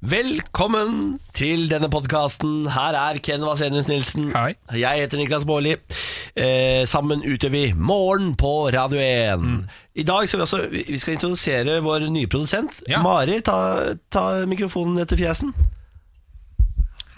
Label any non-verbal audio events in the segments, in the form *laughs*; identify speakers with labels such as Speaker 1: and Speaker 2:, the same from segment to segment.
Speaker 1: Velkommen til denne podkasten. Her er Ken Vasenius Nilsen.
Speaker 2: Hei.
Speaker 1: Jeg heter Niklas Baarli. Eh, sammen utgjør vi Morgen på Radio 1.
Speaker 2: Mm.
Speaker 1: I dag skal vi også vi skal introdusere vår nye produsent.
Speaker 2: Ja.
Speaker 1: Mari, ta, ta mikrofonen etter fjesen.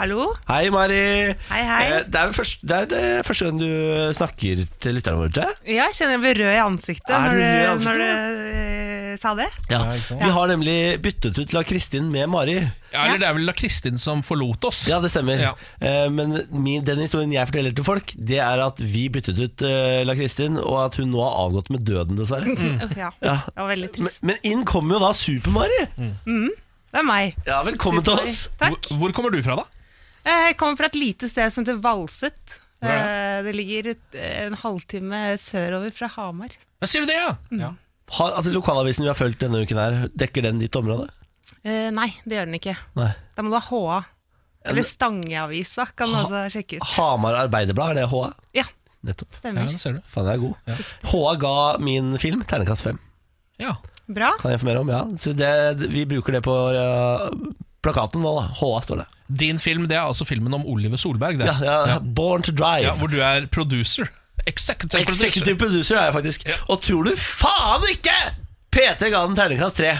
Speaker 3: Hallo?
Speaker 1: Hei, Mari. Eh,
Speaker 3: Hei, hei.
Speaker 1: det, er vel først- det er det første gang du snakker til lytterne våre, tror jeg.
Speaker 3: Ja, jeg kjenner jeg blir rød i ansiktet
Speaker 1: Er
Speaker 3: når
Speaker 1: du
Speaker 3: du,
Speaker 1: rød i ansiktet?
Speaker 3: når du eh, sa det.
Speaker 1: Ja.
Speaker 2: ikke sant?
Speaker 1: Vi har nemlig byttet ut La Kristin med Mari.
Speaker 2: Ja, eller det er vel da Kristin som forlot oss.
Speaker 1: Ja, det stemmer.
Speaker 2: Ja.
Speaker 1: Eh, men min, den historien jeg forteller til folk, det er at vi byttet ut eh, La Kristin, og at hun nå har avgått med døden, dessverre.
Speaker 3: Ja,
Speaker 1: Mm. Ja.
Speaker 3: Det var veldig
Speaker 1: Men,
Speaker 3: trist.
Speaker 1: men inn kommer jo da Super-Mari.
Speaker 3: Det er meg.
Speaker 1: Ja, velkommen til
Speaker 3: Super.
Speaker 1: oss.
Speaker 3: Takk.
Speaker 2: Hvor, hvor kommer du fra, da?
Speaker 3: Eh, Jeg kommer fra et lite sted som heter Valset.
Speaker 2: Hvor er
Speaker 3: Eh, Det ligger et, en halvtime sørover fra Hamar.
Speaker 2: Ja, sier du det, ja?
Speaker 1: Mm.
Speaker 2: ja.
Speaker 1: Ha, altså, lokalavisen vi har fulgt denne uken her, dekker den ditt område?
Speaker 3: Eh, Nei, det gjør den ikke.
Speaker 1: Nei.
Speaker 3: Da må du ha HA. Eller Stangeavisa kan du
Speaker 1: Ha-
Speaker 3: også sjekke ut.
Speaker 1: Hamar Arbeiderblad, er det HA?
Speaker 3: Ja,
Speaker 1: Nettopp.
Speaker 2: ja
Speaker 3: stemmer.
Speaker 2: det ser du.
Speaker 1: Faen, jeg er god. HA ga min film terningkast fem,
Speaker 2: Ja.
Speaker 3: Bra.
Speaker 1: kan jeg informere om. ja Så det, Vi bruker det på ja, plakaten nå, da. HA står det.
Speaker 2: Din film det er altså filmen om Oliver Solberg, det.
Speaker 1: Ja, ja, Born to Drive.
Speaker 2: Ja, hvor du er producer. Executive,
Speaker 1: Executive producer
Speaker 2: producer.
Speaker 1: er jeg faktisk. Og tror du faen ikke P3 ga den terningkast 3.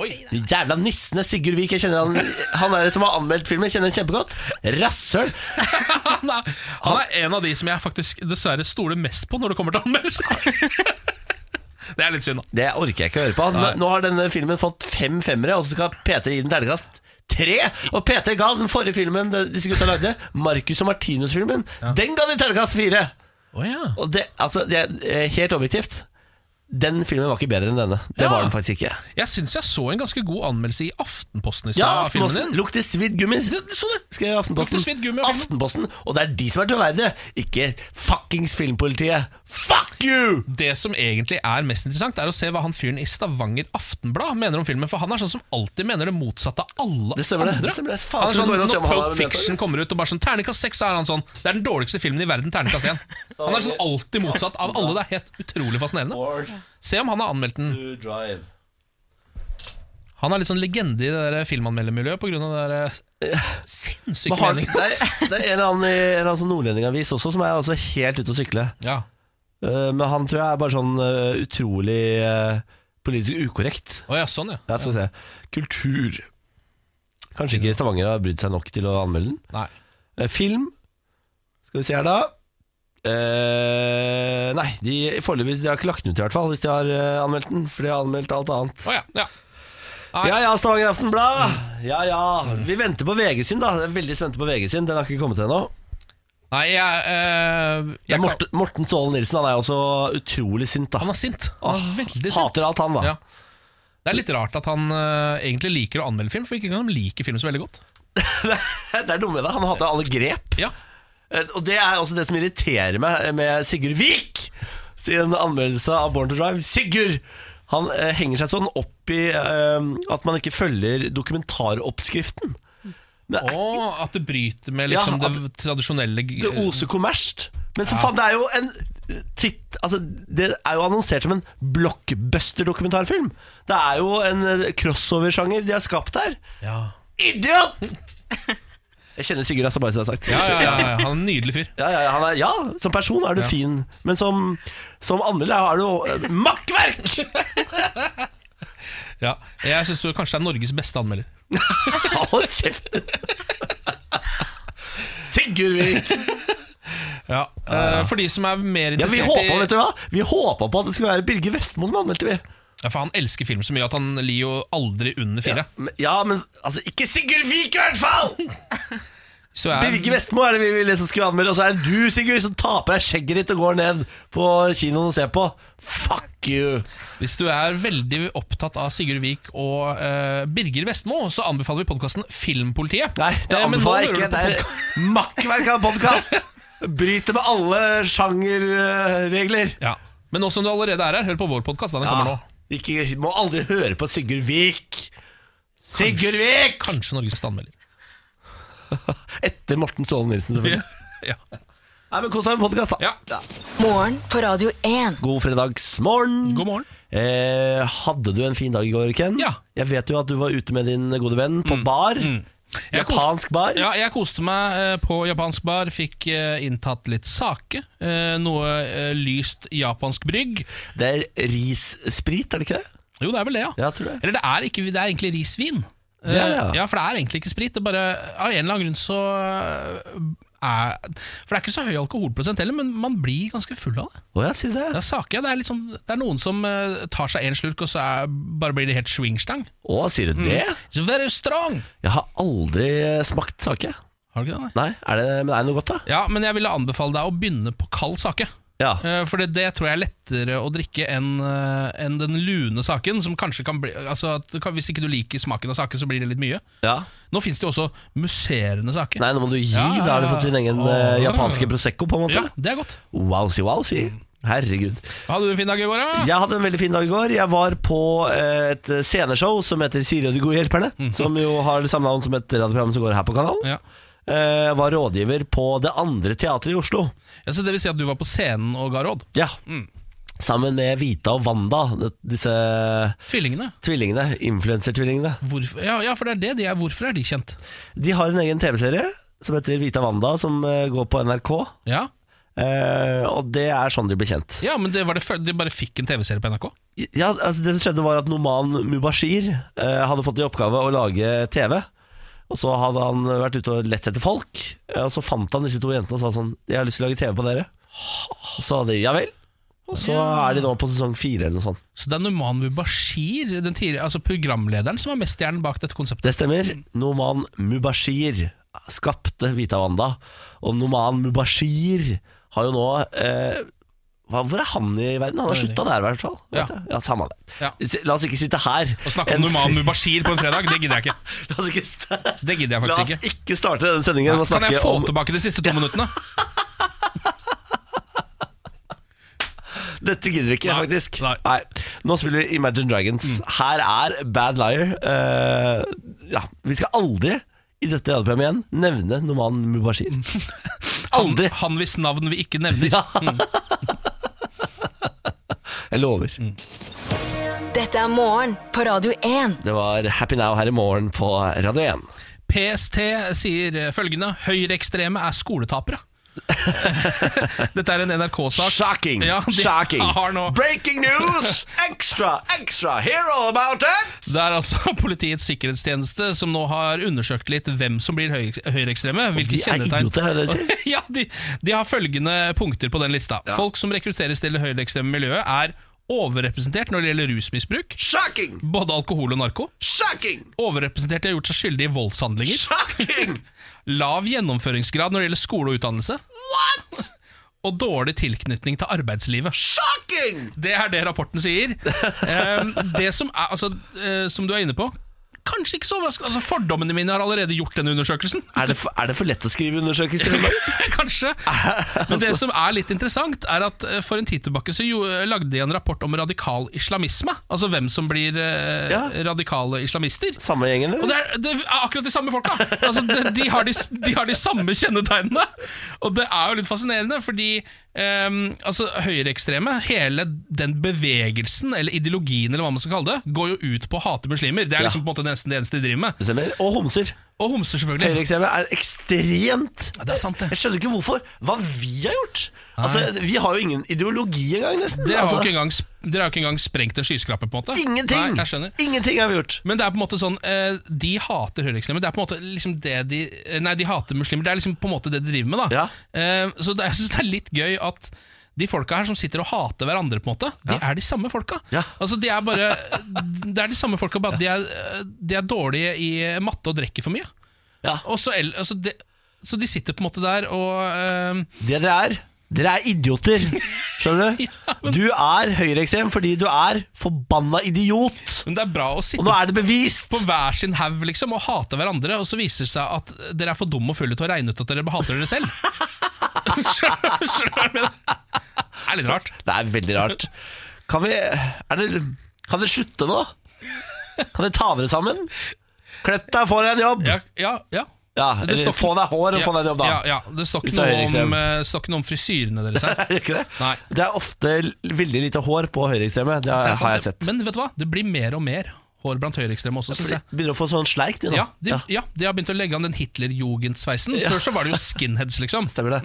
Speaker 2: Oi. *laughs*
Speaker 1: De jævla nissene. Sigurd Vik, jeg kjenner han Han er som har anmeldt filmen, jeg kjenner han kjempegodt. Rasshøl!
Speaker 2: Han, er, han er en av de som jeg faktisk dessverre stoler mest på når det kommer til anmeldelser. *laughs* Det er litt synd, da.
Speaker 1: Det orker jeg ikke å høre på.
Speaker 2: Nei.
Speaker 1: Nå- Nå har denne filmen fått fem femmere, og så skal P3 gi den terningkast 3. Og P3 ga den forrige filmen de- disse gutta lagde, Marcus og Martinus-filmen, den ga de terningkast 4.
Speaker 2: Oh, ja.
Speaker 1: Og det, altså, det er eh, helt objektivt. Den filmen var ikke bedre enn denne. Det
Speaker 2: Ja.
Speaker 1: var den faktisk ikke.
Speaker 2: Jeg syns jeg så en ganske god anmeldelse i Aftenposten i stad.
Speaker 1: Ja,
Speaker 2: av filmen
Speaker 1: Aftenposten.
Speaker 2: din.
Speaker 1: Lukter svidd gummis.
Speaker 2: det sto det.
Speaker 1: Skrev Aftenposten.
Speaker 2: Lukter svidd gummi av filmen.
Speaker 1: Aftenposten. Og det er de som er troverdige, ikke fuckings filmpolitiet. Fuck you!
Speaker 2: Det som egentlig er mest interessant, er å se hva han fyren i Stavanger Aftenblad mener om filmen. For han er sånn som alltid mener det motsatte av alle
Speaker 1: Det stemmer det.
Speaker 2: andre.
Speaker 1: Det stemmer det. Faen,
Speaker 2: han er
Speaker 1: så
Speaker 2: sånn,
Speaker 1: går det an å se om
Speaker 2: Når
Speaker 1: han har
Speaker 2: Pulp
Speaker 1: ment det.
Speaker 2: Fiction kommer ut og bare sånn Terningkast seks, så er han sånn. Det er den dårligste filmen i verden.
Speaker 1: *laughs*
Speaker 2: Terningkast én. Han er sånn alltid motsatt av alle. Det er helt utrolig fascinerende. Se om han har anmeldt den. Han er litt sånn legende i det der filmanmeldermiljøet pga. det der eh,
Speaker 1: Eh,
Speaker 2: sinnssyke
Speaker 1: Men har,
Speaker 2: meningen.
Speaker 1: det, er, det er en eller annen, i- en eller annen sånn nordlendingavis også som er altså helt ute å sykle.
Speaker 2: Ja.
Speaker 1: Eh, men han tror jeg er bare sånn eh, utrolig eh, politisk ukorrekt.
Speaker 2: Å ja, sånn, ja.
Speaker 1: Ja, skal vi se. Kultur. Kanskje ikke Stavanger har brydd seg nok til å anmelde den.
Speaker 2: Nei.
Speaker 1: Eh, Film Skal vi se her da Eh, Nei, de, foreløpig de har ikke lagt den ut i hvert fall Hvis de har eh, anmeldt den For de har anmeldt alt annet
Speaker 2: Å ja. ja. Nei.
Speaker 1: Ja, ja, Stavanger Aftenblad Ja, ja, vi venter på VG sin da Jeg er veldig spente på VG sin Den har ikke kommet ennå
Speaker 2: Nei, jeg, eh,
Speaker 1: Det
Speaker 2: jeg
Speaker 1: er
Speaker 2: kan-
Speaker 1: Morten, Morten Ståle Nilsen Han er jo også utrolig sint da
Speaker 2: Han er sint. Han er veldig sint.
Speaker 1: Hater alt han da
Speaker 2: Ja. Det er litt rart at han eh, egentlig liker å anmelde film, for ikke engang han liker film så veldig godt.
Speaker 1: *laughs* Det er dumme da, han hater alle grep
Speaker 2: Ja,
Speaker 1: Eh, Og det er også det som irriterer meg eh, med Sigurd Vik sin anmeldelse av Born to Drive. Sigurd! Han eh, henger seg sånn opp i eh, at man ikke følger dokumentaroppskriften. Men
Speaker 2: Og at det bryter med
Speaker 1: Ja,
Speaker 2: liksom
Speaker 1: at
Speaker 2: det tradisjonelle
Speaker 1: det oser kommersielt. Men for faen, det er jo en titt, altså, Det er jo annonsert som en blockbuster-dokumentarfilm. Det er jo en eh, crossover-sjanger de har skapt her.
Speaker 2: ja. *laughs*
Speaker 1: Idiot! Jeg kjenner Sigurd altså, bare så det er sagt.
Speaker 2: Ja, ja, ja, ja, han er en nydelig fyr.
Speaker 1: Ja, ja, ja, han er, ja, som person er du fin, men som, som anmelder er du eh, makkverk! *laughs*
Speaker 2: Ja. Jeg syns du kanskje er Norges beste anmelder.
Speaker 1: Hold kjeften! Sigurd Vik!
Speaker 2: Ja. eh, For de som er mer
Speaker 1: Ja, vi
Speaker 2: interessert
Speaker 1: håpa,
Speaker 2: i
Speaker 1: vet du hva? Vi håpa på at det skulle være Birger Vestmo som anmeldte, vi.
Speaker 2: ja, For han elsker film så mye at han lir jo aldri under fire.
Speaker 1: Men- Ja, men altså, ikke Sigurd Vik, i hvert *laughs* fall!
Speaker 2: Hvis du er
Speaker 1: Birger Vestmo er det vi ville som skulle anmelde, og så er det du, Sigurd, som taper deg skjegget ditt og går ned på kinoen og ser på. Fuck you!
Speaker 2: Hvis du er veldig opptatt av Sigurd Vik og eh, Birger Vestmo, så anbefaler vi podkasten Filmpolitiet.
Speaker 1: Nei, det
Speaker 2: Eh, men nå
Speaker 1: anbefaler jeg ikke. Det
Speaker 2: hører du på podkast-
Speaker 1: er *laughs* makkverk av podkast! Bryter med alle sjangerregler. Ah,
Speaker 2: Ja. Men nå som du allerede er her, hør på vår podkast. Den kommer nå.
Speaker 1: Ikke, må aldri høre på Sigurd Vik. Sigurd Vik! *laughs*
Speaker 2: Kanskje Norges beste anmelder.
Speaker 1: Etter Morten Ståle Nilsen, selvfølgelig.
Speaker 2: ja.
Speaker 1: Nei, men Kos deg med podkast, da.
Speaker 2: Ja.
Speaker 4: Morgen på Radio 1.
Speaker 1: God fredagsmorgen.
Speaker 2: God morgen.
Speaker 1: Eh, hadde du en fin dag i går, Ken?
Speaker 2: Ja. Mm.
Speaker 1: Jeg vet jo at du var ute med din gode venn på bar.
Speaker 2: Jeg
Speaker 1: Japansk bar.
Speaker 2: Ja, jeg koste meg eh, på japansk bar, fikk eh, inntatt litt sake, eh, noe eh, lyst japansk brygg.
Speaker 1: Det er rissprit, er det ikke det?
Speaker 2: Jo, det er vel det, ja.
Speaker 1: Ja, tror jeg.
Speaker 2: Eller det er, ikke, det er egentlig risvin.
Speaker 1: Det er det, ja.
Speaker 2: Eh, ja, for det er egentlig ikke sprit. Det er bare, av en eller annen grunn så eh, er, For det er ikke så høy alkoholprosent heller, men man blir ganske full av det.
Speaker 1: Å ja, sier du
Speaker 2: Det
Speaker 1: det?
Speaker 2: er sake, ja. Det er, litt sånn- det er noen som eh, tar seg en slurk, og så er, bare blir det helt swingstang.
Speaker 1: Å, sier
Speaker 2: Mm.
Speaker 1: du det?
Speaker 2: It's very strong!
Speaker 1: Jeg har aldri eh, smakt sake.
Speaker 2: Har du ikke det? nei?
Speaker 1: Nei, er det, men er det noe godt, da?
Speaker 2: Ja, men jeg ville anbefale deg å begynne på kald sake.
Speaker 1: Ja.
Speaker 2: Eh, For det, det tror jeg er lettere å drikke enn eh, enn den lune saken. Som kanskje kan bli altså, at det kan, Hvis ikke du liker smaken av sake, så blir det litt mye.
Speaker 1: ja.
Speaker 2: Nå fins det jo også musserende saker.
Speaker 1: Nei, nå må du gi.
Speaker 2: Ja, ja,
Speaker 1: Da har du fått sin egen eh,
Speaker 2: ja.
Speaker 1: japanske prosecco, på en måte.
Speaker 2: Ja, Det er godt.
Speaker 1: Wowsi, wowsi. Herregud.
Speaker 2: Hadde du en fin dag i går, da?
Speaker 1: Jeg hadde en veldig fin dag i går. Jeg var på eh, et sceneshow som heter Siri og de gode hjelperne. Som jo har det samme navn som et radioprogram som går her på kanalen.
Speaker 2: Mhm. Ja.
Speaker 1: Eh, Jeg var rådgiver på Det andre teatret i Oslo.
Speaker 2: Ja, så det vil si at du var på scenen og ga råd?
Speaker 1: Ja. Sammen med Vita og Wanda, disse
Speaker 2: Tvillingene.
Speaker 1: tvillingene. Influensertvillingene.
Speaker 2: Hvorfor? Ja, ja, for det er det de er. Hvorfor er de kjent?
Speaker 1: De har en egen TV-serie som heter Vita Wanda, som eh, går på NRK.
Speaker 2: Ja,
Speaker 1: Eh, og det er sånn de blir kjent.
Speaker 2: ja men det var det, før- de bare fikk en TV-serie på NRK?
Speaker 1: Ja, altså Det som skjedde, var at Noman Mubashir eh, hadde fått i oppgave å lage TV. Og så hadde han vært ute og lett etter folk. eh, Og så fant han disse to jentene og sa sånn Jeg har lyst til å lage TV på dere. Og så hadde de ja vel. Og så er de nå på sesong fire eller noe sånt.
Speaker 2: Så det er Numan Mubashir, den tidligere, altså programlederen, som er mesterhjernen bak dette konseptet?
Speaker 1: Det stemmer.
Speaker 2: Mm.
Speaker 1: Noman Mubashir skapte Vita Wanda. Og Noman Mubashir har jo nå eh, hva- Hvor er han i verden? Han har
Speaker 2: Jeg vet
Speaker 1: slutta der, i hvert fall.
Speaker 2: Ja.
Speaker 1: Vet jeg. ja, samme det.
Speaker 2: Ja.
Speaker 1: La oss ikke sitte her
Speaker 2: Å snakke om
Speaker 1: En
Speaker 2: Numan
Speaker 1: fri-
Speaker 2: Mubashir på en fredag, det gidder jeg ikke.
Speaker 1: *laughs* La oss ikke st-
Speaker 2: Det gidder jeg
Speaker 1: La oss
Speaker 2: faktisk ikke.
Speaker 1: ikke starte denne sendingen med å
Speaker 2: Kan
Speaker 1: snakke
Speaker 2: jeg få
Speaker 1: om
Speaker 2: tilbake de siste to minuttene?
Speaker 1: Dette gidder vi ikke,
Speaker 2: Nei,
Speaker 1: faktisk.
Speaker 2: nei. Mm.
Speaker 1: Nå spiller vi Imagine Dragons. Her er Bad Liar. Eh, ja, vi skal aldri i dette radioprogrammet igjen nevne Noman
Speaker 2: *laughs*
Speaker 1: Mubashir. *laughs*
Speaker 2: Han,
Speaker 1: Aldri.
Speaker 2: han hvis navn vi ikke nevner.
Speaker 1: Ja. Jeg lover.
Speaker 2: Mm.
Speaker 4: Dette er morgen på Radio 1.
Speaker 1: Det var Happy Now her i morgen på Radio 1.
Speaker 2: PST sier eh, følgende Høyreekstreme er
Speaker 1: *laughs*
Speaker 2: skoletapere. Dette er en NRK-sak.
Speaker 1: Shocking!
Speaker 2: Ja, de
Speaker 1: Shocking!
Speaker 2: Har nå.
Speaker 1: Breaking news! Extra, extra! Hear all about it!
Speaker 2: Det er altså *laughs* Politiets sikkerhetstjeneste som nå har undersøkt litt hvem som blir høy- høyreekstreme. Hvilke
Speaker 1: De er
Speaker 2: kjennetegn
Speaker 1: idioter, er det det de sier?
Speaker 2: *laughs* ja, de, de har følgende punkter på den lista. Folk som rekrutteres til det høyreekstreme miljøet, er overrepresentert når det gjelder rusmisbruk.
Speaker 1: Shocking!
Speaker 2: Både alkohol og narko.
Speaker 1: Shocking!
Speaker 2: Overrepresentert i å ha gjort seg skyldig i voldshandlinger.
Speaker 1: Shocking!
Speaker 2: Lav gjennomføringsgrad når det gjelder skole og utdannelse.
Speaker 1: What?
Speaker 2: Og dårlig tilknytning til arbeidslivet.
Speaker 1: Shocking!
Speaker 2: Det er det rapporten sier. Ehm, det som, er, altså, eh, som du er inne på Kanskje ikke så overraskende. Altså, fordommene mine har allerede gjort denne undersøkelsen.
Speaker 1: Er det, for, er det for lett å skrive undersøkelser om dagen?
Speaker 2: *laughs* Kanskje. Men det som er litt interessant, er at eh, for en tid tilbake så jo, eh, lagde de en rapport om radikal islamisme. Altså hvem som blir eh,
Speaker 1: Ja.
Speaker 2: radikale islamister.
Speaker 1: Samme gjengen,
Speaker 2: Og
Speaker 1: eller?
Speaker 2: det er, det er akkurat de samme folka! Altså, de, de, har de, de har de samme kjennetegnene. Og det er jo litt fascinerende, fordi um, altså, høyreekstreme, hele den bevegelsen, eller ideologien, eller hva man skal kalle det, går jo ut på å hate muslimer. Det
Speaker 1: Ja.
Speaker 2: er liksom på en måte nesten det eneste de driver med.
Speaker 1: Det stemmer. Og homser.
Speaker 2: Og homser, selvfølgelig.
Speaker 1: Høyreekstreme er ekstremt
Speaker 2: Ja, det er sant, det.
Speaker 1: Jeg skjønner ikke hvorfor. Hva vi har gjort? Altså, Vi har jo ingen ideologi engang, nesten.
Speaker 2: Dere har jo
Speaker 1: altså,
Speaker 2: ikke engang, sp- dere har jo ikke engang sprengt en skyskraper, på en måte.
Speaker 1: Ingenting!
Speaker 2: Nei, jeg skjønner.
Speaker 1: Ingenting har vi gjort.
Speaker 2: Men det er på en måte sånn eh, De hater høyreekstreme. Det er på en måte liksom det de eh, Nei, de hater muslimer. Det er liksom på en måte det de driver med, da. Eh, så det, jeg syns det er litt gøy at de folka her som sitter og hater hverandre, på en måte de er de samme folka.
Speaker 1: Ja.
Speaker 2: Altså de er bare *laughs* Det er de samme folka, bare at de er, eh, de er dårlige i matte og drikker for mye.
Speaker 1: Ja.
Speaker 2: Og så, el- altså de, så de sitter på en måte der og eh,
Speaker 1: Det dere er, dere er idioter. Skjønner
Speaker 2: *laughs*
Speaker 1: du? Du er høyreekstrem fordi du er forbanna idiot.
Speaker 2: Men det er bra å sitte
Speaker 1: Og nå er det bevist.
Speaker 2: på hver sin haug liksom, og hate hverandre, og så viser det seg at dere er for dumme og fulle til å regne ut at dere hater dere selv. *laughs* Skjønner du hva jeg mener? Det er litt rart.
Speaker 1: Det er veldig rart. Kan vi er det, Kan dere slutte nå? Kan dere ta dere sammen? Klepp deg, får deg en jobb!
Speaker 2: Ja, ja, ja.
Speaker 1: Ja,
Speaker 2: Det
Speaker 1: eller
Speaker 2: står ikke-
Speaker 1: Få deg hår og få deg en jobb, da.
Speaker 2: Ja, ja, det står
Speaker 1: Hvis du er
Speaker 2: ikke noe om,
Speaker 1: høyreekstrem.
Speaker 2: eh, står ikke noe om frisyrene deres her.
Speaker 1: *laughs* Er det ikke det?
Speaker 2: Nei.
Speaker 1: Det er ofte l- veldig lite hår på høyreekstreme. Det,
Speaker 2: Det er sant,
Speaker 1: har jeg
Speaker 2: det-
Speaker 1: sett.
Speaker 2: Men vet du hva? Det blir mer og mer hår blant høyreekstreme også,
Speaker 1: For
Speaker 2: syns
Speaker 1: de
Speaker 2: jeg.
Speaker 1: begynner å få sånn sleik, de nå.
Speaker 2: Ja de, ja, de har begynt å legge an den Hitlerjugend-sveisen. Før så var det jo skinheads, liksom.
Speaker 1: Stemmer det.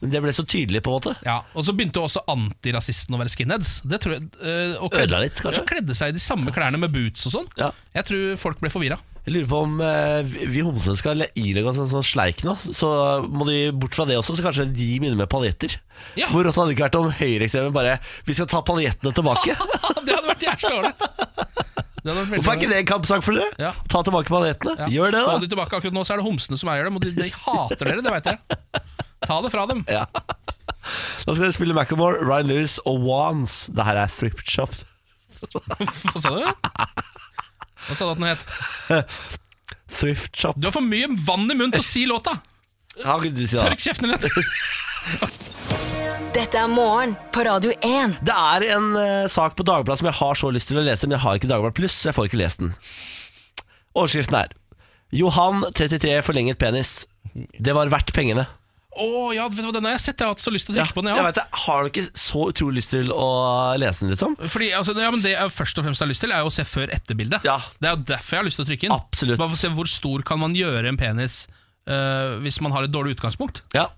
Speaker 1: Men det ble så tydelig, på en måte.
Speaker 2: Ja, Og så begynte også antirasisten å være skinheads. Det tror jeg eh, og
Speaker 1: Ødela litt, kanskje?
Speaker 2: Ja, kledde seg i de samme klærne med boots og sånn.
Speaker 1: Ja.
Speaker 2: Jeg tror folk ble forvirra.
Speaker 1: Jeg lurer på om eh, vi- vi homsene skal le- ilegge oss en sånn sleik nå. Så må de bort fra det også, så kanskje de begynner med paljetter.
Speaker 2: Ja.
Speaker 1: Hvor rått hadde det ikke vært om høyreekstreme bare Vi skal ta paljettene
Speaker 2: *laughs*
Speaker 1: tilbake.
Speaker 2: *laughs* det hadde vært jævlig ålreit.
Speaker 1: Hvorfor er ikke det en kampsak for dere?
Speaker 2: Ja.
Speaker 1: Ta tilbake paljettene.
Speaker 2: Ja,
Speaker 1: Gjør det,
Speaker 2: Få
Speaker 1: da.
Speaker 2: de tilbake akkurat nå, så er det homsene som eier dem, og de, de hater dere, det veit dere. Ta det fra dem.
Speaker 1: Ja. Da skal vi spille Macclemore, Ryan Lewis og Wands. Det her er Thrift Shop.
Speaker 2: Hva sa du? Hva sa du at den het?
Speaker 1: Thrift Shop.
Speaker 2: Du har for mye vann i munnen til å si låta!
Speaker 1: Ja, kan du si det? da?
Speaker 2: Tørk kjeften din!
Speaker 4: Dette er morgen på Radio 1.
Speaker 1: Det er en eh, sak på Dagbladet som jeg har så lyst til å lese, men jeg har ikke Dagbladet Pluss, så jeg får ikke lest den. Overskriften er Johan 33 forlenget penis. Det var verdt pengene.
Speaker 2: Å ja, vet du hva, den har jeg sett, jeg har hatt så lyst til å trykke på den,
Speaker 1: jeg
Speaker 2: jeg òg.
Speaker 1: vet det, Har du ikke så utrolig lyst til å lese den, liksom?
Speaker 2: Fordi, altså, ja, men Det jeg først og fremst har lyst til, er jo å se før-etter-bildet.
Speaker 1: Ja.
Speaker 2: Det er jo derfor jeg har lyst til å trykke inn.
Speaker 1: Absolutt.
Speaker 2: Bare for å se Hvor stor kan man gjøre en penis eh, hvis man har et dårlig utgangspunkt?
Speaker 1: Ja.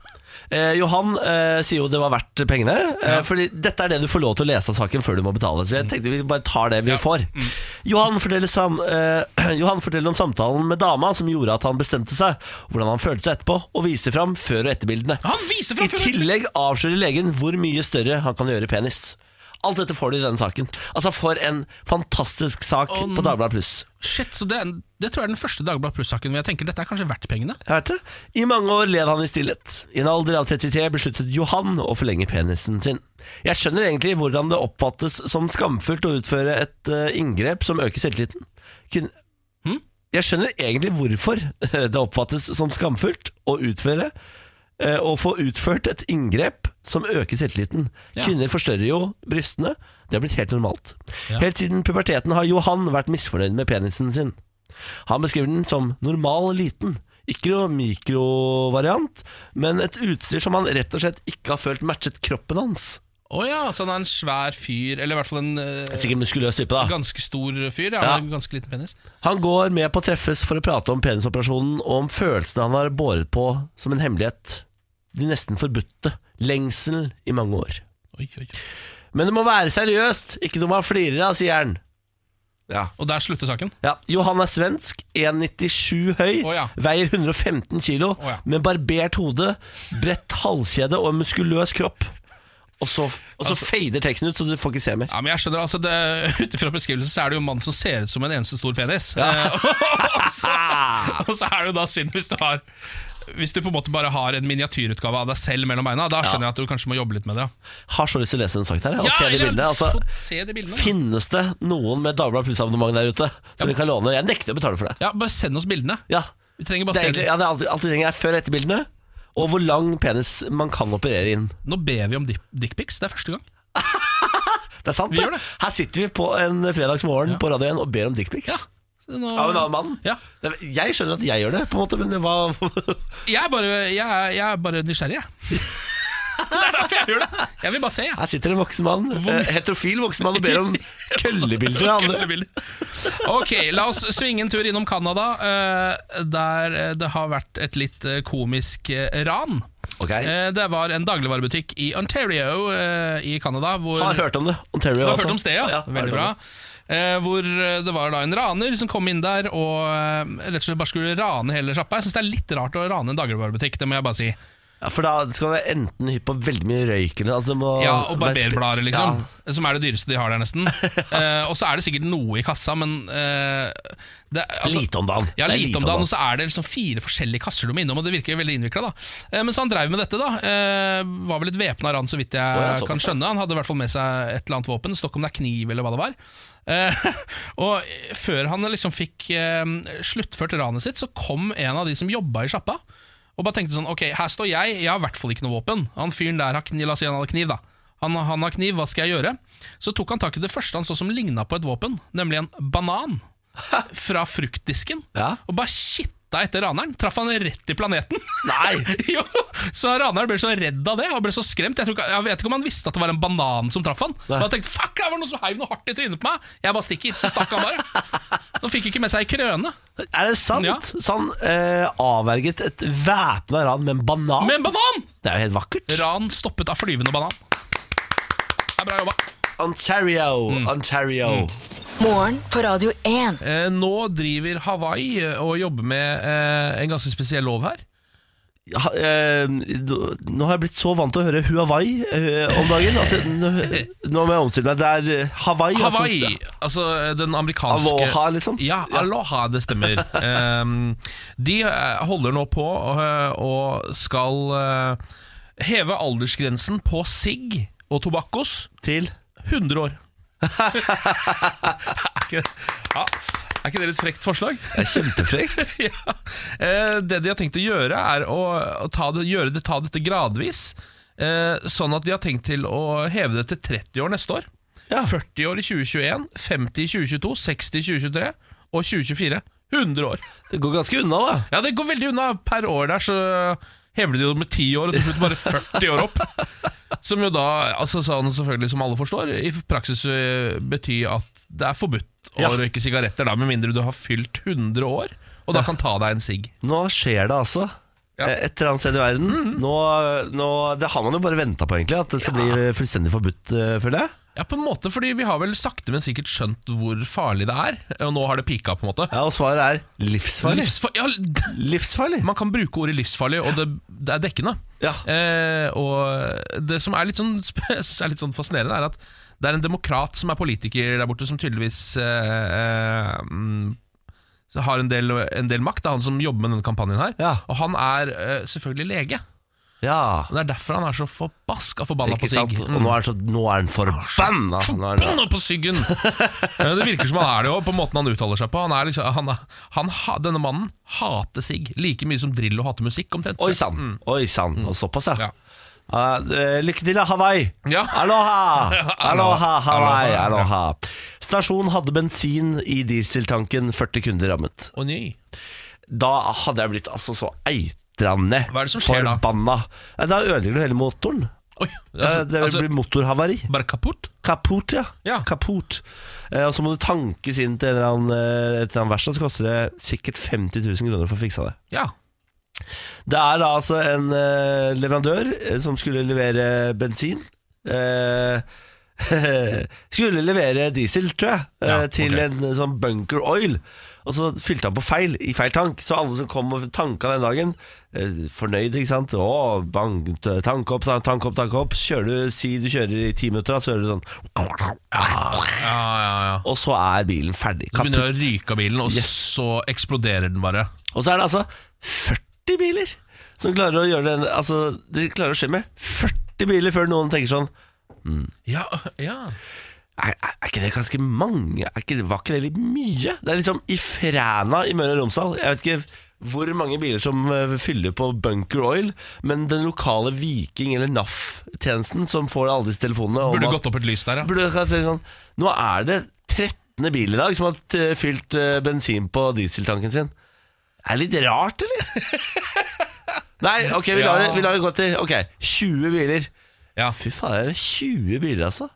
Speaker 1: Eh, Johan eh, sier jo det var verdt pengene. Eh, Fordi dette er det du får lov til å lese av saken før du må betale. Så jeg tenkte vi bare tar det vi
Speaker 2: Mm. Ja. Mm.
Speaker 1: får. Johan, forteller sam, eh, *clears throat* Johan forteller om samtalen med dama som gjorde at han bestemte seg, hvordan han følte seg etterpå, og viser fram før- og etterbildene.
Speaker 2: Han viser
Speaker 1: I
Speaker 2: fra før!
Speaker 1: tillegg avslører legen hvor mye større han kan gjøre penis. Alt dette får du i denne saken. Altså For en fantastisk sak
Speaker 2: Om-
Speaker 1: på Dagbladet Pluss.
Speaker 2: Shit, så det, er- det tror jeg er den første Dagbladet Pluss-saken hvor jeg tenker dette er kanskje verdt pengene.
Speaker 1: Jeg vet det. I mange år led han i stillhet. I en alder av 33 besluttet Johan å forlenge penisen sin. Jeg skjønner egentlig hvordan det oppfattes som skamfullt å utføre et eh, inngrep som øker selvtilliten. Kun Hm? Jeg skjønner egentlig hvorfor *laughs* det oppfattes som skamfullt å utføre eh, å få utført et inngrep som øker selvtilliten.
Speaker 2: Ja.
Speaker 1: Kvinner forstørrer jo brystene. Det har blitt helt normalt.
Speaker 2: Ja.
Speaker 1: Helt siden puberteten har Johan vært misfornøyd med penisen sin. Han beskriver den som normal liten. Ikke noe mikrovariant, men et utstyr som han rett og slett ikke har følt matchet kroppen hans.
Speaker 2: Å ja, så han er en svær fyr, eller i hvert fall en eh,
Speaker 1: Sikkert muskuløs type, da.
Speaker 2: ganske stor fyr. Ja,
Speaker 1: Ja.
Speaker 2: Med en ganske liten penis.
Speaker 1: Han går med på å treffes for å prate om penisoperasjonen og om følelsene han har båret på som en hemmelighet. De nesten forbudte. Lengsel i mange år.
Speaker 2: Oi, oi. oi.
Speaker 1: Men det må være seriøst, ikke noe man flirer av, sier han. Ja.
Speaker 2: Og der slutter saken.
Speaker 1: Ja, Johan er svensk, 1,97 høy,
Speaker 2: Å, ja.
Speaker 1: veier 115 kilo,
Speaker 2: Å, ja.
Speaker 1: med barbert hode, bredt halskjede og en muskuløs kropp. Og så, og
Speaker 2: Altså-
Speaker 1: så fader teksten ut, så du får ikke se mer.
Speaker 2: Ja, men jeg skjønner altså det, *laughs* Ut ifra beskrivelsen så er det jo en mann som ser ut som en eneste stor penis. Eh, *laughs* og, så,
Speaker 1: *laughs*
Speaker 2: og så er det jo da synd hvis du har Hvis du på en måte bare har en miniatyrutgave av deg selv mellom beina. Da skjønner jeg at du kanskje må jobbe litt med det.
Speaker 1: Har så lyst til å lese den saken her. Og se de
Speaker 2: eller
Speaker 1: bildene. Altså,
Speaker 2: få se de bildene. da.
Speaker 1: finnes det noen med Dagbladet Pluss-abonnement der ute som vi kan låne? Jeg nekter å betale for det.
Speaker 2: Ja, Bare send oss bildene.
Speaker 1: Ja,
Speaker 2: Vi trenger
Speaker 1: det
Speaker 2: bare
Speaker 1: er
Speaker 2: se
Speaker 1: egentlig,
Speaker 2: dem.
Speaker 1: ja, det er alt, alt vi trenger er før- og etterbildene, og hvor lang penis man kan operere inn.
Speaker 2: Nå ber vi om dickpics. Det er første gang.
Speaker 1: Det er sant,
Speaker 2: Vi gjør det.
Speaker 1: Her sitter vi på en fredagsmorgen på radioen og ber om dickpics.
Speaker 2: Ja. Så nå-
Speaker 1: Av en annen mann?
Speaker 2: Ja.
Speaker 1: Det- Jeg skjønner at jeg gjør det, på en måte, men det var *laughs*
Speaker 2: Jeg er bare, jeg er, jeg er bare nysgjerrig, jeg. *laughs* Det er derfor jeg gjør det. Jeg vil bare se, jeg.
Speaker 1: Her sitter en voksen mann, eh, heterofil voksen mann, og ber
Speaker 2: *laughs*
Speaker 1: om køllebilder av andre.
Speaker 2: Køddebilder. Ok, la oss svinge en tur innom Canada, eh, der eh, det har vært et litt eh, komisk eh, ran.
Speaker 1: Ok.
Speaker 2: Eh, Det var en dagligvarebutikk i Ontario eh, i Canada. hvor-
Speaker 1: Har hørt om det. Ontario,
Speaker 2: Du har
Speaker 1: altså.
Speaker 2: hørt om stedet, ja.
Speaker 1: har hørt
Speaker 2: Veldig
Speaker 1: om
Speaker 2: bra.
Speaker 1: det.
Speaker 2: Eh, hvor eh, det var da en raner som kom inn der og eh, rett og slett bare skulle rane hele sjappa. Jeg syns det er litt rart å rane en dagligvarebutikk, det må jeg bare si.
Speaker 1: Ja, for da skal du være enten hypp på veldig mye røyk eller altså, du må
Speaker 2: Ja, og
Speaker 1: være spe-
Speaker 2: barberblader, liksom. Som er det dyreste de har der,
Speaker 1: *laughs*
Speaker 2: nesten. Eh, og så er det sikkert noe i kassa, men eh, det, er-
Speaker 1: Ja,
Speaker 2: altså-
Speaker 1: lite om dagen.
Speaker 2: Ja,
Speaker 1: Det er
Speaker 2: lite om dagen, og så er det liksom fire forskjellige kasser du må innom, og det virker veldig innvikla, da. Eh, Men så han dreiv med dette, da. Eh, Var vel et væpna ran, så vidt jeg
Speaker 1: ja, såpass,
Speaker 2: kan
Speaker 1: ja.
Speaker 2: skjønne. Han hadde i hvert fall med seg et eller annet våpen, det står ikke om det er kniv eller hva det var. Eh, *laughs* og før han liksom fikk eh, sluttført ranet sitt, så kom en av de som jobba i sjappa, og bare tenkte sånn Ok, her står jeg, jeg har i hvert fall ikke noe våpen. Han fyren der har kniv, la oss si han hadde kniv, da. Han, han har kniv, hva skal jeg gjøre? Så tok han tak i det første han så som ligna på et våpen, nemlig en banan fra fruktdisken.
Speaker 1: Ja.
Speaker 2: Og bare shitta letta etter raneren, traff han rett i planeten. *laughs*
Speaker 1: Nei!
Speaker 2: jo, Så raneren ble så redd av det og ble så skremt. Jeg, tror ikke, jeg vet ikke om han visste at det var en banan som traff han.
Speaker 1: Nei.
Speaker 2: Og han tenkte, fuck, det var noen som heiv noe hardt i trynet på meg. Jeg bare stikker. Så stakk han bare. Nå fikk ikke med seg ei krøne.
Speaker 1: Er det sant?
Speaker 2: Ja.
Speaker 1: Så han eh, avverget et væpna ran med en banan?
Speaker 2: Med en banan!
Speaker 1: Det er jo helt vakkert.
Speaker 2: Ran stoppet av flyvende banan. Det er bra jobba.
Speaker 1: Ontario,
Speaker 2: Mm.
Speaker 1: Ontario.
Speaker 4: Morgen på Radio 1.
Speaker 2: Eh, nå driver Hawaii eh, og jobber med eh, en ganske spesiell lov her.
Speaker 1: Ha, eh, nå- nå har jeg blitt så vant til å høre Huawei eh, om dagen at jeg, nå, nå må jeg omstille meg. Det er eh, Hawaii. altså.
Speaker 2: Hawaii, altså eh, den amerikanske
Speaker 1: Aloha, liksom.
Speaker 2: Ja, aloha, det
Speaker 1: *laughs*
Speaker 2: stemmer. Ehm, de eh, holder nå på eh, og skal eh, heve aldersgrensen på sigg og tobakkos
Speaker 1: Til
Speaker 2: 100
Speaker 1: *laughs*
Speaker 2: år. er, ikke, ja, er ikke det et frekt forslag?
Speaker 1: Det er kjempefrekt.
Speaker 2: *laughs* ja. eh, det de har tenkt å gjøre, er å, å ta, det, gjøre det, ta dette gradvis. Eh, sånn at de har tenkt til å heve det til 30 år neste år.
Speaker 1: Ja.
Speaker 2: 40 år i 2021, 50 i 2022, 60 i 2023 og 2024. 100 år.
Speaker 1: Det går ganske unna, da.
Speaker 2: Ja, det går veldig unna. Per år der så hever de det med 10 år, og til slutt bare 40 år opp. Som jo da, altså sånn selvfølgelig som alle forstår, i praksis eh, betyr at det er forbudt å
Speaker 1: Ja.
Speaker 2: røyke sigaretter, da, med mindre du har fylt 100 år, og da kan ta deg en sigg.
Speaker 1: Nå skjer det altså.
Speaker 2: Ja. Mm.
Speaker 1: Eh, Et eller annet sted i verden. nå, nå, det har man jo bare venta på, egentlig. At det skal bli fullstendig forbudt, eh, føler jeg.
Speaker 2: Ja, på en måte, fordi vi har vel sakte, men sikkert skjønt hvor farlig det er. Og nå har det pika, på en måte.
Speaker 1: Ja, Og svaret er livsfarlig.
Speaker 2: Livsfar- ja, *laughs* d-
Speaker 1: livsfarlig?
Speaker 2: man kan bruke ordet livsfarlig, og det, det er dekkende.
Speaker 1: Ja.
Speaker 2: Eh, og det som er litt, sånn, *laughs* sp- er litt sånn fascinerende, er at det er en demokrat som er politiker der borte, som tydeligvis eh, eh, mm, har en del, en del makt. Det er han som jobber med denne kampanjen her.
Speaker 1: Ja.
Speaker 2: Og han er eh, selvfølgelig lege.
Speaker 1: Ja.
Speaker 2: Og Det er derfor han er så forbaska forbanna
Speaker 1: Ikke
Speaker 2: på
Speaker 1: sant?
Speaker 2: sigg. Mm.
Speaker 1: Og nå er han så- nå er han forbanna! altså. Nå er han-
Speaker 2: Banna på
Speaker 1: *laughs*
Speaker 2: siggen! Ja, Det virker som han er det òg, på måten han uttaler seg på. Han er liksom, han, er- han, ha- denne mannen hater sigg like mye som Drillo hater musikk, omtrent.
Speaker 1: Oi sann! Oi sann! Og såpass, ja.
Speaker 2: Mm. Ja.
Speaker 1: Ah, eh, lykke til, da, Hawaii!
Speaker 2: Ja. *laughs*
Speaker 1: Aloha! Aloha, Hawaii!
Speaker 2: Aloha.
Speaker 1: Aloha. Stasjonen hadde bensin i dieseltanken, 40 kunder rammet.
Speaker 2: Å nei.
Speaker 1: Da hadde jeg blitt altså så eitrende
Speaker 2: Hva er det som skjer da?
Speaker 1: forbanna. Da, da ødelegger du hele motoren.
Speaker 2: Oi,
Speaker 1: Eh, det
Speaker 2: altså,
Speaker 1: blir motorhavari.
Speaker 2: bare kaputt?
Speaker 1: Kaput, ja.
Speaker 2: Ja.
Speaker 1: Kaput. Eh, og så må du tankes inn til en eller annen, eh, et eller annet verksted, så koster det sikkert 50 000 kroner for å få fiksa det.
Speaker 2: Ja.
Speaker 1: Det er da altså en eh, leverandør eh, som skulle levere bensin. Eh, *laughs* skulle levere diesel, tror jeg, eh,
Speaker 2: Ja, ok.
Speaker 1: til en eh, sånn bunker oil. Og så fylte han på feil, i feil tank. Så alle som kom og tanka den dagen, eh, fornøyde, ikke sant. Å, bank, tank opp, tank tank opp, tank opp. Kjører du, si du kjører i ti minutter, da, så hører du sånn
Speaker 2: Ja, ja, ja.
Speaker 1: Og så er bilen ferdig.
Speaker 2: Så
Speaker 1: Kaputt.
Speaker 2: begynner det å ryke av bilen, og så eksploderer den bare.
Speaker 1: Og så er det altså 40 biler som klarer å gjøre det Altså, de klarer å skje med 40 biler før noen tenker sånn
Speaker 2: Ja, ja.
Speaker 1: er, er er ikke det ganske mange? Er ikke, det- var ikke det litt mye? Det er liksom i Fræna i Møre og Romsdal. Jeg vet ikke hvor mange biler som eh, fyller på Bunker Oil, men den lokale Viking- eller NAF-tjenesten som får alle disse telefonene om
Speaker 2: Burde
Speaker 1: at-
Speaker 2: gått opp et lys der, ja.
Speaker 1: burde jeg si sånn, Nå er det 13. bil i dag som har t- fylt eh, bensin på dieseltanken sin. Er det litt rart,
Speaker 2: *laughs*
Speaker 1: eller? Nei, ok, vi lar, det, vi lar det gå til Ok, 20 biler.
Speaker 2: ja.
Speaker 1: Fy faen, er det 20 biler, altså?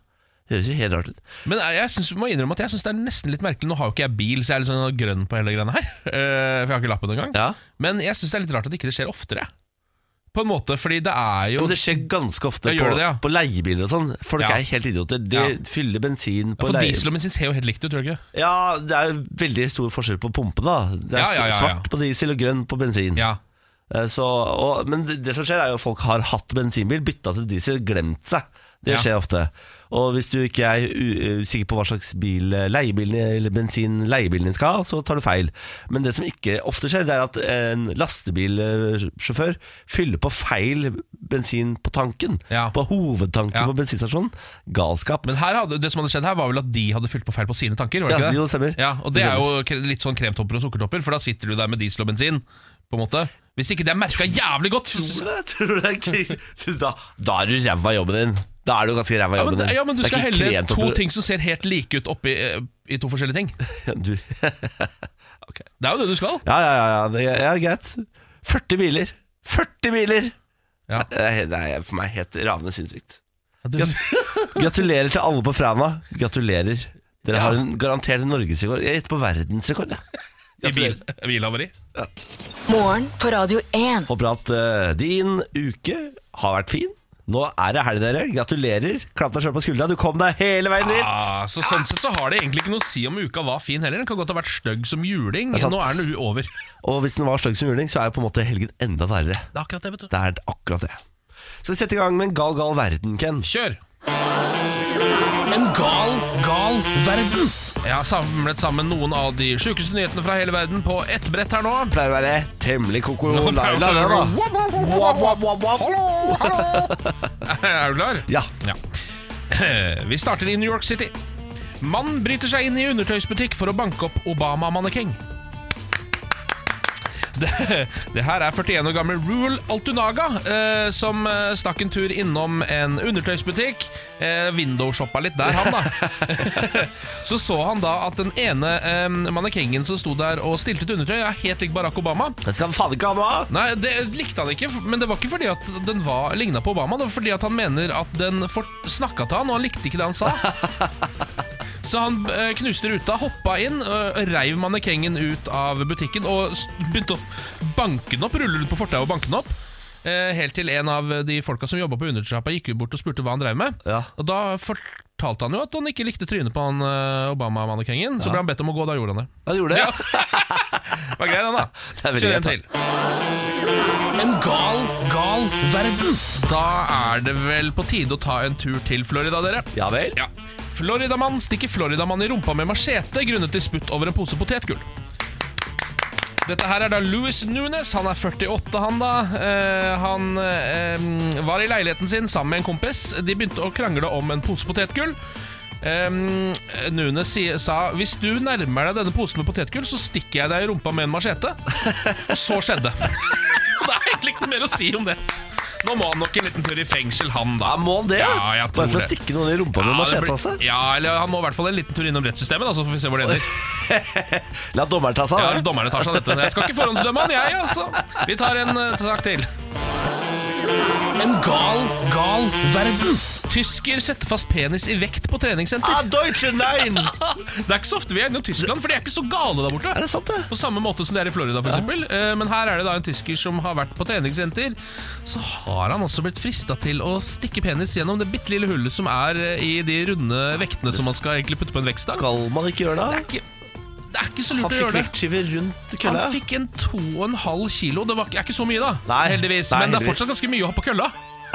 Speaker 1: Det høres jo helt rart ut.
Speaker 2: Men jeg jeg synes, vi må innrømme at jeg syns det er nesten litt merkelig. Nå har jo ikke jeg bil, så jeg er litt sånn grønn på hele greiene her. *laughs* Eh, For jeg har ikke lappen engang.
Speaker 1: Ja.
Speaker 2: Men jeg syns det er litt rart at ikke det skjer oftere. På en måte, fordi det er jo
Speaker 1: Men det skjer ganske ofte
Speaker 2: Ja,
Speaker 1: på,
Speaker 2: gjør det det, ja?
Speaker 1: på leiebiler og sånn. Folk
Speaker 2: Ja.
Speaker 1: er helt idioter. De
Speaker 2: Ja.
Speaker 1: fyller bensin
Speaker 2: Ja,
Speaker 1: på
Speaker 2: For
Speaker 1: leie...
Speaker 2: diesel og bensin ser jo helt likt ut, tror du ikke?
Speaker 1: Ja, det er jo veldig stor forskjell på pumpe, da. Det er
Speaker 2: Ja, ja, ja, ja.
Speaker 1: svart på diesel og grønn på bensin.
Speaker 2: Ja.
Speaker 1: Eh, Så, og, men det, det som skjer er jo at folk har hatt bensinbil, bytta til diesel, glemt seg. Det
Speaker 2: Ja.
Speaker 1: skjer ofte. Og hvis du ikke er u- u- sikker på hva slags bil eh, leiebilen eller bensin leiebilen din skal ha, så tar du feil. Men det som ikke ofte skjer, det er at en lastebilsjåfør fyller på feil bensin på tanken.
Speaker 2: Ja.
Speaker 1: På hovedtanken
Speaker 2: Ja.
Speaker 1: på bensinstasjonen. Galskap.
Speaker 2: Men her hadde, det som hadde skjedd her, var vel at de hadde fylt på feil på sine tanker? Var det
Speaker 1: Ja,
Speaker 2: ikke det?
Speaker 1: jo, det stemmer.
Speaker 2: Ja, og det er jo k- litt sånn kremtopper og sukkertopper, for da sitter du der med diesel og bensin. På en måte Hvis ikke det er merka jævlig godt! så-
Speaker 1: Tror du det? Tror du det er kri- da, da er du ræva i jobben din. Da er du ganske ræva i
Speaker 2: Ja,
Speaker 1: jobben
Speaker 2: men,
Speaker 1: din.
Speaker 2: ja, men du
Speaker 1: Det er
Speaker 2: skal
Speaker 1: ikke
Speaker 2: helle
Speaker 1: krem-
Speaker 2: to ting som ser helt like ut oppi eh, i to forskjellige ting.
Speaker 1: *laughs* Du
Speaker 2: Det er jo det du skal.
Speaker 1: Ja, ja, ja, ja, det er ja, greit. 40 biler. 40 biler!
Speaker 2: Ja.
Speaker 1: Det er, det er for meg helt ravende sinnssykt.
Speaker 2: Du,
Speaker 1: Gratulerer til alle på Fræna. Gratulerer. Dere
Speaker 2: Ja.
Speaker 1: har en garantert norgesrekord. Jeg gjetter på verdensrekord. jeg.
Speaker 2: I bil, eh, bilhavari.
Speaker 4: Morgen på Radio 1.
Speaker 1: Håper at eh, din uke har vært fin. Nå er det helg, dere. Gratulerer. Klapp deg sjøl på skuldra. Du kom deg hele veien dit.
Speaker 2: Ah, så sånn sett så har det egentlig ikke noe å si om uka var fin heller. Den kan godt ha vært stygg som juling.
Speaker 1: Det er sant.
Speaker 2: Nå er den u- over. Det
Speaker 1: Og hvis den var stygg som juling, så er jo på en måte helgen enda verre.
Speaker 2: er akkurat det, vet du.
Speaker 1: Det er akkurat det. Skal vi sette i gang med en gal, gal verden, Ken?
Speaker 2: Kjør! En gal, gal verden. Jeg har samlet sammen noen av de sjukeste nyhetene fra hele verden på ett brett her nå.
Speaker 1: Pleier å være temmelig koko
Speaker 2: *laughs* Nå
Speaker 1: laila,
Speaker 2: pleier
Speaker 1: det
Speaker 2: det å
Speaker 1: da.
Speaker 2: være-
Speaker 1: Wap, wap, wap, wap.
Speaker 2: Hallo, hallo! Er du klar?
Speaker 1: Ja.
Speaker 2: Ja. *clears throat* Vi starter i New York City. Mann bryter seg inn i undertøysbutikk for å banke opp Obama-mannekeng. Det, det her er 41 år gamle Rule Altunaga eh, som eh, stakk en tur innom en undertøysbutikk. Eh, Windowshoppa litt der, han, da. *laughs* så så han da at den ene eh, mannekengen som sto der og stilte ut undertøy, er helt lik Barack Obama.
Speaker 1: Den skal faen ikke ha noe av.
Speaker 2: Nei, det likte han ikke, men det var ikke fordi at den var, lignet på Obama. Det var fordi at han mener at den for, snakka til han, og han likte ikke det han sa. Så han eh, knuste ruta, hoppa inn, eh, reiv mannekengen ut av butikken og s- begynte å banke den opp. Rulle rundt på fortauet og banke den opp. Eh, helt til en av de folka som jobba på undersjappa, gikk jo bort og spurte hva han drev med.
Speaker 1: Ja.
Speaker 2: Og da fortalte han jo at han ikke likte trynet på han eh, Obama-mannekengen. Så ble han bedt om å gå, da gjorde han det.
Speaker 1: Han gjorde det. ja.
Speaker 2: Det var grei, den,
Speaker 1: Det
Speaker 2: da.
Speaker 1: er veldig
Speaker 2: Kjør en
Speaker 1: greit,
Speaker 2: til. En gal, gal verden. Da er det vel på tide å ta en tur til Florida, dere.
Speaker 1: Ja vel.
Speaker 2: Ja. Floridamann stikker Floridamann i rumpa med machete grunnet til sputt over en pose potetgull. Dette her er da Louis Nunes. Han er 48, han da. Eh, han eh, var i leiligheten sin sammen med en kompis. De begynte å krangle om en pose potetgull. Eh, Nunes si, sa hvis du nærmer deg denne posen med potetgull, så stikker jeg deg i rumpa med en machete. Og så skjedde. *laughs* Det er egentlig ikke noe mer å si om det. Nå må han nok en liten tur i fengsel, han da.
Speaker 1: Ja, må han det?
Speaker 2: Ja, jeg tror
Speaker 1: Bare for å
Speaker 2: det.
Speaker 1: stikke noen i rumpa med
Speaker 2: Ja, det
Speaker 1: machete,
Speaker 2: blir-
Speaker 1: altså?
Speaker 2: Ja, eller han må i hvert fall en liten tur innom rettssystemet, da, så får vi se
Speaker 1: *laughs*
Speaker 2: hvor det ender.
Speaker 1: La dommeren ta seg
Speaker 2: Ja,
Speaker 1: av det.
Speaker 2: dommerne tar seg av dette. Jeg skal ikke forhåndsdømme han, jeg, altså. Vi tar en eh, sak til. En gal, gal verden. Tysker setter fast penis i vekt på treningssenter.
Speaker 1: Ah, Deutsche Nein!
Speaker 2: Det er ikke så ofte vi er innom Tyskland, for de er ikke så gale der borte.
Speaker 1: Er det sant, det?
Speaker 2: På samme måte som det er i Florida, for eksempel. Eh, Men her er det da en tysker som har vært på treningssenter. Så har han også blitt frista til å stikke penis gjennom det bitte lille hullet som er eh, i de runde vektene som man skal egentlig putte på en vektstang.
Speaker 1: Skal man ikke gjøre
Speaker 2: Det
Speaker 1: det?
Speaker 2: er ikke, det er ikke så
Speaker 1: Han
Speaker 2: lurt å
Speaker 1: fikk
Speaker 2: gjøre det.
Speaker 1: vektskiver rundt kølla.
Speaker 2: Han fikk en 2,5 kilo. Det var ikke, er ikke så mye, da.
Speaker 1: Nei,
Speaker 2: heldigvis.
Speaker 1: nei,
Speaker 2: men det er
Speaker 1: heldigvis.
Speaker 2: fortsatt ganske mye å ha på kølla. *laughs*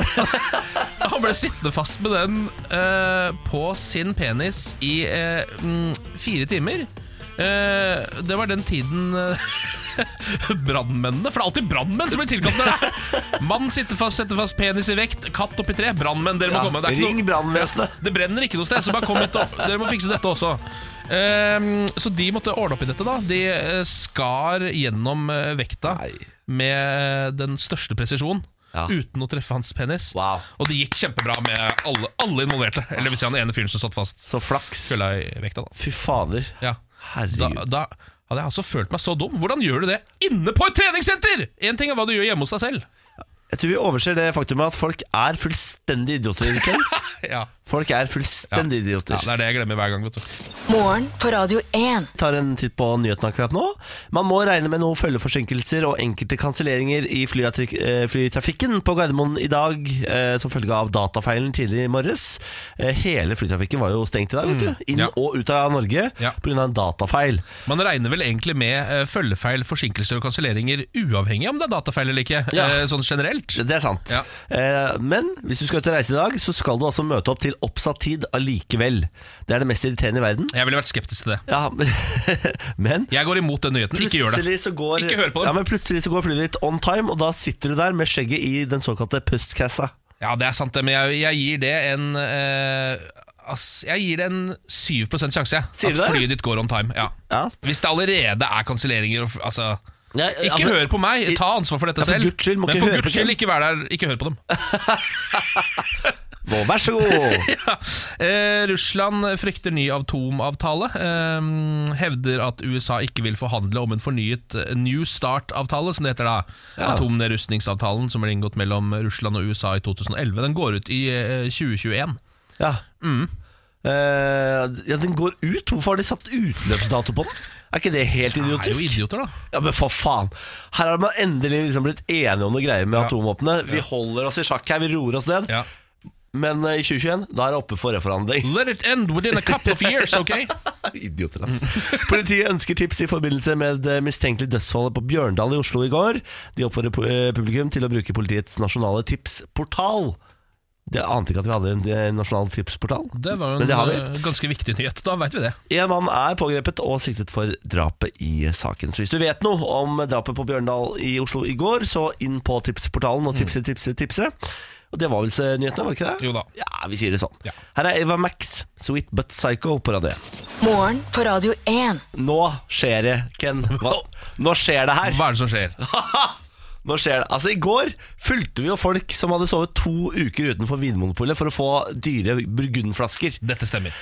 Speaker 2: han ble sittende fast med den eh, på sin penis i eh, mm, fire timer. Eh, det var den tiden eh, *laughs* brannmennene For det er alltid brannmenn som blir tilkalt når det
Speaker 1: *laughs*
Speaker 2: er Mann sitter fast, setter fast penis i vekt, katt oppi tre. Brannmenn, dere må
Speaker 1: Ja,
Speaker 2: komme. Det er ikke noe-
Speaker 1: Ring brannvesenet.
Speaker 2: det brenner ikke noe sted, så bare kom hit opp. Dere må fikse dette også. Ehm, så de måtte ordne opp i dette, da. De eh, skar gjennom eh, vekta
Speaker 1: Nei.
Speaker 2: med eh, den største presisjon.
Speaker 1: Ja.
Speaker 2: Uten å treffe hans penis.
Speaker 1: Wow.
Speaker 2: Og det gikk kjempebra med alle, alle involverte. Eller vil si han ene fyren som satt fast
Speaker 1: Så flaks.
Speaker 2: kølla i vekta, da.
Speaker 1: Fy fader.
Speaker 2: Ja. Da,
Speaker 1: Herregud.
Speaker 2: da hadde jeg altså følt meg så dum. Hvordan gjør du det inne på et treningssenter?! Én ting er hva du gjør hjemme hos deg selv. *laughs*
Speaker 1: Jeg tror vi overser det faktumet at folk er fullstendig idioter. Ken.
Speaker 2: Ja,
Speaker 1: Folk er fullstendig
Speaker 2: ja
Speaker 1: idioter.
Speaker 2: Det er det jeg glemmer hver gang. vet du
Speaker 4: Morgen på Radio 1.
Speaker 1: Vi tar en titt på nyhetene akkurat nå. Man må regne med noen følgeforsinkelser og enkelte kanselleringer i flyatrik- eh, flytrafikken på Gardermoen i dag eh, som følge av datafeilen tidligere i morges. Eh, Hele flytrafikken var jo stengt i dag, vet du. Inn
Speaker 2: Mm. ja.
Speaker 1: og ut av Norge
Speaker 2: Ja.
Speaker 1: pga. en datafeil.
Speaker 2: Man regner vel egentlig med eh, følgefeil, forsinkelser og kanselleringer uavhengig om det er datafeil eller ikke,
Speaker 1: Ja.
Speaker 2: eh, sånn generelt.
Speaker 1: Det er sant.
Speaker 2: Ja.
Speaker 1: Eh, men hvis du skal ut og reise i dag, så skal du altså møte opp til oppsatt tid allikevel. Det er det mest irriterende i verden.
Speaker 2: Jeg ville vært skeptisk til det.
Speaker 1: Ja, *laughs* men
Speaker 2: Jeg går imot den nyheten. Ikke gjør det.
Speaker 1: plutselig så går,
Speaker 2: Ikke hør på dem.
Speaker 1: Ja, men plutselig så går flyet ditt on time, og da sitter du der med skjegget i den såkalte pustkassa.
Speaker 2: Ja, det er sant, det, men jeg, jeg gir det en eh, ass, Jeg gir det en 7 sjanse, jeg.
Speaker 1: Sier du
Speaker 2: at
Speaker 1: det?
Speaker 2: flyet ditt går on time. Ja.
Speaker 1: Ja.
Speaker 2: Hvis det allerede er kanselleringer og f- Altså
Speaker 1: Ja,
Speaker 2: ikke
Speaker 1: altså,
Speaker 2: hør på meg,
Speaker 1: i-
Speaker 2: ta ansvar for dette
Speaker 1: Ja, for
Speaker 2: selv.
Speaker 1: Guds skyld, må
Speaker 2: men
Speaker 1: ikke
Speaker 2: for
Speaker 1: høre på
Speaker 2: guds skyld,
Speaker 1: dem.
Speaker 2: ikke vær der. Ikke hør på dem.
Speaker 1: Nå, vær så god!
Speaker 2: Ja. Eh, Russland frykter ny atomavtale. Eh, hevder at USA ikke vil forhandle om en fornyet eh, New Start-avtale, som det heter da.
Speaker 1: Ja.
Speaker 2: Atomnedrustningsavtalen som ble inngått mellom Russland og USA i 2011. Den går ut i eh, 2021.
Speaker 1: *laughs* Ja.
Speaker 2: Mm.
Speaker 1: Eh, ja, den går ut. Hvorfor har de satt utløpsdato på den? Er ikke det helt
Speaker 2: Det er jo
Speaker 1: idiotisk?
Speaker 2: idioter, da.
Speaker 1: Ja, men for faen. Her har man endelig liksom blitt enige om noe greier med
Speaker 2: Ja.
Speaker 1: atomvåpenet. Vi holder oss i sjakk her, vi roer oss ned.
Speaker 2: Ja.
Speaker 1: Men eh, i 2021, da er det oppe for reforhandling.
Speaker 2: Let it end within a couple of years, ok?
Speaker 1: *laughs* Idioter, ass. Politiet ønsker tips i forbindelse med det mistenkelige dødsfallet på Bjørndal i Oslo i går. De oppfordrer pu- eh, publikum til å bruke politiets nasjonale tipsportal. Jeg ante ikke at vi hadde en eh, nasjonal tipsportal.
Speaker 2: Det var jo
Speaker 1: Men
Speaker 2: en
Speaker 1: det har vi.
Speaker 2: eh, ganske viktig nyhet. Da veit vi det.
Speaker 1: En mann er pågrepet og siktet for drapet i saken. Så hvis du vet noe om drapet på Bjørndal i Oslo i går, så inn på tipsportalen og tipse, tipse, tipse. Og det var vel så nyhetene, var det ikke det?
Speaker 2: Jo da.
Speaker 1: Ja, vi sier det sånn.
Speaker 2: Ja.
Speaker 1: Her er Eva Max, 'Sweet But Psycho' på radio 1.
Speaker 4: Morgen på Radio 1.
Speaker 1: Nå skjer det, Ken. Hva? Nå skjer det
Speaker 2: *laughs*
Speaker 1: her.
Speaker 2: Hva er det som skjer?
Speaker 1: Nå skjer det. Altså, I går fulgte vi jo folk som hadde sovet to uker utenfor Vinmonopolet for å få dyre burgundflasker.
Speaker 2: Dette stemmer.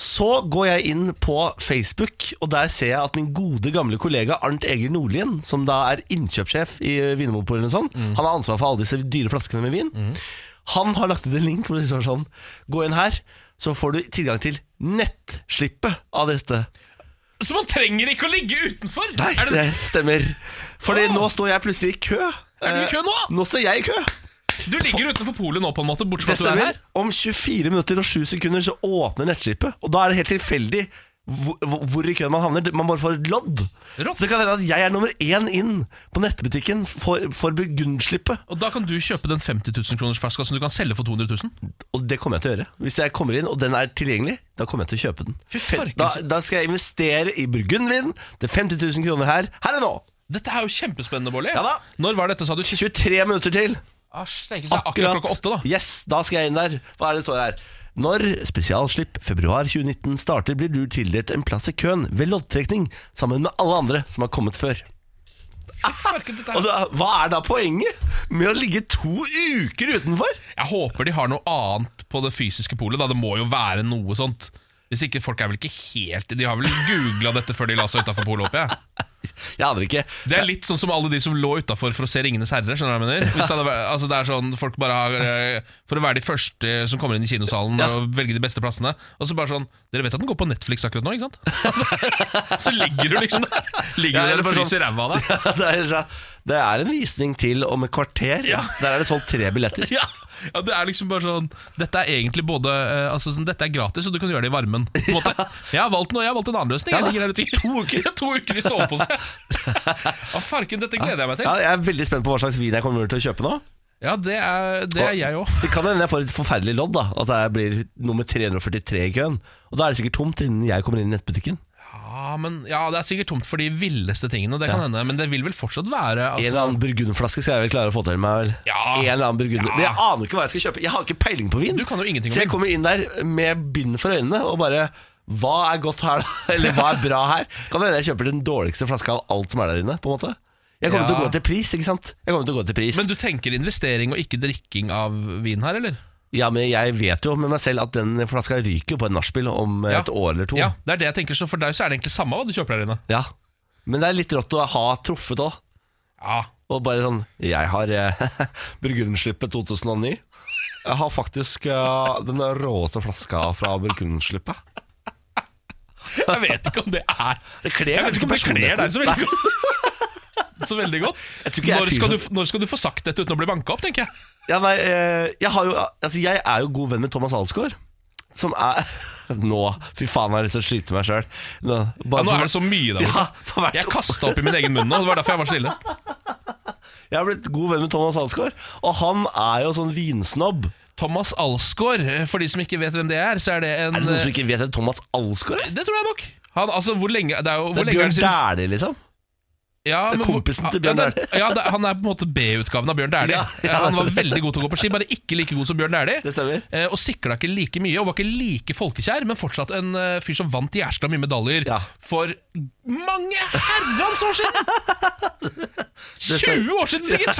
Speaker 1: Så går jeg inn på Facebook, og der ser jeg at min gode gamle kollega Arnt Egil Nordlien, som da er innkjøpssjef i Vinmonopolet, og sånn,
Speaker 2: Mm.
Speaker 1: han har ansvar for alle disse dyre flaskene med vin. Han har lagt ut en link hvor det står sånn Gå inn her, så får du tilgang til nettslippet av dette.
Speaker 2: Så man trenger ikke å ligge utenfor!
Speaker 1: Nei,
Speaker 2: er
Speaker 1: det,
Speaker 2: det,
Speaker 1: stemmer. Fordi
Speaker 2: Åh.
Speaker 1: nå står jeg plutselig i kø.
Speaker 2: Er du i
Speaker 1: Eh,
Speaker 2: kø nå?
Speaker 1: Nå står jeg i kø.
Speaker 2: du ligger utenfor polet nå, på en måte, bortsett
Speaker 1: Det
Speaker 2: fra at du
Speaker 1: stemmer.
Speaker 2: er her.
Speaker 1: Om 24 minutter og 7 sekunder så åpner nettslippet, og da er det helt tilfeldig hvor, hvor- hvor i køen man havner. Man bare får et lodd.
Speaker 2: Rått.
Speaker 1: Så det kan hende at jeg er nummer én inn på nettbutikken for, for burgundslippet.
Speaker 2: Og da kan du kjøpe den 50 000 kroners flaska som du kan selge for 200 000.
Speaker 1: Og det kommer jeg til å gjøre. Hvis jeg kommer inn og den er tilgjengelig, da kommer jeg til å kjøpe den.
Speaker 2: Fy farken,
Speaker 1: Da,
Speaker 2: så-
Speaker 1: da skal jeg investere i burgundvin. Det er 50 000 kroner her. Her og nå!
Speaker 2: Dette er jo kjempespennende, Bårdli.
Speaker 1: Ja da.
Speaker 2: Når var dette, sa du? 20...
Speaker 1: 23 minutter til.
Speaker 2: Asj, det er ikke så akkurat klokka åtte, da.
Speaker 1: Yes, da skal jeg inn der. Hva er det det står her? Når spesialslipp februar 2019 starter, blir du tildelt en plass i køen ved loddtrekning sammen med alle andre som har kommet før.
Speaker 2: Fy farken, dette
Speaker 1: Og
Speaker 2: er...
Speaker 1: da, hva er da poenget med å ligge to uker utenfor?
Speaker 2: Jeg håper de har noe annet på det fysiske polet. Da. Det må jo være noe sånt. Hvis ikke, folk er vel ikke helt De har vel googla dette før de la seg utafor polet, håper jeg.
Speaker 1: Jeg aner ikke. *laughs*
Speaker 2: Det er litt sånn som alle de som lå utafor for å se 'Ringenes herre'. skjønner du hva jeg mener? Hvis det, hadde,
Speaker 1: *laughs*
Speaker 2: vært- altså det er sånn, folk bare har, eh, For å være de første som kommer inn i kinosalen
Speaker 1: Ja.
Speaker 2: og velge de beste plassene. Og så bare sånn Dere vet at den går på Netflix akkurat nå,
Speaker 1: *laughs*
Speaker 2: ikke sant? så ligger du liksom der. Ligger
Speaker 1: Ja,
Speaker 2: du der
Speaker 1: eller
Speaker 2: og
Speaker 1: bare sånn-
Speaker 2: fryser ræva
Speaker 1: *laughs*
Speaker 2: av deg.
Speaker 1: Det er, så- det er en visning til om et kvarter.
Speaker 2: Ja.
Speaker 1: Der er det solgt tre billetter.
Speaker 2: Ja. ja, det er liksom bare sånn Dette er egentlig både eh, Altså sånn, Dette er gratis, og du kan gjøre det i varmen. På en
Speaker 1: *laughs*
Speaker 2: måte. Jeg har valgt noe, jeg har valgt en annen løsning.
Speaker 1: Ja.
Speaker 2: Jeg ligger her ute i
Speaker 1: To uker.
Speaker 2: to uker i
Speaker 1: *laughs*
Speaker 2: sovepose. Å, farken, dette gleder jeg meg til.
Speaker 1: Ja, jeg er veldig spent på hva slags vin jeg kommer til å kjøpe nå.
Speaker 2: Ja, det er, det er jeg òg.
Speaker 1: Det kan hende jeg får et forferdelig lodd, da. At jeg blir nummer 343 i køen. Og da er det sikkert tomt innen jeg kommer inn i nettbutikken.
Speaker 2: Ja, Ah, men, ja, det er sikkert tomt for de villeste tingene, det kan hende. Men det vil vel fortsatt være
Speaker 1: En
Speaker 2: altså,
Speaker 1: eller annen burgunderflaske skal jeg vel klare å få til meg. vel
Speaker 2: Ja.
Speaker 1: En eller annen burgunder
Speaker 2: Ja.
Speaker 1: Men jeg aner jo ikke hva jeg skal kjøpe. Jeg har ikke peiling på vin.
Speaker 2: Du kan jo ingenting om
Speaker 1: Så jeg
Speaker 2: vin.
Speaker 1: kommer inn der med bind for øynene og bare Hva er godt her, da? *laughs* Eller hva er bra her? Kan hende jeg kjøper den dårligste flaska av alt som er der inne. på en måte Jeg kommer
Speaker 2: Ja.
Speaker 1: til å gå til pris, ikke sant? Jeg kommer til å gå til pris
Speaker 2: Men du tenker investering og ikke drikking av vin her, eller?
Speaker 1: Ja, men jeg vet jo med meg selv at den flaska ryker jo på et nachspiel om eh,
Speaker 2: Ja.
Speaker 1: et år eller to.
Speaker 2: Ja, det er det jeg tenker, så for deg så er det egentlig samme hva du kjøper der inne.
Speaker 1: Ja. Men det er litt rått å ha truffet òg.
Speaker 2: Ja,
Speaker 1: Og bare sånn Jeg har eh, *laughs* Burgundslippet 2009. Jeg har faktisk eh, den råeste flaska fra Burgundslippet.
Speaker 2: Jeg vet ikke om det er
Speaker 1: Det kler
Speaker 2: Jeg vet ikke om det kler deg
Speaker 1: personligheten.
Speaker 2: så veldig godt. Så veldig godt. *laughs*
Speaker 1: Jeg tror ikke jeg er
Speaker 2: Når
Speaker 1: fyr
Speaker 2: skal, du,
Speaker 1: som-
Speaker 2: når skal du få sagt dette uten å bli banka opp, tenker jeg.
Speaker 1: Ja, nei, eh, jeg, har jo, altså, jeg er jo god venn med Thomas Alsgaard. Som er *laughs* Nå, fy faen, jeg har lyst til å skyte meg sjøl. Nå,
Speaker 2: Ja,
Speaker 1: bare
Speaker 2: nå
Speaker 1: for-
Speaker 2: er det så mye der
Speaker 1: ja,
Speaker 2: borte.
Speaker 1: for hvert
Speaker 2: Jeg kasta opp i min egen munn nå, det var derfor jeg var så stille.
Speaker 1: Jeg har blitt god venn med Thomas Alsgaard, og han er jo sånn vinsnobb.
Speaker 2: Thomas Alsgaard, eh, for de som ikke vet hvem det er, så er det en
Speaker 1: Er det noen som ikke vet hvem Thomas Alsgaard er?
Speaker 2: Det tror jeg nok. Han, altså, hvor lenge, det er jo,
Speaker 1: Det
Speaker 2: hvor
Speaker 1: er
Speaker 2: lenge er
Speaker 1: Bjørn
Speaker 2: det siden
Speaker 1: Dæhlie, liksom.
Speaker 2: Ja,
Speaker 1: Det er
Speaker 2: men hvor-
Speaker 1: kompisen til
Speaker 2: ja,
Speaker 1: Bjørn
Speaker 2: det- Ja, det, han er på en måte B-utgaven av Bjørn Dæhlie.
Speaker 1: Ja, ja.
Speaker 2: Eh, Han var veldig god til å gå på ski, bare ikke like god som Bjørn Dæhlie.
Speaker 1: Det stemmer.
Speaker 2: Eh, Og sikla ikke like mye, og var ikke like folkekjær, men fortsatt en eh, fyr som vant Gjerstad mye medaljer
Speaker 1: Ja.
Speaker 2: for mange herrens år siden!
Speaker 1: *laughs* stemmer.
Speaker 2: 20 år siden, sikkert!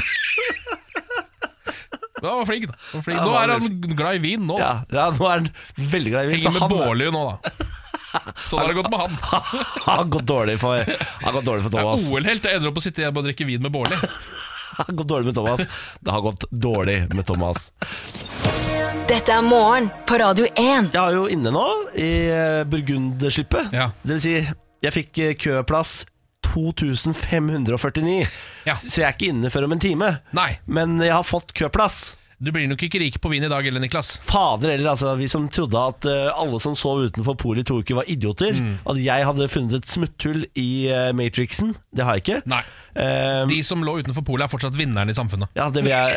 Speaker 2: Men *laughs* han var flink, da. Han var flink.
Speaker 1: Ja,
Speaker 2: Nå
Speaker 1: han
Speaker 2: er
Speaker 1: var
Speaker 2: han glad i vin, nå. da.
Speaker 1: Ja, ja, nå er han veldig glad i vin.
Speaker 2: Henger med
Speaker 1: han,
Speaker 2: Bårli nå,
Speaker 1: *laughs*
Speaker 2: da. Sånn har det gått med han.
Speaker 1: han *laughs* har gått dårlig for, han har gått dårlig for
Speaker 2: Det
Speaker 1: Thomas.
Speaker 2: er OL-helt. Jeg ender opp å sitte hjemme og drikke vin
Speaker 1: *laughs*
Speaker 2: med Bårli.
Speaker 1: Det har gått dårlig med Thomas. Det har gått dårlig med Thomas.
Speaker 4: Dette er morgen på Radio 1.
Speaker 1: Jeg har jo inne nå i eh, Burgunderslippet.
Speaker 2: Ja.
Speaker 1: Det vil si, jeg fikk eh, køplass 2549,
Speaker 2: Ja.
Speaker 1: så jeg er ikke inne før om en time.
Speaker 2: Nei.
Speaker 1: Men jeg har fått køplass.
Speaker 2: Du blir nok ikke rik på vin i dag heller, Niklas.
Speaker 1: Fader eller altså, vi som trodde at eh, alle som sov utenfor polet i to uker, var idioter.
Speaker 2: Mm.
Speaker 1: At jeg hadde funnet et smutthull i eh, Matrixen. Det har jeg ikke.
Speaker 2: Nei.
Speaker 1: Eh,
Speaker 2: De som lå utenfor polet, er fortsatt vinneren i samfunnet.
Speaker 1: Ja, det vil jeg,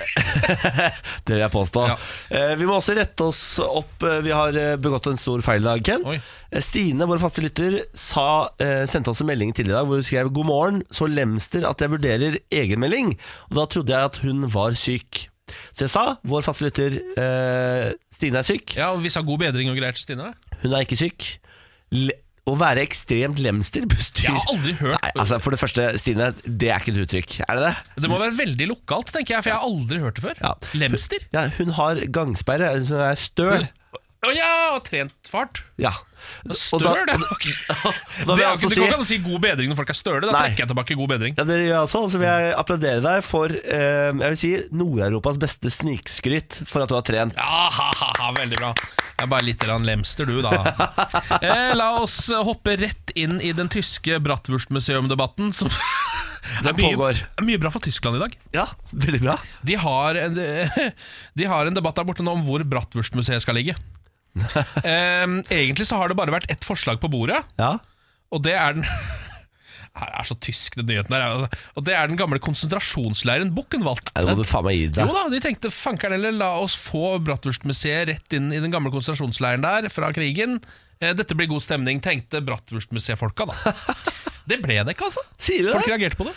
Speaker 1: *laughs* det vil jeg påstå.
Speaker 2: Ja.
Speaker 1: Eh, vi må også rette oss opp. Eh, Vi har eh, begått en stor feil i dag, Ken.
Speaker 2: Oi.
Speaker 1: Eh, Stine, vår faste lytter, sa, eh, sendte oss en melding til i dag hvor hun skrev 'God morgen, så lemster at jeg vurderer egenmelding'. Og da trodde jeg at hun var syk. Så jeg sa 'vår faste lytter, eh, Stine er syk'.
Speaker 2: Ja, og Vi sa god bedring og greier til Stine.
Speaker 1: Hun er ikke syk. Le å være ekstremt lemster bestyr
Speaker 2: Jeg har aldri hørt
Speaker 1: Nei, altså For det første, Stine, det er ikke et uttrykk. Er det det?
Speaker 2: Det må være veldig lokalt, tenker jeg, for jeg har aldri hørt det før.
Speaker 1: Ja.
Speaker 2: Lemster?
Speaker 1: Ja, hun har gangsperre, så hun er støl.
Speaker 2: Å ja, og trent fart.
Speaker 1: Ja.
Speaker 2: Støl, det. ok.
Speaker 1: *laughs* da vil
Speaker 2: Det
Speaker 1: jeg
Speaker 2: er
Speaker 1: altså
Speaker 2: ikke, det
Speaker 1: si
Speaker 2: går ikke an å si god bedring når folk er støle. Da
Speaker 1: Nei.
Speaker 2: trekker jeg tilbake god bedring.
Speaker 1: ja, det gjør jeg også, og så vil jeg applaudere deg for eh, Jeg vil si Nord-Europas beste snikskryt for at du har trent.
Speaker 2: Ja, ha, ha, ha, veldig bra. Det er bare litt grann lemster,
Speaker 1: *laughs*
Speaker 2: du, da. Eh, la oss hoppe rett inn i den tyske Brattwurstmuseum-debatten. Som Det er mye,
Speaker 1: pågår.
Speaker 2: mye bra for Tyskland i dag.
Speaker 1: Ja, veldig bra.
Speaker 2: De har en, *laughs* de har en debatt der borte nå om hvor Brattwurstmuseet skal
Speaker 1: *laughs*
Speaker 2: ligge. Eh, egentlig så har det bare vært ett forslag på bordet,
Speaker 1: Ja.
Speaker 2: og det er den *laughs* Her er så tysk, den nyheten her. Og det er den gamle konsentrasjonsleiren Buchenwald.
Speaker 1: Nei, det må du faen meg gi
Speaker 2: Jo
Speaker 1: deg.
Speaker 2: da, de tenkte fankeren eller la oss få Bratwurstmuseet rett inn i den gamle konsentrasjonsleiren der fra krigen. Eh, Dette blir god stemning, tenkte Bratwurstmuseet-folka
Speaker 1: *laughs*
Speaker 2: da. Det ble det ikke, altså.
Speaker 1: Sier du
Speaker 2: Folk
Speaker 1: det?
Speaker 2: reagerte på det.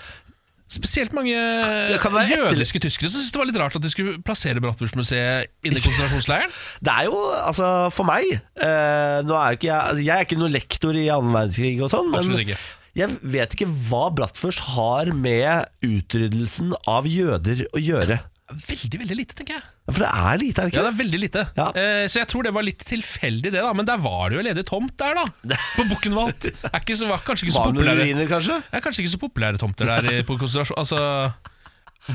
Speaker 2: Spesielt mange
Speaker 1: kan det være etter-
Speaker 2: jødiske tyskere som syntes det var litt rart at de skulle plassere Bratwurstmuseet inne i konsentrasjonsleiren.
Speaker 1: Det er jo, altså, for meg eh, Nå er jo ikke jeg altså, Jeg er ikke noen lektor i annen verdenskrig og sånn, men
Speaker 2: Absolutt ikke.
Speaker 1: jeg vet ikke hva Brattførst har med utryddelsen av jøder å gjøre.
Speaker 2: Veldig, veldig lite, tenker jeg.
Speaker 1: For det er lite, er det
Speaker 2: Ja,
Speaker 1: ikke?
Speaker 2: det er veldig lite.
Speaker 1: Ja.
Speaker 2: Eh, så jeg tror det var litt tilfeldig, det, da. Men der var det jo ledig tomt der, da. På Buchenwald. Er ikke så- Var kanskje ikke så
Speaker 1: Var det noen
Speaker 2: populære.
Speaker 1: ruiner, kanskje?
Speaker 2: Det er kanskje ikke så populære tomter der i- på konsentrasjon... Altså,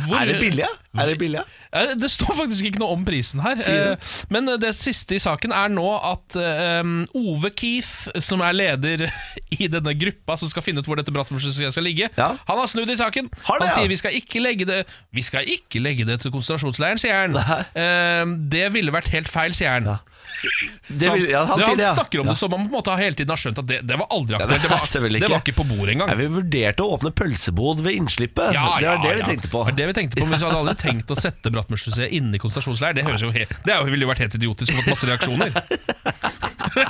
Speaker 2: hvor-
Speaker 1: Er det billig? ja? Er det billig? ja?
Speaker 2: Eh, Det står faktisk ikke noe om prisen her.
Speaker 1: Sier
Speaker 2: Eh, Men det siste i saken er nå at eh, Ove Keith, som er leder *laughs* i denne gruppa som skal finne ut hvor dette Brattmuseet skal ligge,
Speaker 1: Ja.
Speaker 2: han har snudd i saken.
Speaker 1: Har det,
Speaker 2: han
Speaker 1: ja?
Speaker 2: sier vi skal ikke legge det Vi skal ikke legge det til konsentrasjonsleiren, sier han. Eh, Det ville vært helt feil, sier han.
Speaker 1: Det vil, ja, han,
Speaker 2: det,
Speaker 1: sier det, ja.
Speaker 2: snakker om
Speaker 1: ja.
Speaker 2: det som om han på en måte har hele tiden har skjønt at det, det var aldri aktuelt. Det, var-
Speaker 1: selvfølgelig
Speaker 2: det var
Speaker 1: ikke.
Speaker 2: ikke på bordet engang.
Speaker 1: Nei, vi vurderte å åpne pølsebod ved innslippet. *laughs* det var det vi tenkte på.
Speaker 2: Det var det vi tenkte på, Men hvis vi hadde aldri tenkt å sette Brattmørsmuseet inne i konsentrasjonsleir, det, høres jo helt, det er jo- ville jo vært helt idiotisk og fått masse reaksjoner. *laughs*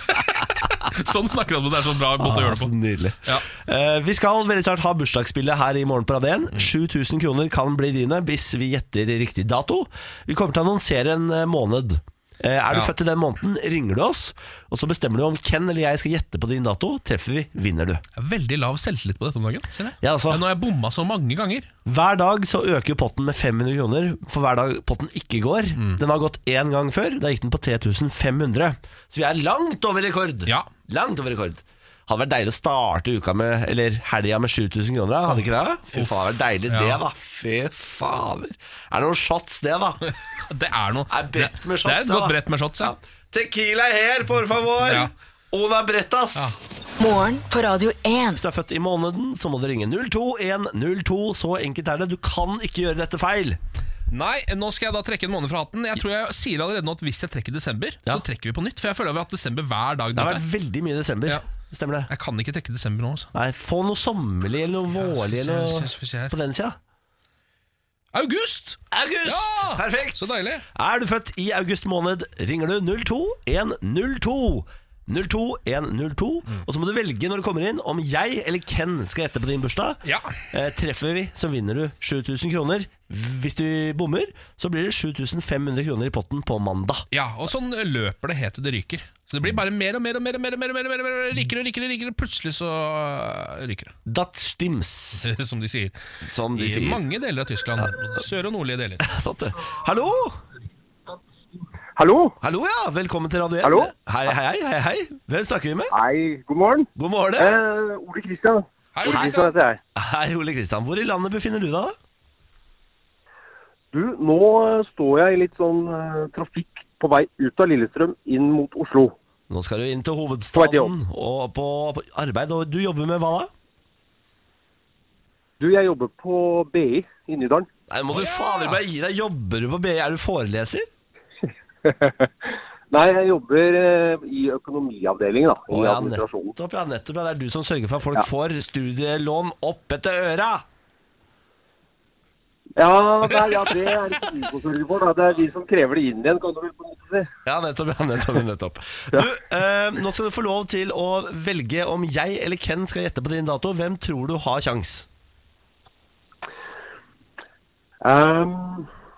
Speaker 2: sånn snakker han om det, det er så bra måte å
Speaker 1: *laughs*
Speaker 2: gjøre det
Speaker 1: så
Speaker 2: på.
Speaker 1: nydelig.
Speaker 2: Ja.
Speaker 1: Eh, vi skal veldig snart ha bursdagsspillet her i morgen på Radén.
Speaker 2: Mm.
Speaker 1: 7000 kroner kan bli dine hvis vi gjetter riktig dato. Vi kommer til å annonsere en eh, måned. Eh, er du
Speaker 2: Ja.
Speaker 1: født i den måneden, ringer du oss, og så bestemmer du om Ken eller jeg skal gjette på din dato. Treffer vi, vinner du.
Speaker 2: Jeg har veldig lav selvtillit på dette om dagen. kjenner jeg.
Speaker 1: Ja, altså.
Speaker 2: Men Nå har jeg bomma så mange ganger.
Speaker 1: Hver dag så øker jo potten med 500 kroner for hver dag potten ikke går.
Speaker 2: Mm.
Speaker 1: Den har gått én gang før. Da gikk den på 3500. Så vi er langt over rekord.
Speaker 2: Ja. *laughs*
Speaker 1: Langt over rekord. Hadde vært deilig å starte uka med, eller helga med 7000 kroner. da, Hadde ikke det? Fy faen, det var deilig det,
Speaker 2: Ja.
Speaker 1: da. Fy fader. Er det noen shots, det, da?
Speaker 2: Det er noe
Speaker 1: Er brett med shots,
Speaker 2: det er et
Speaker 1: da.
Speaker 2: godt brett med shots, ja.
Speaker 1: Tequila her, por favor!
Speaker 2: Ja.
Speaker 1: Ona Brettas!
Speaker 2: Ja.
Speaker 4: Morgen på Radio 1.
Speaker 1: Hvis du er født i måneden, så må du ringe 02102. Så enkelt er det. Du kan ikke gjøre dette feil.
Speaker 2: Nei, nå skal jeg da trekke en måned fra hatten. Jeg tror jeg sier allerede nå at hvis jeg trekker desember,
Speaker 1: Ja.
Speaker 2: så trekker vi på nytt. For jeg føler vi har hatt desember hver
Speaker 1: Det har
Speaker 2: dag. denne uka.
Speaker 1: vært veldig mye i desember.
Speaker 2: Ja.
Speaker 1: Stemmer det?
Speaker 2: Jeg kan ikke trekke desember nå, altså.
Speaker 1: Nei, få noe sommerlig eller noe vårlig
Speaker 2: skal vi se,
Speaker 1: eller
Speaker 2: skal vi se
Speaker 1: noe
Speaker 2: her.
Speaker 1: på den sida.
Speaker 2: August!
Speaker 1: August!
Speaker 2: Ja!
Speaker 1: Perfekt!
Speaker 2: Så deilig.
Speaker 1: Er du født i august måned, ringer du 02102. 02102,
Speaker 2: Mm.
Speaker 1: og så må du velge når du kommer inn om jeg eller Ken skal gjette på din bursdag.
Speaker 2: Ja.
Speaker 1: Eh, treffer vi, så vinner du 7000 kroner. Hvis du bommer, så blir det 7500 kroner i potten på mandag.
Speaker 2: Ja, og sånn løper det helt til det ryker. Så det blir bare mer og mer og mer og mer og mer og mer, og mer, og mer rikere og rikere, og rikere, plutselig så øh, ryker det.
Speaker 1: Dat stims,
Speaker 2: *laughs* Som de sier.
Speaker 1: som de
Speaker 2: I
Speaker 1: sier. *laughs*
Speaker 2: mange deler av Tyskland. Sør- og nordlige deler.
Speaker 1: Sant det. Hallo!
Speaker 5: Hallo?
Speaker 1: Hallo, ja. Velkommen til Radio 1.
Speaker 5: Hallo?
Speaker 1: Hei, hei, hei, hei. Hvem snakker vi med?
Speaker 5: Hei, god morgen.
Speaker 1: God morgen.
Speaker 5: Eh, Ole Kristian.
Speaker 2: Hei,
Speaker 5: Ole
Speaker 2: hei,
Speaker 5: Kristian heter jeg.
Speaker 1: Hei, Ole Kristian. Hvor i landet befinner du deg, da?
Speaker 5: Du, nå eh, står jeg i litt sånn eh, trafikk på vei ut av Lillestrøm inn mot Oslo.
Speaker 1: Nå skal du inn til
Speaker 5: På vei til
Speaker 1: hovedstaden
Speaker 5: jobb.
Speaker 1: og på på arbeid. Og du jobber med hva da?
Speaker 5: Du, jeg jobber på BI i Nydalen.
Speaker 1: Nei, må du fader meg gi deg. Jobber du på BI? Er du foreleser?
Speaker 5: Nei, jeg jobber eh, i økonomiavdelingen, da. I
Speaker 1: Å, ja,
Speaker 5: administrasjonen.
Speaker 1: nettopp, ja, nettopp. Ja. Det er du som sørger for at folk
Speaker 5: Ja.
Speaker 1: får studielån opp etter øra.
Speaker 5: Ja, nei, ja, det er ikke vi som sørger for. Da. Det er vi som krever det inn igjen, kan du vel på en måte si.
Speaker 1: Ja, nettopp. ja, nettopp, ja,
Speaker 5: *laughs*
Speaker 1: nettopp. Du, eh, nå skal du få lov til å velge om jeg eller Ken skal gjette på din dato. Hvem tror du har kjangs?
Speaker 5: Ehm,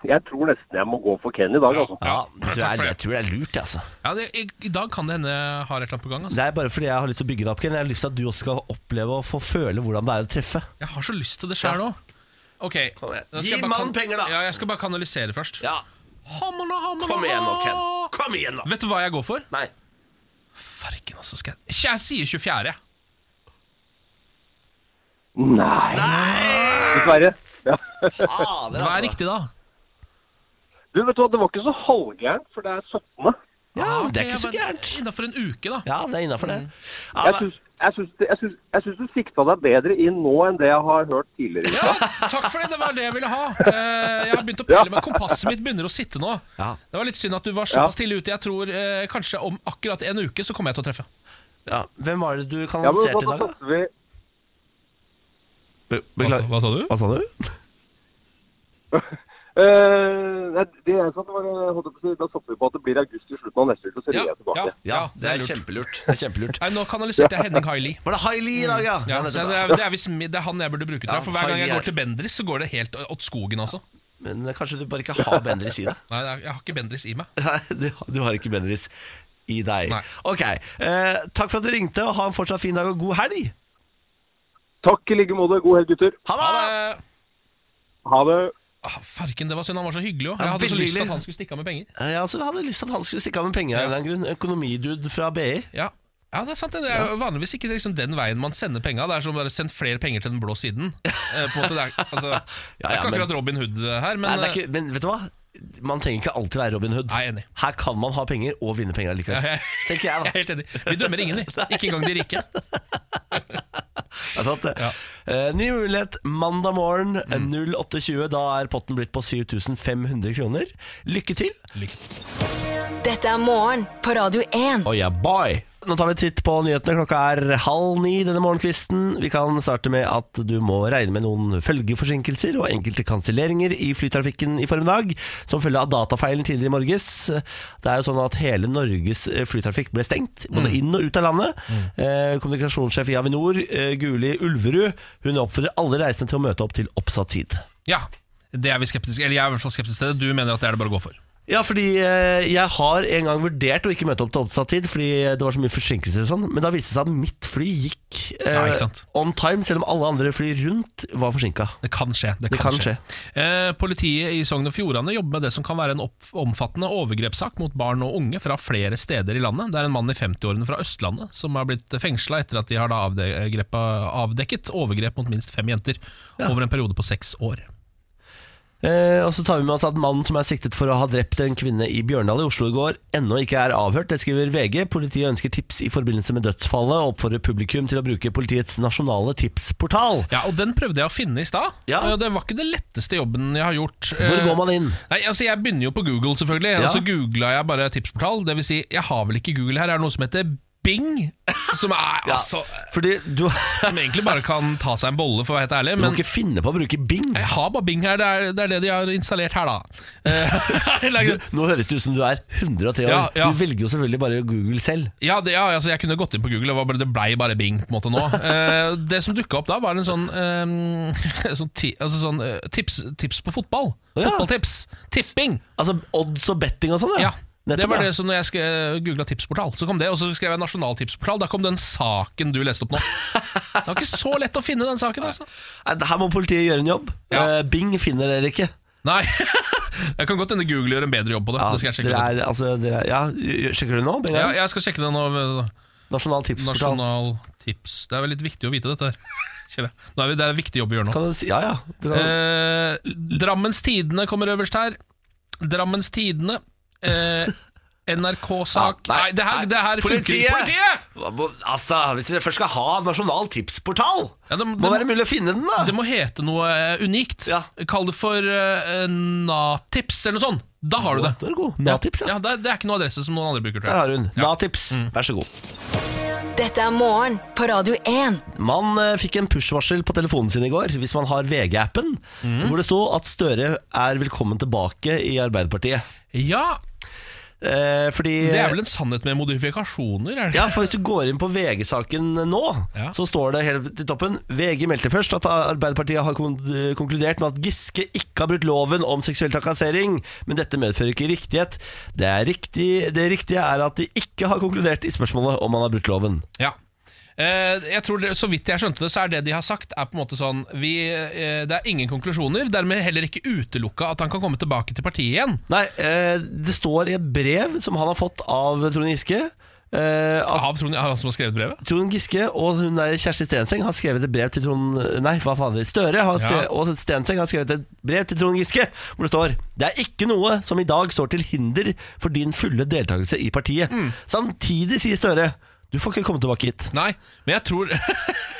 Speaker 5: jeg tror nesten jeg må gå for Ken i dag, altså.
Speaker 1: Ja,
Speaker 2: Ja,
Speaker 1: jeg tror,
Speaker 2: takk for
Speaker 1: det er,
Speaker 2: det.
Speaker 1: jeg tror det er lurt, altså.
Speaker 2: Ja, det, i, I dag kan det hende jeg har et eller annet på gang. Altså.
Speaker 1: Det er bare fordi jeg har lyst til å bygge det opp, Ken. Jeg har lyst til at du også skal oppleve og få føle hvordan det er å treffe.
Speaker 2: Jeg har så lyst til det sjøl òg. Ok,
Speaker 1: Kom igjen.
Speaker 2: da skal
Speaker 1: Gi
Speaker 2: jeg bare
Speaker 1: mannen
Speaker 2: kan-
Speaker 1: penger, da.
Speaker 2: Ja, jeg skal bare kanalisere først.
Speaker 1: Ja,
Speaker 2: Hammerne, hammerne,
Speaker 1: kom igjen nå, Ken.
Speaker 2: ha-
Speaker 1: Kom igjen nå.
Speaker 2: Vet du hva jeg går for?
Speaker 1: Nei.
Speaker 2: Farken, altså. Skal jeg Jeg sier 24. jeg.
Speaker 5: Nei, dessverre. Ja.
Speaker 1: Ah, det
Speaker 2: Hva er riktig da?
Speaker 5: Du, vet du hva, det var ikke så halvgærent, for det er 17.
Speaker 1: Ja, Mm.
Speaker 2: Ah, ok,
Speaker 1: det er ikke så
Speaker 2: jeg bare-
Speaker 1: gærent.
Speaker 2: Innenfor en uke, da.
Speaker 1: Ja, det er innafor, det. Ja,
Speaker 5: Jeg
Speaker 1: men-
Speaker 5: syns- Jeg syns det- jeg syns- jeg syns du sikta deg bedre inn nå enn det jeg har hørt tidligere.
Speaker 2: Ja, takk for det. Det var det jeg ville ha. Eh, jeg har begynt å pille med Kompasset mitt begynner å sitte nå.
Speaker 1: Ja.
Speaker 2: Det var litt synd at du var
Speaker 5: Ja.
Speaker 2: såpass tidlig ute. Jeg tror eh, kanskje om akkurat en uke så kommer jeg til å treffe.
Speaker 1: ja. Hvem var det du
Speaker 5: Ja, men hva,
Speaker 1: kanaliserte i dag,
Speaker 5: da
Speaker 1: da?
Speaker 5: satser vi
Speaker 1: Be-
Speaker 2: Hva,
Speaker 5: Altså,
Speaker 1: Beklager.
Speaker 2: hva sa du?
Speaker 1: Hva sa du?
Speaker 5: Eh, nei, det jeg sa, det var, eh, holdt jeg på å si, Da satser vi på at det blir august i slutten av neste uke, og så ringer jeg tilbake.
Speaker 1: Ja, det er kjempelurt. Det er kjempelurt.
Speaker 2: Nei, nå kanaliserte jeg Henning Haili.
Speaker 1: *laughs* Var det Hailey i dag, *laughs* ja?
Speaker 2: Ja,
Speaker 1: nettopp,
Speaker 2: så det, er, det, er visst- det er han jeg burde bruke til.
Speaker 1: Ja,
Speaker 2: for hver gang jeg
Speaker 1: Hailey er-
Speaker 2: går til Bendris, så går det helt åt skogen, altså.
Speaker 1: Men eh, kanskje du bare ikke har Bendris *laughs* i deg?
Speaker 2: Nei, det er- jeg har ikke Bendris i meg.
Speaker 1: Nei, du, du har ikke Bendris i deg.
Speaker 2: Nei.
Speaker 1: Ok, eh, takk for at du ringte, og ha en fortsatt fin dag og god helg!
Speaker 5: Takk i like måte. God helg, gutter.
Speaker 1: Ha
Speaker 2: Ha
Speaker 1: det!
Speaker 2: det!
Speaker 5: Ha det.
Speaker 2: Ah, farken, det var synd. Han var så hyggelig òg.
Speaker 1: Ja,
Speaker 2: Jeg hadde så
Speaker 1: veldig
Speaker 2: lyst til
Speaker 1: hyggelig.
Speaker 2: at han skulle stikke av med penger.
Speaker 1: Eh, altså, Jeg også hadde lyst til at han skulle stikke av med penger. av en eller annen grunn Økonomidude fra E. BI.
Speaker 2: Ja, ja det er sant. det. Det er jo vanligvis ikke liksom den veien man sender penga. Det er som bare sendt flere penger til den blå siden. Eh, på en måte, det er,
Speaker 1: *laughs*
Speaker 2: altså, det er
Speaker 1: ja,
Speaker 2: ikke
Speaker 1: men-
Speaker 2: akkurat Robin Hood eh, her, men
Speaker 1: Nei, det er ikke, men vet du hva? Man trenger ikke alltid være Robin Hood.
Speaker 2: Nei, jeg er enig.
Speaker 1: Her kan man ha penger og vinne penger likevel.
Speaker 2: Ja, jeg-
Speaker 1: Tenker jeg,
Speaker 2: eh, jeg
Speaker 1: da.
Speaker 2: *laughs* er helt enig. Vi dømmer
Speaker 1: *laughs*
Speaker 2: ingen, vi. Ikke engang de rike.
Speaker 1: Jeg har tatt det. Eh, ny mulighet mandag morgen
Speaker 2: Mm.
Speaker 1: eh, 08.20. Da er potten blitt på 7500 kroner. Lykke til!
Speaker 4: Dette er morgen på Radio 1.
Speaker 1: Oh yeah, boy! Nå tar vi en titt på nyhetene. Klokka er halv ni denne morgenkvisten. Vi kan starte med at du må regne med noen følgeforsinkelser og enkelte kanselleringer i flytrafikken i formiddag, som følge av datafeilen tidligere i morges. Det er jo sånn at hele Norges eh, flytrafikk ble stengt, både inn og ut av landet. Eh, Kommunikasjonssjef i Avinor, eh, Guli Ulverud, hun oppfordrer alle reisende til å møte opp til oppsatt tid.
Speaker 2: Ja, det er vi skeptiske Eller jeg er i hvert fall skeptisk til det. Du mener at det er det bare å gå for.
Speaker 1: Ja, fordi eh, jeg har en gang vurdert å ikke møte opp til oppsatt tid fordi det var så mye forsinkelser og sånn, men da viste det seg at mitt fly gikk eh,
Speaker 2: Ja, ikke sant.
Speaker 1: on time, selv om alle andre fly rundt var forsinka.
Speaker 2: Det kan skje. Det kan,
Speaker 1: kan
Speaker 2: skje. Eh, politiet i Sogn og Fjordane jobber med det som kan være en opp omfattende overgrepssak mot barn og unge fra flere steder i landet. Det er en mann i 50-årene fra Østlandet som har blitt fengsla etter at de har da avdekket, avdekket overgrep mot minst fem jenter over en periode på seks år.
Speaker 1: Eh, og så tar vi med oss at mannen som er siktet for å ha drept en kvinne i Bjørndal i Oslo i går, ennå ikke er avhørt. Det skriver VG. Politiet ønsker tips i forbindelse med dødsfallet og oppfordrer publikum til å bruke politiets nasjonale tipsportal.
Speaker 2: Ja, og den prøvde jeg å finne i stad.
Speaker 1: Ja.
Speaker 2: og Det var ikke den letteste jobben jeg har gjort. Eh,
Speaker 1: Hvor går man inn?
Speaker 2: Nei, altså Jeg begynner jo på Google, selvfølgelig.
Speaker 1: Ja.
Speaker 2: Og så googla jeg bare tipsportal. Det vil si, jeg har vel ikke Google her. Det er noe som heter Bing. Som er
Speaker 1: *laughs* Ja,
Speaker 2: altså
Speaker 1: fordi du, *laughs*
Speaker 2: Som egentlig bare kan ta seg en bolle, for å være helt ærlig.
Speaker 1: du må
Speaker 2: Men
Speaker 1: ikke finne på å bruke Bing.
Speaker 2: jeg har bare Bing her. Det er det, er det de har installert her, da.
Speaker 1: *laughs*
Speaker 2: Eh, *laughs*
Speaker 1: Du, nå høres det ut som du er 103 år.
Speaker 2: Ja, ja.
Speaker 1: Du velger jo selvfølgelig bare Google selv.
Speaker 2: Ja, det, ja altså jeg kunne gått inn på Google, det, var bare, det blei bare Bing på en måte nå. Eh, det som dukka opp da, var en sånn, eh, *laughs* sånn, ti, altså sånn eh, tips, tips på fotball.
Speaker 1: Å ja.
Speaker 2: Fotballtips. Tipping.
Speaker 1: Altså odds og betting og sånn,
Speaker 2: Ja. det
Speaker 1: Nettopp,
Speaker 2: var
Speaker 1: ja.
Speaker 2: det som når jeg skre- googla tipsportal, så kom det. Og så skrev jeg nasjonal tipsportal. Da kom den saken du leste opp nå. Det var ikke så lett å
Speaker 1: *laughs*
Speaker 2: finne den saken, altså.
Speaker 1: Nei, Her må politiet gjøre en jobb.
Speaker 2: Ja.
Speaker 1: Eh, Bing finner dere ikke.
Speaker 2: Nei. *laughs* Jeg kan godt hende Google gjør en bedre jobb på det.
Speaker 1: Ja,
Speaker 2: det skal jeg sjekke
Speaker 1: dere
Speaker 2: ut.
Speaker 1: er, altså, dere er, ja, gjør- Sjekker du nå? Benjamin?
Speaker 2: Ja, jeg skal sjekke det nå. ved
Speaker 1: Nasjonal tipsportal.
Speaker 2: Nasjonal tips. Det er vel litt viktig å vite dette her. *laughs* Kjenner jeg. Nå er vi, det er en viktig jobb vi gjør nå.
Speaker 1: Kan du si, ja, ja. Du kan,
Speaker 2: Eh, Drammens Tidende kommer øverst her. Drammens Tidende. Eh, NRK-sak
Speaker 1: Ja, Ah, nei,
Speaker 2: Nei, det her,
Speaker 1: nei.
Speaker 2: det her
Speaker 1: Politiet!
Speaker 2: funker Politiet!
Speaker 1: Hva må- altså, Hvis dere først skal ha nasjonal tipsportal,
Speaker 2: Ja, det-
Speaker 1: må
Speaker 2: det-
Speaker 1: være mulig å finne den, da!
Speaker 2: Det må hete noe eh, unikt.
Speaker 1: Ja.
Speaker 2: Kall det for eh, Natips eller noe sånt. Da har du det.
Speaker 1: Da er det god. Natips, ja.
Speaker 2: ja. Mm. det, er- det er ikke noe adresse som noen andre bruker, tror
Speaker 1: Der
Speaker 2: jeg.
Speaker 1: har hun. Natips, vær så god.
Speaker 4: Dette er morgen på Radio 1.
Speaker 1: Man eh, fikk en push-varsel på telefonen sin i går, hvis man har VG-appen,
Speaker 2: Mm.
Speaker 1: hvor det sto at Støre er velkommen tilbake i Arbeiderpartiet.
Speaker 2: Ja,
Speaker 1: Eh, fordi
Speaker 2: det er vel en sannhet med modifikasjoner, er det ikke?
Speaker 1: Ja, for hvis du går inn på VG-saken nå,
Speaker 2: Ja.
Speaker 1: så står det helt i toppen VG meldte først at Arbeiderpartiet har kon- konkludert med at Giske ikke har brutt loven om seksuell trakassering, men dette medfører ikke riktighet. Det, er riktig, det riktige er at de ikke har konkludert i spørsmålet om han har brutt loven.
Speaker 2: Ja. Eh, jeg tror det, Så vidt jeg skjønte det, så er det de har sagt, Er på en måte sånn vi, eh, Det er ingen konklusjoner. Dermed heller ikke utelukka at han kan komme tilbake til partiet igjen.
Speaker 1: Nei, eh, det står i et brev som han har fått av Trond Giske eh, at
Speaker 2: Av Trond, han som har skrevet brevet?
Speaker 1: Trond Giske og hun der Kjersti Stenseng har skrevet et brev til Trond Nei, hva faen er det? Støre har skre-
Speaker 2: Ja.
Speaker 1: og Stenseng har skrevet et brev til Trond Giske hvor det står Det er ikke noe som i dag står til hinder for din fulle deltakelse i partiet.
Speaker 2: Mm.
Speaker 1: Samtidig sier Støre du får ikke komme tilbake hit.
Speaker 2: Nei, men jeg tror *laughs*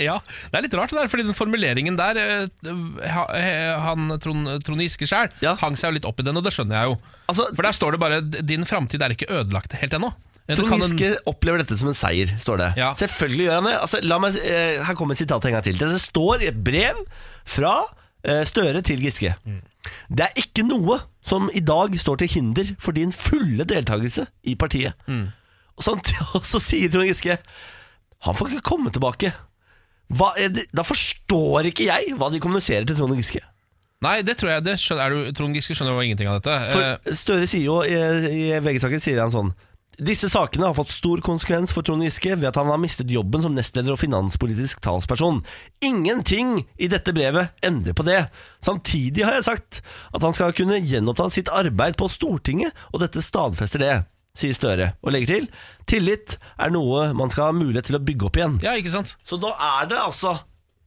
Speaker 2: Ja, det er litt rart det der, fordi den formuleringen der eh, ha- eh, Han Trond, Trond Giske sjæl
Speaker 1: Ja.
Speaker 2: hang seg jo litt opp i den, og det skjønner jeg jo.
Speaker 1: Altså,
Speaker 2: For der står det bare 'din framtid er ikke ødelagt helt ennå'. Eh, det
Speaker 1: Trond
Speaker 2: kan en-
Speaker 1: Giske opplever dette som en seier, står det.
Speaker 2: Ja.
Speaker 1: Selvfølgelig gjør han det. Altså, la meg, eh, her kommer sitatet en gang til. Det står i et brev fra eh, Støre til Giske.
Speaker 2: Mm.
Speaker 1: Det er ikke noe som i dag står til hinder for din fulle deltakelse i partiet.
Speaker 2: Mm.
Speaker 1: Og, samt, og så *laughs* sier Trond Giske Han får ikke komme tilbake. Hva er det? Da forstår ikke jeg hva de kommuniserer til Trond Giske.
Speaker 2: Nei, det tror jeg det skjønner, er du, Trond Giske skjønner jo ingenting av dette. Eh,
Speaker 1: For Støre sier jo i, i VG-saken sier han sånn disse sakene har fått stor konsekvens for Trond Giske ved at han har mistet jobben som nestleder og finanspolitisk talsperson. Ingenting i dette brevet endrer på det. Samtidig har jeg sagt at han skal kunne gjenoppta sitt arbeid på Stortinget, og dette stadfester det, sier Støre, og legger til tillit er noe man skal ha mulighet til å bygge opp igjen.
Speaker 2: ja, ikke sant?
Speaker 1: Så da er det altså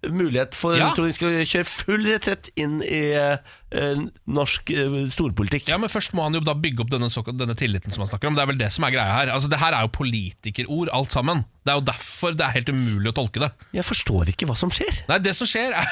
Speaker 1: mulighet for
Speaker 2: Ja.
Speaker 1: Trond Giske å kjøre full retrett inn i eh, norsk eh, storpolitikk.
Speaker 2: Ja, Men først må han jo da bygge opp denne, såkalt- denne tilliten som han snakker om. Det er vel det som er greia her. Altså, Det her er jo politikerord, alt sammen. Det er jo derfor det er helt umulig å tolke det.
Speaker 1: Jeg forstår ikke hva som skjer.
Speaker 2: Nei, det som skjer er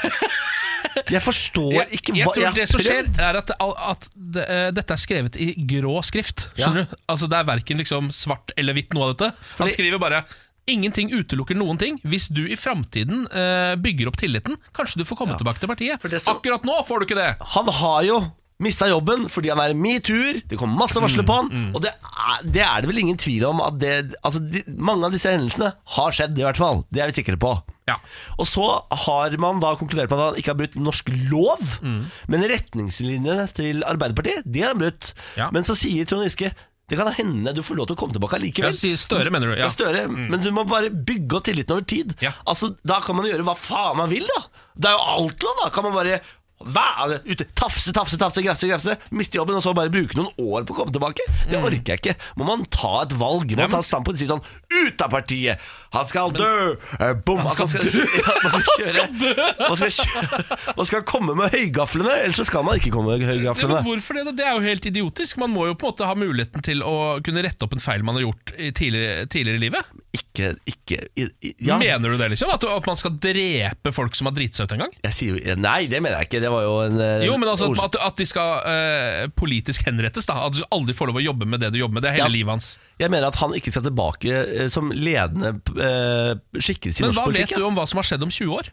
Speaker 1: Jeg forstår
Speaker 2: jeg,
Speaker 1: ikke
Speaker 2: jeg
Speaker 1: hva
Speaker 2: tror
Speaker 1: har
Speaker 2: det som skjer
Speaker 1: prøvd.
Speaker 2: er at, at det, eh, dette er skrevet i grå skrift.
Speaker 1: Ja.
Speaker 2: Skjønner du? Altså Det er verken liksom svart eller hvitt noe av dette. Han
Speaker 1: Fordi-
Speaker 2: skriver bare Ingenting utelukker noen ting. Hvis du i framtiden eh, bygger opp tilliten, kanskje du får komme tilbake til partiet.
Speaker 1: det som-
Speaker 2: Akkurat nå får du ikke det!
Speaker 1: Han har jo mista jobben fordi han er metoo-er. Det kom masse
Speaker 2: Mm,
Speaker 1: varsler på han. Og det er, det er det vel ingen tvil om at det, altså, de, mange av disse hendelsene har skjedd, i hvert fall. Det er vi sikre på.
Speaker 2: Ja.
Speaker 1: Og så har man da konkludert med at han ikke har brutt norsk lov,
Speaker 2: Mm.
Speaker 1: men retningslinjene til Arbeiderpartiet, de har han brutt.
Speaker 2: Ja.
Speaker 1: Men så sier Trond Giske det kan hende du får lov til å komme tilbake allikevel.
Speaker 2: Jeg sier Støre, mener du?
Speaker 1: Det
Speaker 2: Ja. Mm.
Speaker 1: er Støre, men du må bare bygge opp tilliten over tid.
Speaker 2: Ja.
Speaker 1: Altså, Da kan man gjøre hva faen man vil, da. Det er jo alt lov, da. Kan man bare være ute, tafse, tafse, tafse, grafse, grafse, miste jobben, og så bare bruke noen år på å komme tilbake? Det
Speaker 2: Mm.
Speaker 1: orker jeg ikke. Må man ta et valg? Må man ta et standpunkt og si sånn Ut av partiet! Han skal dø! Eh, Bom! Han skal, dø! Ja, man skal kjøre. Man skal, kjøre. man skal komme med høygaflene, ellers så skal man ikke komme med
Speaker 2: Ja, men
Speaker 1: høygaflene.
Speaker 2: hvorfor det? da? Det er jo helt idiotisk. Man må jo på en måte ha muligheten til å kunne rette opp en feil man har gjort i tidligere, tidligere i livet.
Speaker 1: Ikke, ikke i, i, ja.
Speaker 2: Mener du det, liksom? At, at man skal drepe folk som har driti seg ut en gang?
Speaker 1: Jeg sier jo Nei, det mener jeg ikke. Det var jo en eh,
Speaker 2: Jo, men altså
Speaker 1: ords-
Speaker 2: at, at de skal eh, politisk henrettes, da. At du aldri får lov å jobbe med det du jobber med. Det er hele
Speaker 1: Ja.
Speaker 2: livet hans.
Speaker 1: Jeg mener at han ikke skal tilbake eh, som ledende eh, skikkelse i
Speaker 2: Men
Speaker 1: norsk
Speaker 2: hva
Speaker 1: politikk.
Speaker 2: vet du om hva som har skjedd om 20 år?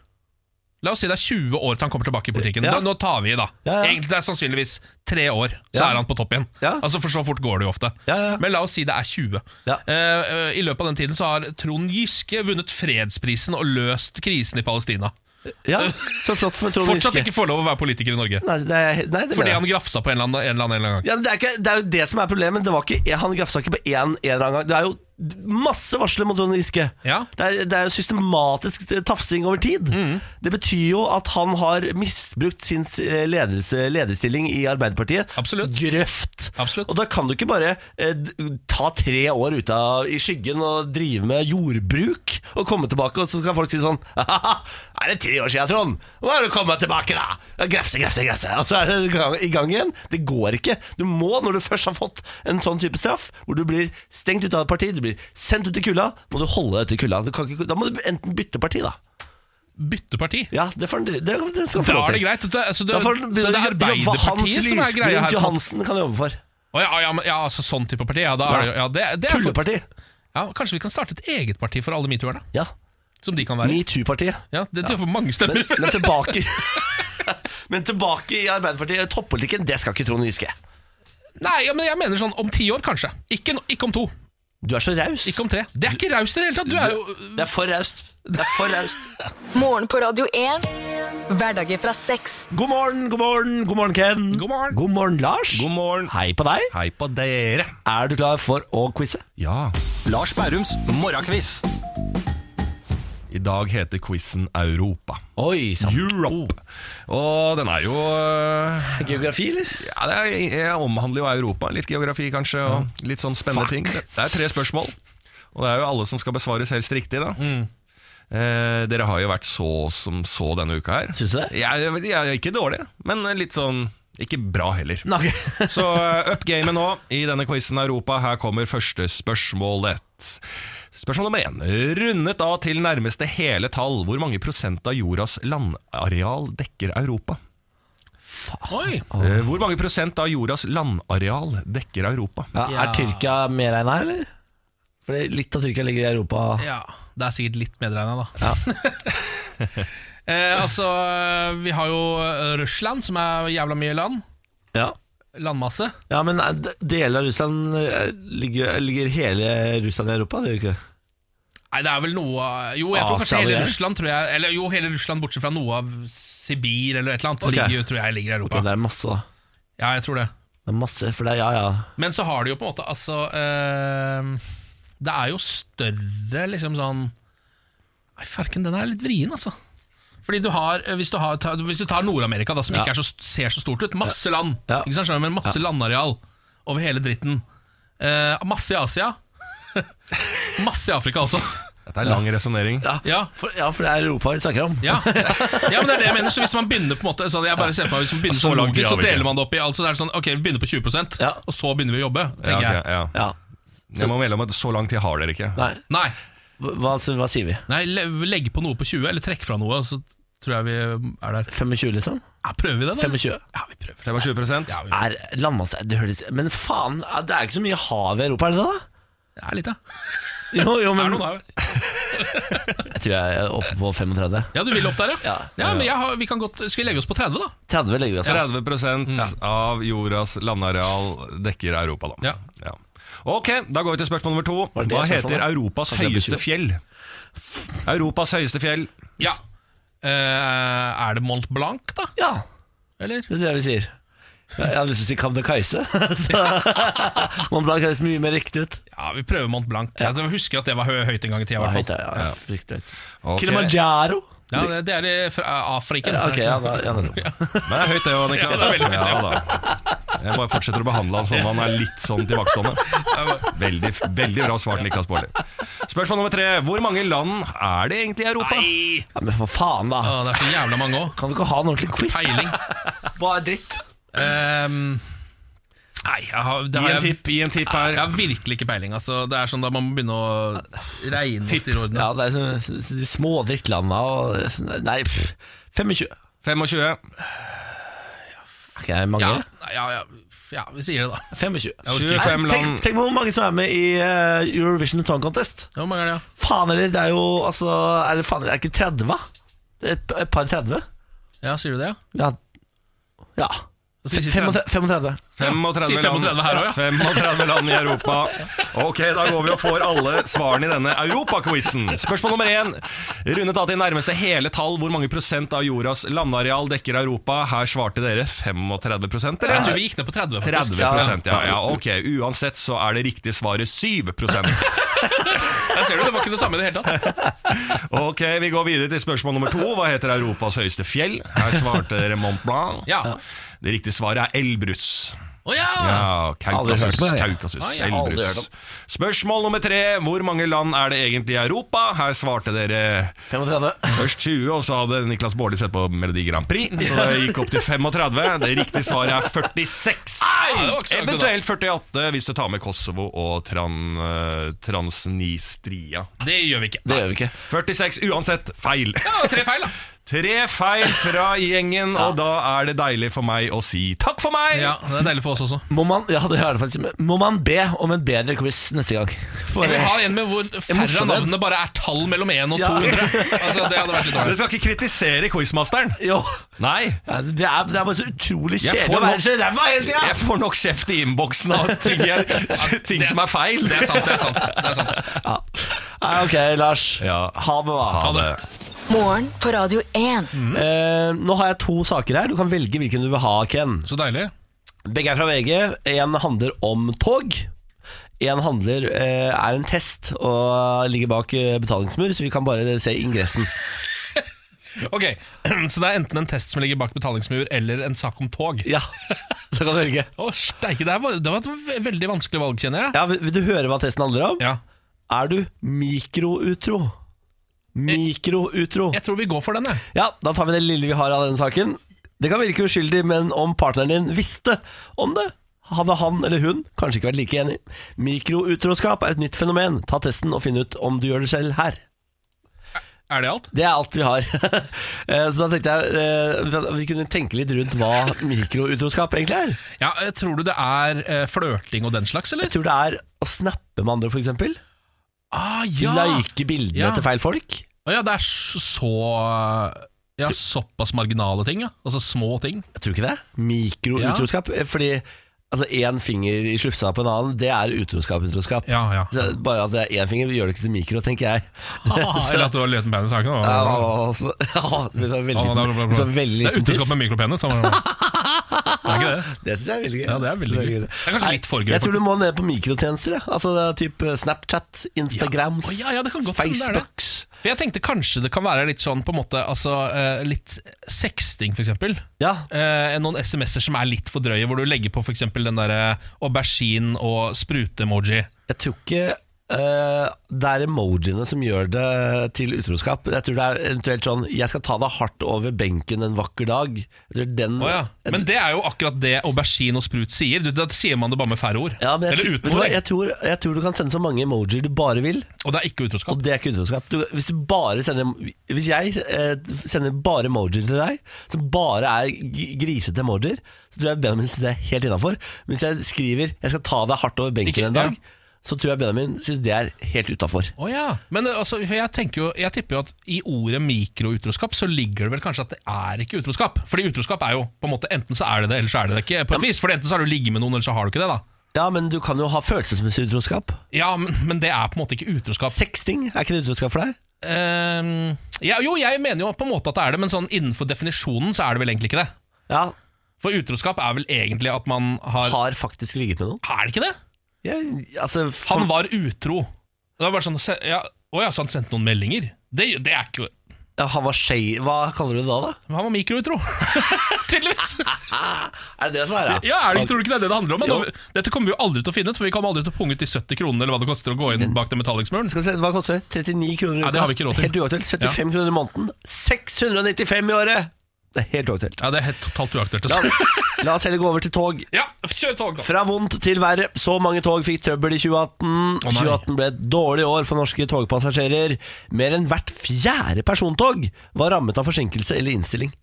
Speaker 2: La oss si det er 20 år til han kommer tilbake i politikken.
Speaker 1: Ja.
Speaker 2: Da, nå tar vi i, da.
Speaker 1: Ja, ja.
Speaker 2: Egentlig det er sannsynligvis tre år, så
Speaker 1: Ja.
Speaker 2: er han på topp igjen.
Speaker 1: Ja.
Speaker 2: Altså For så fort går det jo ofte.
Speaker 1: Ja, ja.
Speaker 2: Men la oss si det er 20.
Speaker 1: Ja.
Speaker 2: Eh, eh, I løpet av den tiden så har Trond Giske vunnet fredsprisen og løst krisen i Palestina.
Speaker 1: Ja, så flott for Trond
Speaker 2: Fortsatt
Speaker 1: Giske.
Speaker 2: ikke får lov å være politiker i Norge.
Speaker 1: Nei, det, er- nei, det mener
Speaker 2: Fordi
Speaker 1: jeg.
Speaker 2: han grafsa på en eller annen, en eller annen, en eller annen gang.
Speaker 1: Ja, men det, er ikke, det er jo det som er problemet. Det var ikke, han grafsa ikke på én en eller annen gang. Det er jo masse varsler mot Trond Giske.
Speaker 2: Ja. Mm.
Speaker 1: Det, er, det er jo systematisk eh, tafsing over tid. Det betyr jo at han har misbrukt sin eh, ledelse, lederstilling i Arbeiderpartiet.
Speaker 2: Absolutt.
Speaker 1: Grøft.
Speaker 2: Absolutt.
Speaker 1: Og da kan du ikke bare eh, d- ta tre år ut av, i skyggen og drive med jordbruk, og komme tilbake, og så skal folk si sånn *laughs* «Haha, Er det tre år siden, Trond? Nå er du kommet tilbake, da! Ja, Grefse, grefse, grefse. Og så er det i gang- i gang igjen. Det går ikke. Du må, når du først har fått en sånn type straff, hvor du blir stengt ute av et parti, du blir sendt ut i kulda, må du holde deg til kulda. Du kan ikke, da må du enten bytte parti, da.
Speaker 2: Bytte parti.
Speaker 1: Ja, det, får, det, det skal
Speaker 2: Da
Speaker 1: få lov
Speaker 2: er det
Speaker 1: til.
Speaker 2: greit. Det, altså, det,
Speaker 1: Da får
Speaker 2: så det er
Speaker 1: jobbe Hans
Speaker 2: Arbeiderpartiet som er greia
Speaker 1: Lysglimt
Speaker 2: her. på-
Speaker 1: Johansen kan jobbe for.
Speaker 2: Å, ja, ja, men, ja, altså sånn type parti. Ja, da er det, ja, det, det er
Speaker 1: Tulleparti.
Speaker 2: ja, kanskje vi kan starte et eget parti for alle metoo-erne?
Speaker 1: Ja.
Speaker 2: Som de kan være.
Speaker 1: Metoo-partiet.
Speaker 2: Ja, det, det får mange
Speaker 1: Men,
Speaker 2: stemmer.
Speaker 1: men tilbake *laughs* Men tilbake i Arbeiderpartiet. Toppolitikken, det skal ikke Trond Giske.
Speaker 2: *laughs* Nei, ja, men jeg mener sånn om ti år, kanskje. Ikke, no- ikke om to.
Speaker 1: Du er så raus.
Speaker 2: Ikke om tre. Det er ikke raust i det hele tatt. Du er jo
Speaker 1: Det er for raust. Det er for raust.
Speaker 4: Morgen på Radio 1. Hverdager fra seks.
Speaker 1: God morgen, god morgen, god morgen, Ken.
Speaker 2: God morgen.
Speaker 1: God morgen, Lars.
Speaker 6: God morgen.
Speaker 1: Hei på deg.
Speaker 6: Hei på dere.
Speaker 1: Er du klar for å quize?
Speaker 6: Ja. Lars Bærums morgenkviss. I dag heter quizen Europa.
Speaker 1: Oi sann.
Speaker 6: Europe. Og den er jo øh,
Speaker 1: Geografi, eller?
Speaker 6: ja, det er, jeg omhandler jo Europa. Litt geografi, kanskje, og litt sånn spennende ting. Det det er tre spørsmål, og det er jo alle som skal besvares helst riktig, da. Eh, dere har jo vært så som så denne uka her.
Speaker 1: Syns du det?
Speaker 6: Jeg, jeg, jeg er ikke dårlig, men litt sånn ikke bra heller.
Speaker 1: Nei, ok.
Speaker 6: Så eh, up gamet nå i denne quizen Europa. Her kommer første spørsmålet. Spørsmål nummer én. Rundet av til nærmeste hele tall, hvor mange prosent av jordas landareal dekker Europa?
Speaker 2: Oi!
Speaker 6: Eh, Hvor mange prosent av jordas landareal dekker Europa?
Speaker 1: *laughs* Ja, er Tyrkia medregna, eller? Fordi litt av Tyrkia ligger i Europa.
Speaker 2: Ja, det er sikkert litt medregna, da. *laughs* eh, altså, vi har jo eh, Russland, som er jævla mye land.
Speaker 1: Ja,
Speaker 2: Landmasse.
Speaker 1: ja men er d- deler av Russland eh, ligger, ligger hele Russland i Europa? Det gjør ikke det?
Speaker 2: Nei, det er vel noe av- Jo, jeg tror
Speaker 1: Asia,
Speaker 2: kanskje hele
Speaker 1: det er.
Speaker 2: Russland, tror jeg Eller jo, hele Russland bortsett fra noe av Sibir eller et eller annet,
Speaker 1: Ok.
Speaker 2: ligger, jo- tror jeg ligger i Europa.
Speaker 1: Ok, det er masse, da.
Speaker 2: Ja, jeg tror det.
Speaker 1: Det er masse, for det er ja, ja.
Speaker 2: Men så har du jo på en måte altså eh, Det er jo større liksom sånn Nei, farken, den er litt vrien, altså. Fordi du har, eh, Hvis du, har, ta- hvis du tar Nord-Amerika, da, som
Speaker 1: Ja.
Speaker 2: ikke er så, ser så stort ut Masse land,
Speaker 1: Ja.
Speaker 2: ikke sant, skjønner du, men masse landareal over hele dritten. Eh, masse i Asia. *laughs* masse i Afrika også.
Speaker 6: Dette er lang resonnering.
Speaker 1: Ja,
Speaker 2: Ja.
Speaker 1: For, ja, for det er Europa vi snakker om.
Speaker 2: Ja. ja, men det er det jeg mener. Så hvis man begynner på en måte så hadde Jeg bare ser på meg, hvis man begynner
Speaker 6: Så
Speaker 2: så,
Speaker 6: langt
Speaker 2: logisk, så
Speaker 6: graver vi ikke.
Speaker 2: deler man det opp i alt. Så det er sånn, ok, Vi begynner på 20
Speaker 1: Ja.
Speaker 2: og så begynner vi å jobbe.
Speaker 6: Ja,
Speaker 2: tenker
Speaker 6: ok,
Speaker 2: jeg
Speaker 6: ja.
Speaker 1: Ja.
Speaker 6: Jeg må melde om at så lang tid har dere ikke.
Speaker 1: Nei,
Speaker 2: Nei,
Speaker 1: hva, hva- hva sier vi?
Speaker 2: Nei, le- legge på noe på 20, eller trekke fra noe, så tror jeg vi er der.
Speaker 1: 25, liksom?
Speaker 2: Ja, prøver vi det, da?
Speaker 1: 25.
Speaker 2: Ja, vi prøver.
Speaker 6: 25
Speaker 2: Ja, vi,
Speaker 1: Er landmasse det høres, Men faen, er- det er ikke så mye hav i Europa, er det det? da?
Speaker 2: ja, litt, ja.
Speaker 1: Jo, jo,
Speaker 2: Det
Speaker 1: men
Speaker 2: er noen der. vel?
Speaker 1: jeg tror jeg er oppe på 35.
Speaker 2: Ja, du vil opp der, ja?
Speaker 1: Ja.
Speaker 2: Ja, men jeg har, vi kan godt, Skal vi legge oss på 30, da?
Speaker 1: 30 legger vi oss på.
Speaker 6: 30
Speaker 2: Mm.
Speaker 6: av jordas landareal dekker Europa, da.
Speaker 2: Ja.
Speaker 6: Ok, da går vi til spørsmål nummer to.
Speaker 1: Var det
Speaker 6: Hva
Speaker 1: spørsmålet?
Speaker 6: heter Europas
Speaker 1: jeg blir
Speaker 6: høyeste fjell? Europas høyeste fjell.
Speaker 2: Ja. Eh, er det Mont Blanc, da?
Speaker 1: Ja,
Speaker 2: Eller?
Speaker 1: det tror jeg vi sier. Jeg jeg hadde lyst til å si *laughs* Kamdekaise. *laughs* så- Mont Blanc høres mye mer riktig ut.
Speaker 2: Ja, vi prøver Mont Blanc. Jeg husker at det var hø- høyt en gang i tida. i
Speaker 1: Ja,
Speaker 2: hvert
Speaker 1: høyt,
Speaker 2: fall.
Speaker 1: ja, ja, fryktelig høyt.
Speaker 6: Ok.
Speaker 1: Kilimanjaro.
Speaker 2: Ja, det- det er i fra- eh, Afriken.
Speaker 1: Ja, ok, ja, da, ja, da.
Speaker 6: Men det er høyt, det òg, Niklas.
Speaker 2: Ja, det er veldig høyt, ja.
Speaker 6: da. Jeg bare fortsetter å behandle han som han er litt sånn tilbakestående. Veldig, veldig bra svart, Niklas Baarli. Spørsmål nummer tre. Hvor mange land er det egentlig i Europa?
Speaker 2: Nei!
Speaker 1: Ja, men for faen, da.
Speaker 2: Å, det er så jævla mange òg.
Speaker 1: Kan du ikke ha en ordentlig quiz?
Speaker 2: Peiling.
Speaker 1: Bare dritt.
Speaker 2: Ehm, nei, jeg har, det har
Speaker 6: Gi en
Speaker 2: jeg,
Speaker 6: tipp, gi en tipp
Speaker 2: jeg
Speaker 6: her.
Speaker 2: har virkelig ikke peiling. Altså, det er sånn da man må begynne å regne og styre ordene.
Speaker 1: Ja, det er sånn de små drittlanda og Nei, pff, 25.
Speaker 6: 25.
Speaker 1: Er ikke det mange?
Speaker 2: Ja, nei, ja, ja, ja, vi sier det, da.
Speaker 1: 25.
Speaker 2: orker
Speaker 1: Nei,
Speaker 6: 25
Speaker 1: tenk,
Speaker 6: land.
Speaker 1: tenk på hvor mange som er med i eh, Eurovision Song Contest.
Speaker 2: Hvor mange er det, ja?
Speaker 1: Faen eller, det er jo altså Er det, faen, er det ikke 30, hva? Et, et par 30?
Speaker 2: Ja, sier du det, ja?
Speaker 1: Ja. ja.
Speaker 2: Så vi sier 30.
Speaker 1: 35.
Speaker 6: 35,
Speaker 2: si 35
Speaker 6: land,
Speaker 2: her også,
Speaker 6: 35 land i Europa. Ok, da går vi og får alle svarene i denne Europaquizen. Spørsmål nummer én. Rundet av til nærmeste hele tall. Hvor mange prosent av jordas landareal dekker Europa? Her svarte dere 35 prosent,
Speaker 2: Jeg tror
Speaker 6: eller?
Speaker 2: vi gikk ned på 30, faktisk.
Speaker 6: 30 ja, ja. Ok, uansett så er det riktige svaret 7
Speaker 2: Jeg ser du, Det var ikke det samme i det hele *laughs* tatt.
Speaker 6: Ok, vi går videre til spørsmål nummer to. Hva heter Europas høyeste fjell? Her svarte dere Mont Blanc.
Speaker 2: Ja.
Speaker 6: Det riktige svaret er Elbrus.
Speaker 2: Å ja!
Speaker 6: Ja,
Speaker 1: Aldri hørt
Speaker 6: Kaukasus,
Speaker 1: om det, jeg.
Speaker 6: Kaukasus,
Speaker 2: Nei, jeg har aldri hørt om.
Speaker 6: Elbrus. Spørsmål nummer tre. Hvor mange land er det egentlig i Europa? Her svarte dere
Speaker 1: 35.
Speaker 6: først 20, og så hadde Niklas Baarli sett på Melodi Grand Prix, så det gikk opp til 35. Det riktige svaret er 46.
Speaker 2: Nei, det var ikke Ah, så langt unna.
Speaker 6: Eventuelt 48 hvis du tar med Kosovo og tran, eh, Transnistria.
Speaker 2: Det gjør vi ikke.
Speaker 1: Det gjør vi ikke.
Speaker 6: 46 uansett feil.
Speaker 2: Ja, det var tre feil, da.
Speaker 6: Tre feil fra gjengen, og da er det deilig for meg å si takk for meg!
Speaker 2: Ja, Det er deilig for oss også.
Speaker 1: Må man, ja, det er det faktisk, må man be om en bedre quiz neste gang? For-
Speaker 2: Jeg vil ha en med hvor færre av
Speaker 1: morsom en.
Speaker 2: navnene bare er tall mellom 1 og
Speaker 1: Ja.
Speaker 2: 200. Altså, det hadde vært litt
Speaker 6: Dere
Speaker 2: dårlig.
Speaker 6: skal ikke kritisere quizmasteren.
Speaker 1: Jo.
Speaker 6: Nei.
Speaker 1: Ja, det, er, det er bare så utrolig
Speaker 6: Jeg
Speaker 1: kjedelig
Speaker 6: får
Speaker 1: å være
Speaker 6: nok-
Speaker 1: så ræva hele
Speaker 6: Jeg
Speaker 1: tida!
Speaker 6: får nok kjeft i innboksen av ting, jeg, *laughs* ting som er feil.
Speaker 2: *laughs* Det er sant, det er sant. det er sant
Speaker 1: Ja. Nei, ok, Lars.
Speaker 6: Ja.
Speaker 1: Ha det, da.
Speaker 6: Ha det.
Speaker 4: Morgen på Radio 1.
Speaker 1: Eh, nå har jeg to saker her. Du kan velge hvilken du vil ha, Ken.
Speaker 2: Så deilig.
Speaker 1: Begge er fra VG. Én handler om tog. Én handler eh, er en test og ligger bak eh, betalingsmur, så vi kan bare se ingressen. *laughs*
Speaker 2: Ok, *clears throat* Så det er enten en test som ligger bak betalingsmur, eller en sak om tog.
Speaker 1: Ja, så kan du velge.
Speaker 2: Å, steike, det, her var, det var et ve- veldig vanskelig valg, kjenner jeg.
Speaker 1: Ja, vil, vil du høre hva testen handler om?
Speaker 2: Ja,
Speaker 1: Er du mikroutro? Mikroutro.
Speaker 2: Jeg tror vi går for den, jeg.
Speaker 1: Ja, da tar vi det lille vi har av denne saken. Det kan virke uskyldig, men om partneren din visste om det, hadde han eller hun kanskje ikke vært like enig. Mikroutroskap er et nytt fenomen. Ta testen og finn ut om du gjør det selv her.
Speaker 2: Er det alt?
Speaker 1: Det er alt vi har. *laughs* Eh, Så da tenkte jeg eh, at vi kunne tenke litt rundt hva mikroutroskap egentlig er.
Speaker 2: Ja, eh, Tror du det er eh, flørting og den slags, eller?
Speaker 1: Jeg tror det er å snappe med andre, f.eks.
Speaker 2: Ah, ja.
Speaker 1: Like bildene
Speaker 2: Ja.
Speaker 1: til feil folk.
Speaker 2: Å ja, det er s- så eh, Ja, såpass marginale ting, ja. Altså små ting.
Speaker 1: Jeg tror ikke det. Mikroutroskap. eh, Fordi altså, én finger i slufsa på en annen, det er utroskap, utroskap.
Speaker 2: Ja, ja.
Speaker 1: Så Bare at det er én finger, gjør det ikke til mikro, tenker jeg.
Speaker 2: *laughs* Eller at det var liten penis i saken.
Speaker 1: *laughs* Ja,
Speaker 2: da.
Speaker 1: og så- ja, det var veldig
Speaker 2: Ja, Ah, det er-
Speaker 1: liten- så veldig
Speaker 2: Det er
Speaker 1: liten tiss.
Speaker 2: utroskap med mikropenis. så-
Speaker 1: *laughs*
Speaker 2: Det er ikke det?
Speaker 1: Det syns jeg er veldig gøy.
Speaker 2: Ja, det er veldig
Speaker 1: Så
Speaker 2: gøy. Det er kanskje
Speaker 1: Nei,
Speaker 2: litt for gøy,
Speaker 1: Jeg tror du må ned på mikrotjenester. Ja. Altså det er type Snapchat, Instagrams,
Speaker 2: Å, ja, ja, det kan godt hende det er det.
Speaker 1: Facebooks.
Speaker 2: For Jeg tenkte kanskje det kan være litt sånn på en måte altså, eh, Litt sexting, for eksempel.
Speaker 1: Ja.
Speaker 2: Eh, noen SMS-er som er litt for drøye, hvor du legger på for eksempel den derre aubergine og sprute-emoji.
Speaker 1: Jeg tror ikke eh, det er emojiene som gjør det til utroskap. Jeg tror det er eventuelt sånn 'jeg skal ta deg hardt over benken en vakker dag'. Jeg tror den,
Speaker 2: Å ja. Men det er jo akkurat det aubergine og sprut sier. Du, da sier man det bare med færre ord.
Speaker 1: Ja, men jeg,
Speaker 2: Eller
Speaker 1: tror-
Speaker 2: uten
Speaker 1: vet du
Speaker 2: ord.
Speaker 1: hva, jeg, tror, jeg tror du kan sende så mange emojier du bare vil,
Speaker 2: Og det er ikke utroskap.
Speaker 1: og det er ikke utroskap. Du, hvis, du bare sender, hvis jeg eh, sender bare emojier til deg, som bare er g- grisete emojier, så tror jeg Benjamin syns det er helt innafor. Men hvis jeg skriver 'jeg skal ta deg hardt over benken
Speaker 2: Ikke-
Speaker 1: en dag', så tror jeg Benjamin syns det er helt utafor.
Speaker 2: Å ja. Men eh, altså, for jeg, tenker jo, jeg tipper jo at i ordet mikroutroskap så ligger det vel kanskje at det er ikke utroskap. Fordi utroskap er jo på en måte enten så er det det, eller så er det det ikke. På et vis, For enten så har du ligget med noen, eller så har du ikke det. da
Speaker 1: Ja, men du kan jo ha følelsesmessig utroskap.
Speaker 2: Ja, men, men det er på en måte ikke utroskap.
Speaker 1: Sexting, er ikke det utroskap for deg?
Speaker 2: Ehm, ja, jo, jeg mener jo på en måte at det er det, men sånn innenfor definisjonen så er det vel egentlig ikke det.
Speaker 1: Ja,
Speaker 2: For utroskap er vel egentlig at man har
Speaker 1: har faktisk ligget med noen.
Speaker 2: Er det ikke det?
Speaker 1: Jeg, altså, for,
Speaker 2: Han var utro. Det var bare sånn se- ja, Å ja, så han sendte noen meldinger? Det, det er ikke
Speaker 1: ja, han var skei... Hva kaller du det da, da?
Speaker 2: Han var mikroutro, *laughs* tydeligvis.
Speaker 1: Er det det som er det?
Speaker 2: Ja, er det, Tror du ikke det er det det handler om? Men
Speaker 1: Jo.
Speaker 2: nå- dette kommer vi jo aldri til å finne ut, for vi kommer aldri til å punge ut de 70 kronene eller hva det koster å gå inn bak den metalliksmuren.
Speaker 1: Skal vi se, Hva koster det? 39 kroner i
Speaker 2: Ja, det har vi ikke råd til.
Speaker 1: Helt uaktuelt. 75 kroner i måneden. 695 i året! Det er helt uaktuelt.
Speaker 2: Ja, det er helt totalt uaktuelt.
Speaker 1: La,
Speaker 2: altså.
Speaker 1: la oss heller gå over til tog.
Speaker 2: *laughs* Ja, kjør tog, da.
Speaker 1: Fra vondt til verre. Så mange tog fikk trøbbel i 2018.
Speaker 2: nei.
Speaker 1: 2018 ble et dårlig år for norske togpassasjerer. Mer enn hvert fjerde persontog var rammet av forsinkelse eller innstilling.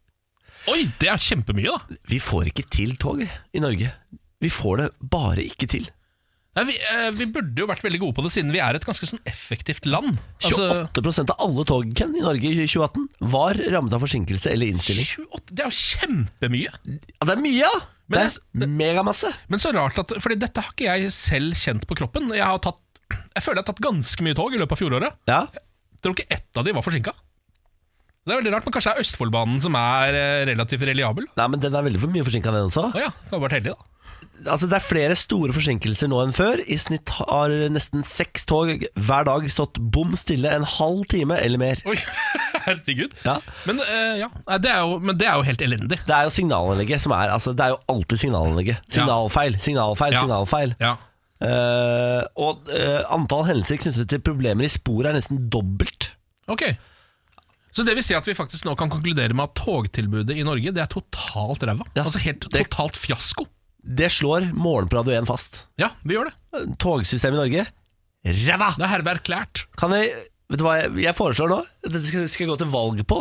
Speaker 2: Oi, det er kjempemye, da.
Speaker 1: Vi får ikke til tog i Norge. Vi får det bare ikke til.
Speaker 2: Nei, vi, eh, vi burde jo vært veldig gode på det, siden vi er et ganske sånn effektivt land. Altså-
Speaker 1: 28 av alle tog Ken, i Norge i 2018 var rammet av forsinkelse eller innstilling.
Speaker 2: 28, det er jo kjempemye!
Speaker 1: Ja, det er mye, ja! Det
Speaker 2: Men, jeg-
Speaker 1: er megamasse.
Speaker 2: men så rart at Fordi dette har ikke jeg selv kjent på kroppen. Jeg har tatt Jeg føler jeg har tatt ganske mye tog i løpet av fjoråret.
Speaker 1: Ja.
Speaker 2: Jeg tror ikke ett av de var forsinka. Det er veldig rart, men kanskje det er Østfoldbanen som er eh, relativt reliabel.
Speaker 1: Nei, men den er veldig for mye forsinka, den også.
Speaker 2: Å ja, det har vært heldig, da.
Speaker 1: Altså, det er flere store forsinkelser nå enn før. I snitt har nesten seks tog hver dag stått bom stille en halv time eller mer.
Speaker 2: Oi, *laughs* herregud.
Speaker 1: Ja.
Speaker 2: Men, eh, ja. Nei, det er jo, men det er jo helt elendig.
Speaker 1: Det er jo signalanlegget som er altså, Det er jo alltid signalanlegget. Signalfeil, signalfeil,
Speaker 2: Ja.
Speaker 1: signalfeil.
Speaker 2: Ja.
Speaker 1: Eh, og eh, antall hendelser knyttet til problemer i sporet er nesten dobbelt.
Speaker 2: Ok. Så det vil si at vi faktisk nå kan konkludere med at togtilbudet i Norge Det er totalt ræva.
Speaker 1: Ja,
Speaker 2: altså helt
Speaker 1: det-
Speaker 2: totalt fiasko.
Speaker 1: Det slår morgen på Radio 1 fast.
Speaker 2: Ja, vi gjør det.
Speaker 1: Togsystemet i Norge ræva!
Speaker 2: Det er herved erklært.
Speaker 1: Kan jeg Vet du hva jeg, jeg foreslår nå? Dette skal, skal jeg gå til valg på.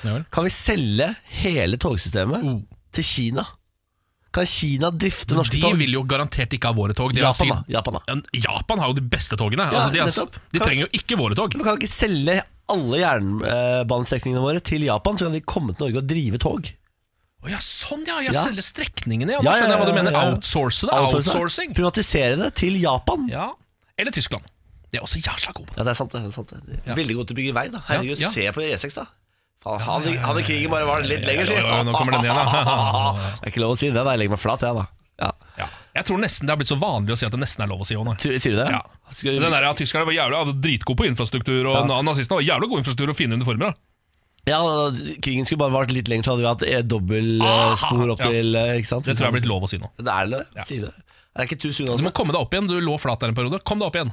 Speaker 2: Ja vel.
Speaker 1: Kan vi selge hele togsystemet
Speaker 2: Oh.
Speaker 1: til Kina? Kan Kina drifte norske
Speaker 2: De
Speaker 1: tog?
Speaker 2: vil jo garantert ikke ha våre tog. De har
Speaker 1: Japan,
Speaker 2: sikkert-
Speaker 1: da. Japan, da.
Speaker 2: Ja, Japan har jo de beste togene.
Speaker 1: Ja,
Speaker 2: altså, de, har,
Speaker 1: nettopp.
Speaker 2: de
Speaker 1: Kan-
Speaker 2: trenger jo ikke våre tog.
Speaker 1: Men kan vi ikke selge alle jernbanestrekningene våre til Japan, så kan de komme til Norge og drive tog?
Speaker 2: Å ja, sånn ja! Jeg
Speaker 1: Ja.
Speaker 2: selger strekningene, ja.
Speaker 1: Ja, ja,
Speaker 2: Nå skjønner jeg hva du
Speaker 1: ja,
Speaker 2: mener.
Speaker 1: ja.
Speaker 2: Outsource det.
Speaker 1: Outsource det.
Speaker 2: Outsourcing.
Speaker 1: Privatisere det til Japan. Ja,
Speaker 2: Ja. Eller Tyskland. De er også jævla gode på det.
Speaker 1: det er sant. det, det er sant det. Veldig godt til å bygge vei, da.
Speaker 2: Ja,
Speaker 1: Herregud,
Speaker 2: ja.
Speaker 1: se på E6, da. Faen, hadde, hadde krigen bare vært litt lenger, si.
Speaker 2: Ja, ja, ja, nå kommer den igjen, ja.
Speaker 1: *laughs* det er ikke lov å si det. da. Jeg legger meg flat, jeg, da. Ja.
Speaker 2: Ja. Jeg tror nesten det har blitt så vanlig å si at det nesten er lov å si òg nå.
Speaker 1: Ty- Sier du det?
Speaker 2: Ja.
Speaker 1: Skal,
Speaker 2: Den der, ja, Tyskerne var jævla hadde dritgod på infrastruktur, og na- nazistene var jævla god infrastruktur og fine uniformer. da
Speaker 1: ja, krigen skulle bare vart litt lenger, så hadde vi hatt e dobbeltspor opp
Speaker 2: Ah, Ja.
Speaker 1: til eh, Ikke sant?
Speaker 2: Det tror jeg er blitt lov å si nå.
Speaker 1: Det er det, sier du det. Det er ikke too soon,
Speaker 2: Du
Speaker 1: altså.
Speaker 2: må komme deg opp igjen. Du lå flat der en periode. Kom deg opp *laughs* igjen.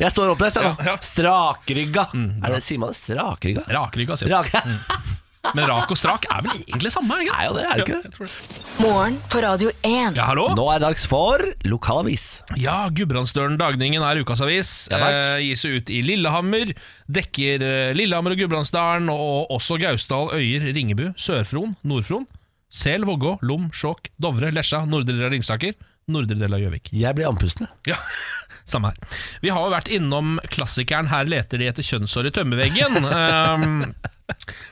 Speaker 1: Jeg står oppreist, jeg,
Speaker 2: Ja,
Speaker 1: nå.
Speaker 2: ja. Mm,
Speaker 1: Strakrygga. Er det, sier man det? Strakrygga?
Speaker 2: Rakrygga, sier jeg.
Speaker 1: Rak.
Speaker 2: altså. Men rak og strak er vel egentlig samme? Er det
Speaker 1: Er jo det, er det ikke det?
Speaker 2: Ja, jeg tror det.
Speaker 4: Morgen på Radio 1.
Speaker 2: Ja, hallo?
Speaker 1: *laughs* Nå er det dags for lokalavis.
Speaker 2: Ja, Gudbrandsdølen Dagningen er ukas avis.
Speaker 1: Ja, takk.
Speaker 2: eh, gis ut i Lillehammer. Dekker eh, Lillehammer og Gudbrandsdalen, og også Gausdal, Øyer, Ringebu, Sør-Fron, Nord-Fron. Sel, Vågå, Lom, Skjåk, Dovre, Lesja, nordre del av Ringsaker, nordre del av Gjøvik.
Speaker 1: Jeg blir andpusten. jeg.
Speaker 2: Ja, *laughs* samme her. Vi har jo vært innom klassikeren 'Her leter de etter kjønnshår i tømmerveggen'. ehm,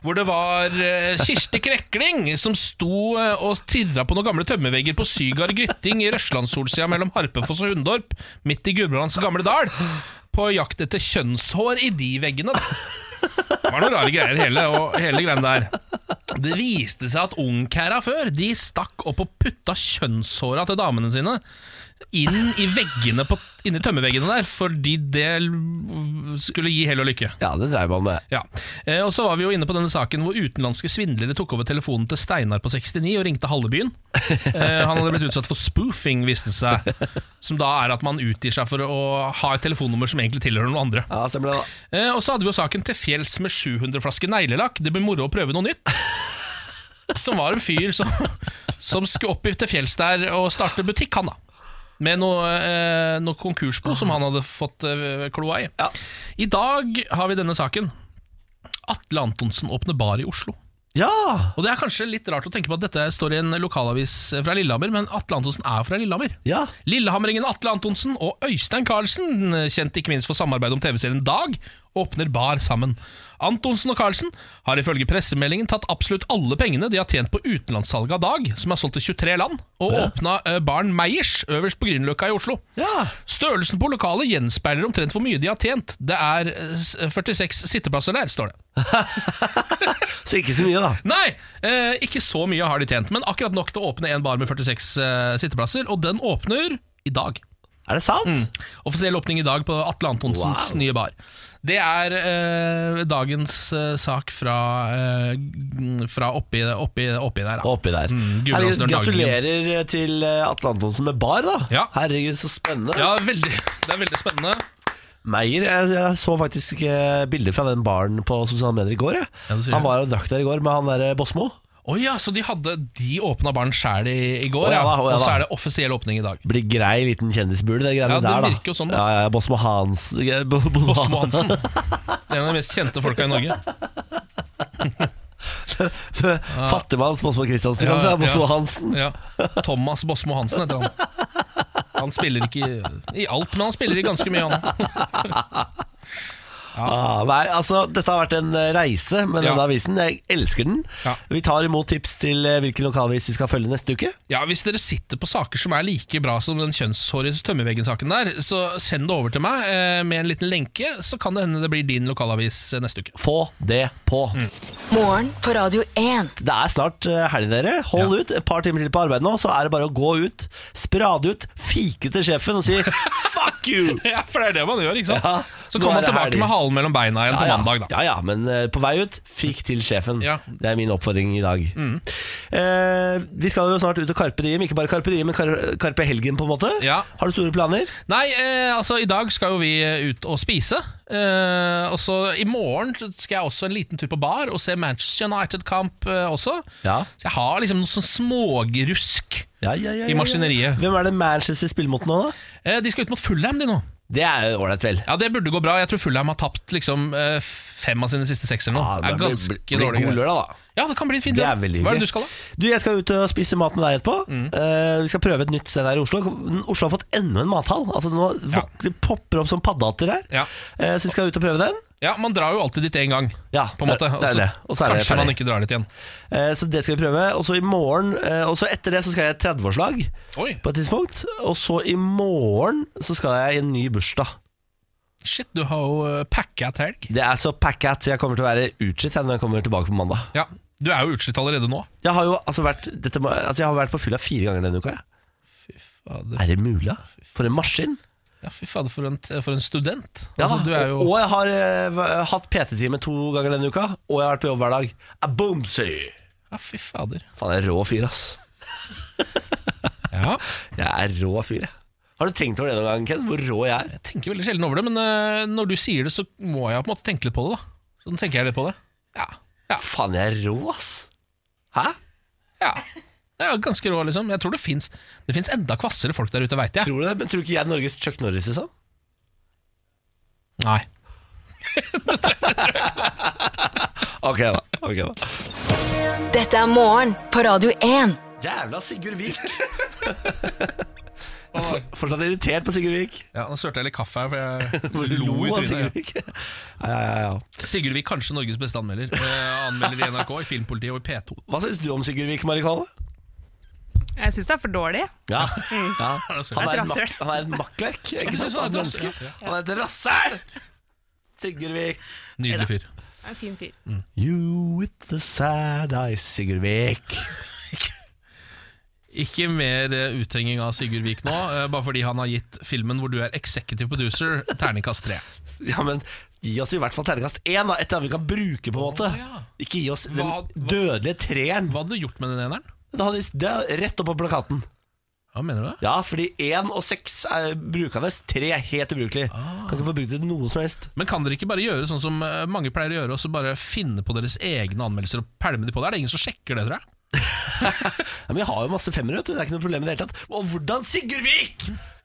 Speaker 2: hvor det var eh, Kirsti Krekling som sto eh, og tirra på noen gamle tømmervegger på Sygard Grytting i Røslandssolsida mellom Harpefoss og Hundorp, midt i Gudbrands gamle dal, på jakt etter kjønnshår i de veggene. da. Det var noen rare greier, hele, og, hele greien der. Det viste seg at ungkæra før De stakk opp og putta kjønnshåra til damene sine inn i veggene på, inn i tømmerveggene der, fordi det l- skulle gi hell og lykke.
Speaker 1: Ja, det dreier man med.
Speaker 2: Ja. Eh, og så var vi jo inne på denne saken hvor utenlandske svindlere tok over telefonen til Steinar på 69 og ringte halve byen. Eh, han hadde blitt utsatt for spoofing, viste det seg. Som da er at man utgir seg for å ha et telefonnummer som egentlig tilhører noen andre.
Speaker 1: Ja, stemmer det. da.
Speaker 2: Eh, og så hadde vi jo saken til fjells med 700 flasker neglelakk. Det blir moro å prøve noe nytt. *laughs* Som var en fyr som, som skulle opp til fjells der og starte butikk, han da. Med noe, eh, noe konkursbo som han hadde fått eh, kloa i.
Speaker 1: Ja.
Speaker 2: I dag har vi denne saken. Atle Antonsen åpner bar i Oslo.
Speaker 1: Ja!
Speaker 2: Og Det er kanskje litt rart å tenke på at dette står i en lokalavis fra Lillehammer, men Atle Antonsen er jo fra Lillehammer.
Speaker 1: Ja.
Speaker 2: Lillehamringen Atle Antonsen og Øystein Carlsen, kjent ikke minst for samarbeid om TV-serien Dag, åpner bar sammen. Antonsen og Carlsen har ifølge pressemeldingen tatt absolutt alle pengene de har tjent på utenlandssalget av Dag, som er solgt til 23 land, og åpna eh, baren Meyers øverst på Grünerløkka i Oslo.
Speaker 1: ja.
Speaker 2: Størrelsen på lokalet gjenspeiler omtrent hvor mye de har tjent. Det er eh, s- 46 sitteplasser der, står det.
Speaker 1: Så ikke så mye, da.
Speaker 2: Nei, eh, ikke så mye har de tjent, men akkurat nok til å åpne en bar med 46 eh, sitteplasser, og den åpner i dag.
Speaker 1: Er det sant?
Speaker 2: Mm. Offisiell åpning i dag på Atle Antonsens
Speaker 1: Wow.
Speaker 2: nye bar. Det er eh, dagens eh, sak fra, eh, g- fra oppi, oppi, oppi der. Da.
Speaker 1: Oppi der. Herregud,
Speaker 2: Gudbrandsdølen
Speaker 1: gratulerer til eh, Atle Antonsen med bar, da.
Speaker 2: Ja.
Speaker 1: Herregud, så spennende.
Speaker 2: Ja, veldig, det er veldig spennende.
Speaker 1: Meyer, jeg, jeg så faktisk eh, bilder fra den baren på sosiale medier i går. Jeg.
Speaker 2: Ja, du sier
Speaker 1: han
Speaker 2: det.
Speaker 1: var og drakk der i går med han derre Bosmo.
Speaker 2: Å ja, så de, hadde, de åpna baren sjæl i, i går,
Speaker 1: Å ja
Speaker 2: ja.
Speaker 1: da, å ja
Speaker 2: og så
Speaker 1: da.
Speaker 2: er det offisiell åpning i dag.
Speaker 1: Blir grei liten kjendisbule, det greiene
Speaker 2: Ja, det
Speaker 1: der, da.
Speaker 2: virker jo sånn, da.
Speaker 1: da. Ja, ja, Bosmo Hans eh, Bo- Bo- *laughs*
Speaker 2: Bosmo Hansen. En av de mest kjente folka i Norge.
Speaker 1: Fattigmanns Bosmo Christiansen,
Speaker 2: Ja,
Speaker 1: kan du si. Bosmo
Speaker 2: ja.
Speaker 1: Hansen.
Speaker 2: Ja. Thomas Bosmo Hansen heter han. Han spiller ikke i- i alt, men han spiller i ganske mye, han.
Speaker 1: Ah, nei, altså, dette har vært en eh, reise med
Speaker 2: Ja.
Speaker 1: denne avisen. Jeg elsker den.
Speaker 2: Ja.
Speaker 1: Vi tar imot tips til eh, hvilken lokalavis vi skal følge neste uke.
Speaker 2: Ja, Hvis dere sitter på saker som er like bra som den kjønnshårige tømmerveggen-saken der, så send det over til meg eh, med en liten lenke, så kan det hende det blir din lokalavis eh, neste uke.
Speaker 1: Få det på.
Speaker 4: Morgen på Radio 1.
Speaker 1: Det er snart eh, helg, dere. Hold
Speaker 2: Ja.
Speaker 1: ut. Et par timer til på arbeid nå, så er det bare å gå ut, sprade ut, fike til sjefen og
Speaker 2: *laughs*
Speaker 1: si 'fuck you'!
Speaker 2: Ja, for det er det man gjør, ikke sant?
Speaker 1: Ja,
Speaker 2: så
Speaker 1: nå
Speaker 2: kommer
Speaker 1: er
Speaker 2: man
Speaker 1: det
Speaker 2: tilbake
Speaker 1: helg.
Speaker 2: med halen mellom beina igjen på
Speaker 1: ja,
Speaker 2: mandag, da.
Speaker 1: Ja, ja, men eh, på vei ut, fikk til sjefen.
Speaker 2: Ja. Mm.
Speaker 1: Det er min oppfordring i dag. Eh, vi skal jo snart ut og Carpe Diem, ikke bare Carpe Diem, men Kar Carpe Helgen, på en måte.
Speaker 2: Ja.
Speaker 1: Har du store planer?
Speaker 2: Nei, eh, altså i dag skal jo vi eh, ut og spise. Eh, og så i morgen så skal jeg også en liten tur på bar og se Manchester United-kamp eh, også.
Speaker 1: Ja.
Speaker 2: Så jeg har liksom noe sånn smågrusk.
Speaker 1: Ja, ja, ja, ja,
Speaker 2: I maskineriet.
Speaker 1: Hvem er det Manchester spiller mot nå, da?
Speaker 2: Eh, de skal ut mot Fulham, de nå.
Speaker 1: Det er jo ålreit, vel.
Speaker 2: Ja, det burde gå bra. Jeg tror Fulham har tapt liksom eh, fem av sine siste seks eller noe. det er
Speaker 1: blir-
Speaker 2: ganske
Speaker 1: blir- blir
Speaker 2: dårlig.
Speaker 1: god
Speaker 2: greier.
Speaker 1: lørdag, da.
Speaker 2: Ja, det kan bli en fin
Speaker 1: Det er
Speaker 2: dag.
Speaker 1: veldig
Speaker 2: Hva er
Speaker 1: hyggelig.
Speaker 2: det du skal, da? Mm.
Speaker 1: Du, Jeg skal ut og spise mat med deg etterpå. Eh, vi skal prøve et nytt sted her i Oslo. Oslo har fått enda en mathall. Altså Nå
Speaker 2: Ja.
Speaker 1: vok- det popper opp som paddehatter her.
Speaker 2: Ja.
Speaker 1: Eh, så vi skal ut og prøve den.
Speaker 2: Ja, Man drar jo alltid dit én gang,
Speaker 1: Ja,
Speaker 2: på en måte.
Speaker 1: det er- det er
Speaker 2: Og så
Speaker 1: det. Og så er det
Speaker 2: kanskje man
Speaker 1: ferdig.
Speaker 2: ikke drar dit igjen.
Speaker 1: Eh, så det skal vi prøve. Og så i morgen eh, Og så etter det så skal jeg i et 30-årslag
Speaker 2: Oi,
Speaker 1: på et tidspunkt. Og så i morgen så skal jeg i en ny bursdag.
Speaker 2: shit, du har jo eh, packa et helg.
Speaker 1: Det er så packa at jeg kommer til å være utslitt jeg, når jeg kommer tilbake på mandag.
Speaker 2: Ja, Du er jo utslitt allerede nå.
Speaker 1: Jeg har jo altså vært, dette, må- altså, jeg har vært på fylla fire ganger denne uka. jeg.
Speaker 2: Fy fader.
Speaker 1: Er det mulig? da? For en maskin!
Speaker 2: Ja, fy fader, for en, for en student.
Speaker 1: Ja,
Speaker 2: altså, du er jo
Speaker 1: Og jeg har eh, v- hatt PT-time to ganger denne uka, og jeg har vært på jobb hver dag. Boomsy!
Speaker 2: Ja, fy fader.
Speaker 1: Faen, jeg er rå fyr, ass.
Speaker 2: Ja,
Speaker 1: Jeg er rå fyr, jeg. Har du tenkt over det noen gang, Ken? Hvor rå jeg er?
Speaker 2: jeg tenker veldig sjelden over det, men eh, når du sier det, så må jeg på en måte tenke litt på det. da Så nå tenker jeg litt på det. Ja. Ja.
Speaker 1: Faen, jeg er rå, ass. Hæ?
Speaker 2: ja. ja ganske rå, liksom. Jeg tror det fins Det finnes enda kvassere folk der ute, veit jeg.
Speaker 1: Tror du det? Men tror ikke jeg er Norges Chuck Norris, liksom?
Speaker 2: Nei.
Speaker 1: Ok, da. ok da
Speaker 4: Dette er morgen på Radio 1.
Speaker 1: Jævla Sigurd
Speaker 2: *laughs*
Speaker 1: Vik! Jeg er for- Fortsatt irritert på Sigurd Vik.
Speaker 2: Ja, Nå sølte jeg litt kaffe her, for *laughs*
Speaker 1: Hvor
Speaker 2: jeg lo i
Speaker 1: han Sigurd
Speaker 2: trynet.
Speaker 1: Vik? *laughs* Ja, ja, ja, ja.
Speaker 2: Ja. Sigurd Vik, kanskje Norges beste anmelder. Eh, anmelder i NRK, i Filmpolitiet og i P2.
Speaker 1: Hva syns du om Sigurd Vik, Mari Kalle?
Speaker 3: Jeg syns det er for dårlig.
Speaker 2: *laughs*
Speaker 1: Ja. ja. Han, er
Speaker 3: Et
Speaker 1: en mak-
Speaker 3: rasshøl.
Speaker 1: han er et makkverk. Ikke
Speaker 2: synes
Speaker 1: sant?
Speaker 2: han er
Speaker 1: Han er
Speaker 2: et rasshøl,
Speaker 1: menneske. Han er et rasshøl! Sigurd Vik.
Speaker 2: Nydelig fyr.
Speaker 3: Det er En fin fyr.
Speaker 1: You with the sad eyes, Sigurd Vik.
Speaker 2: Ikke mer eh, uthenging av Sigurd Vik nå, eh, bare fordi han har gitt filmen hvor du er executive producer, terningkast tre.
Speaker 1: Ja, men gi oss i hvert fall terningkast én, da. Et eller annet vi kan bruke, på en måte.
Speaker 2: ja.
Speaker 1: Ikke gi oss den
Speaker 2: Hva- hva-
Speaker 1: dødelige treeren.
Speaker 2: Hva hadde du gjort med den eneren?
Speaker 1: Det hadde- det er rett opp på plakaten.
Speaker 2: Hva mener du? det?
Speaker 1: Ja, fordi én og seks er brukende. Tre er helt ubrukelig.
Speaker 2: Ah.
Speaker 1: Kan ikke få brukt det til noe som helst.
Speaker 2: Men kan dere ikke bare gjøre sånn som eh, mange pleier å gjøre, og så bare finne på deres egne anmeldelser og pælme de på? Det er det ingen som sjekker det, tror jeg.
Speaker 1: Ja, men jeg har jo masse femmere, vet du. Det er ikke noe problem i det hele tatt. Og hvordan, Sigurd Vik,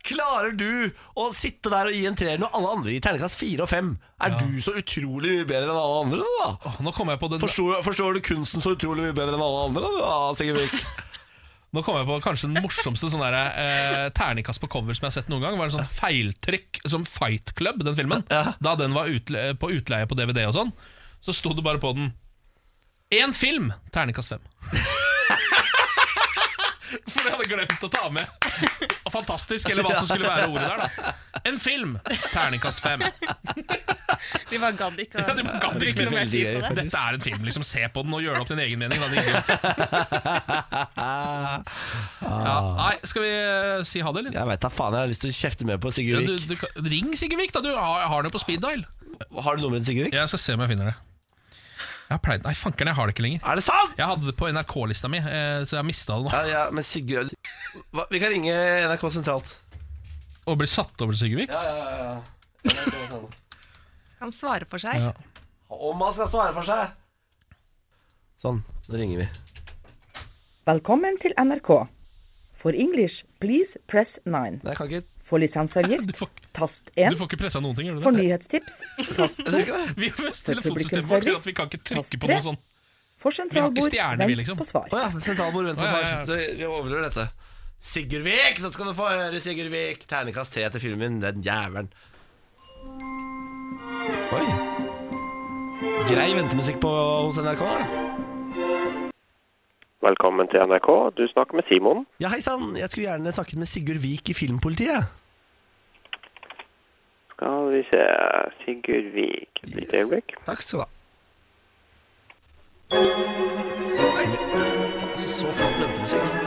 Speaker 1: klarer du å sitte der og gi en treer når alle andre gir terningkast fire og fem? Er du så utrolig mye bedre enn alle andre, da?
Speaker 2: Åh, nå kom jeg på den
Speaker 1: Forstår, forstår du kunsten så utrolig mye bedre enn alle andre, da, Sigurd Vik?
Speaker 2: Nå kom jeg på kanskje den morsomste sånn der, eh, terningkast på cover som jeg har sett noen gang. var en sånn feiltrykk som Fight Club, den filmen. Da den var utle på utleie på DVD og sånn, så sto det bare på den Én film! Terningkast fem. *laughs* For det hadde jeg glemt å ta med. Fantastisk, eller hva som skulle være ordet der. da En film! Terningkast fem.
Speaker 3: De bare gadd ikke
Speaker 2: Ja, du
Speaker 3: å
Speaker 2: gadd ikke
Speaker 3: bruke noe mer
Speaker 1: veldig
Speaker 3: tid
Speaker 1: gøy,
Speaker 3: på det.
Speaker 2: Dette er en film, liksom. Se på den og gjør det opp til din egen mening. Da, din idiot. *laughs* ja, nei, skal vi eh, si ha det, eller?
Speaker 1: *laughs* Jeg veit da faen, jeg har lyst til å kjefte mer på
Speaker 2: Ja,
Speaker 1: Sigurd
Speaker 2: du,
Speaker 1: Vik.
Speaker 2: du, kan- ring Sigurd Vik, da. Du har, har den jo på speed dial.
Speaker 1: Har du nummeret til Sigurd Vik?
Speaker 2: Jeg skal se om jeg finner det. Jeg har pleid, nei, fankeren, jeg har det ikke lenger.
Speaker 1: Er det sant?!
Speaker 2: Jeg hadde det på NRK-lista mi, eh, så jeg har mista det nå.
Speaker 1: Ja, ja, men Sigurd Hva, Vi kan ringe NRK sentralt.
Speaker 2: Og blir satt over til Sigurd Vik.
Speaker 1: Ja, ja, ja.
Speaker 3: Kan svare for seg.
Speaker 2: Ja.
Speaker 1: Om han skal svare for seg. Sånn, nå ringer vi.
Speaker 7: Velkommen til NRK. For English, please press 9.
Speaker 1: Nei, jeg kan ikke
Speaker 7: For lisensavgift,
Speaker 2: Du får, ikke-
Speaker 7: tast
Speaker 2: du
Speaker 7: 1.
Speaker 2: får ikke pressa noen ting, gjør
Speaker 7: For
Speaker 2: du det? *laughs*
Speaker 7: nyhetstips,
Speaker 1: Jeg tror ikke det.
Speaker 2: Vi Telefonsystemet vårt gjør at vi kan ikke trykke på noe sånn.
Speaker 7: for sentralbord,
Speaker 2: stjerne, vi,
Speaker 7: vent
Speaker 2: liksom.
Speaker 7: på svar.
Speaker 1: Å ja, sentralbord, vent på
Speaker 2: Å, ja, ja, ja.
Speaker 1: svar. Så Vi overlever dette. Sigurd Vik, nå skal du få høre Sigurd Vik. Ternekast T til filmen, den jævelen. Å Oi. Grei ventemusikk på, hos NRK. da.
Speaker 8: Velkommen til NRK. Du snakker med Simon.
Speaker 1: Ja, hei sann. Jeg skulle gjerne snakket med Sigurd Vik i Filmpolitiet.
Speaker 8: Skal vi se Sigurd Vik. Et lite øyeblikk.
Speaker 1: Takk skal du ha. Faen, altså, så flott ventemusikk.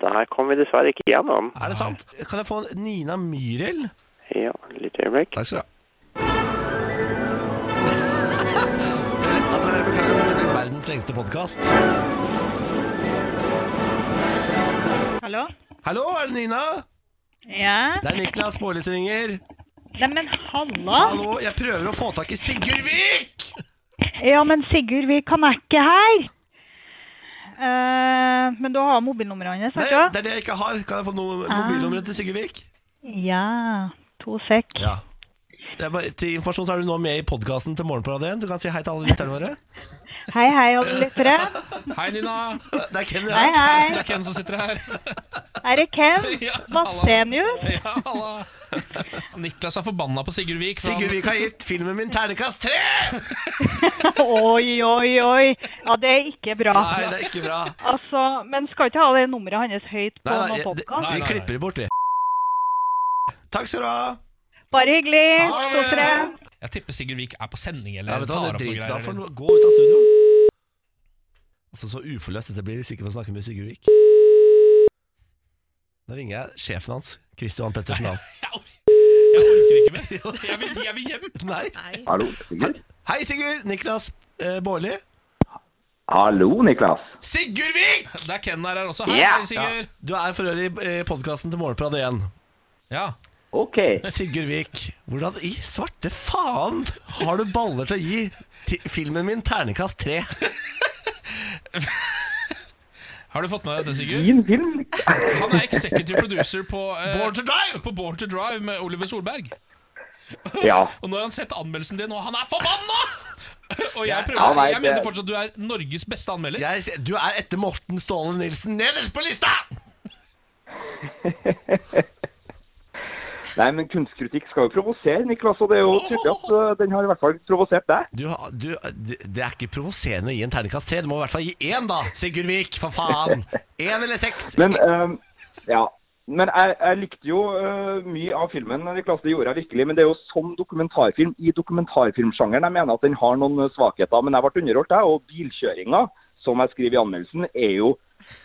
Speaker 8: Det her kom vi dessverre ikke gjennom.
Speaker 1: Er det sant? Kan jeg få Nina Myrel?
Speaker 8: Ja, et lite øyeblikk.
Speaker 1: Takk skal du ha. altså, jeg beklager at dette blir verdens lengste podkast.
Speaker 9: Hallo?
Speaker 1: Hallo, er det Nina?
Speaker 9: Ja?
Speaker 1: Det er Niklas Baarli som ringer.
Speaker 9: Nei, men halla!
Speaker 1: Hallo, jeg prøver å få tak i Sigurd Vik!
Speaker 9: Ja, men Sigurd Vik, han er ikke her. Eh, men du har mobilnummeret hans,
Speaker 1: Nei,
Speaker 9: ikke sant?
Speaker 1: det er det jeg ikke har. Kan jeg få no
Speaker 9: Ah.
Speaker 1: mobilnummeret til Sigurd Vik?
Speaker 9: Ja, to sek.
Speaker 1: Ja. Det er bare, til informasjon så er du nå med i podkasten til Morgen på Radio 1. Du kan si hei til alle lytterne våre.
Speaker 9: Hei, hei, alle
Speaker 1: *laughs*
Speaker 9: lyttere.
Speaker 2: Hei, Nina.
Speaker 1: Det er Ken,
Speaker 9: Hei,
Speaker 1: ja.
Speaker 2: Det
Speaker 9: hei.
Speaker 2: er Ken som sitter her.
Speaker 9: Er det
Speaker 1: *laughs*
Speaker 9: Ken?
Speaker 2: Ja, halla.
Speaker 9: Vassenius?
Speaker 2: *laughs* Ja, halla. Niklas er forbanna på Sigurd Vik. for han-
Speaker 1: Sigurd Vik har gitt filmen min ternekast tre!
Speaker 9: *laughs* Oi, oi, oi. Ja, det er ikke bra.
Speaker 1: Nei, det er ikke bra.
Speaker 9: Altså, men skal ikke ha det nummeret hans høyt på
Speaker 1: Nei, nei,
Speaker 9: noen
Speaker 1: jeg- det-
Speaker 9: podkast.
Speaker 1: vi
Speaker 2: nei.
Speaker 1: klipper det bort, vi. Takk skal du ha.
Speaker 9: Bare hyggelig.
Speaker 2: Ha det.
Speaker 9: Kos dere.
Speaker 2: Jeg tipper Sigurd Vik er på sending eller
Speaker 1: Ja, vet du hva,
Speaker 2: tar opp
Speaker 1: det
Speaker 2: noe
Speaker 1: driter
Speaker 2: greier.
Speaker 1: da for
Speaker 2: eller-
Speaker 1: noe. Gå ut av studio. Altså, så uforløst dette blir hvis ikke får snakke med Sigurd Vik. Da ringer jeg sjefen hans, Christian Pettersen
Speaker 2: *laughs*
Speaker 1: Dahl.
Speaker 2: Jeg orker- Jeg orker ikke mer. Jeg vil, jeg vil hjem.
Speaker 1: Nei.
Speaker 10: Hallo, Sigurd.
Speaker 1: Hei, Sigurd! Niklas eh, Baarli.
Speaker 10: Hallo, Niklas.
Speaker 1: Sigurd Vik!
Speaker 2: Det er Ken her her også. Hei,
Speaker 10: Ja.
Speaker 2: Sigurd.
Speaker 1: Du er for øvrig i eh, podkasten til Morgenprat igjen.
Speaker 2: Ja.
Speaker 10: Ok,
Speaker 1: Sigurd Vik, hvordan i svarte faen har du baller til å gi ti- filmen min ternekast tre?
Speaker 2: Har du fått med deg dette, Sigurd?
Speaker 10: fin film.
Speaker 2: Han er executive producer på, eh,
Speaker 1: Born to drive!
Speaker 2: på Born to Drive med Oliver Solberg.
Speaker 10: Ja,
Speaker 2: Og nå har han sett anmeldelsen din, og han er forbanna! *laughs* Og jeg, prøver,
Speaker 10: Ja,
Speaker 2: å si-
Speaker 10: nei,
Speaker 2: jeg
Speaker 10: det-
Speaker 2: mener fortsatt du er Norges beste anmelder.
Speaker 1: Jeg, sier- du er etter Morten Ståle Nilsen nederst på lista!
Speaker 10: nei, men kunstkritikk skal jo provosere, Niklas, og det er jo tydelig at øh, den har i hvert fall provosert deg.
Speaker 1: Du, har- du, du, det er ikke provoserende å gi en ternekast tre. Du må i hvert fall gi én, da, Sigurd Vik, for faen! Én eller seks.
Speaker 10: Men, øhm, ja, men jeg, jeg likte jo øh, mye av filmen, Niklas, det gjorde jeg virkelig, men det er jo som dokumentarfilm, i dokumentarfilmsjangeren, jeg mener at den har noen øh, svakheter, men jeg ble underholdt jeg, og bilkjøringa, som jeg skriver i anmeldelsen, er jo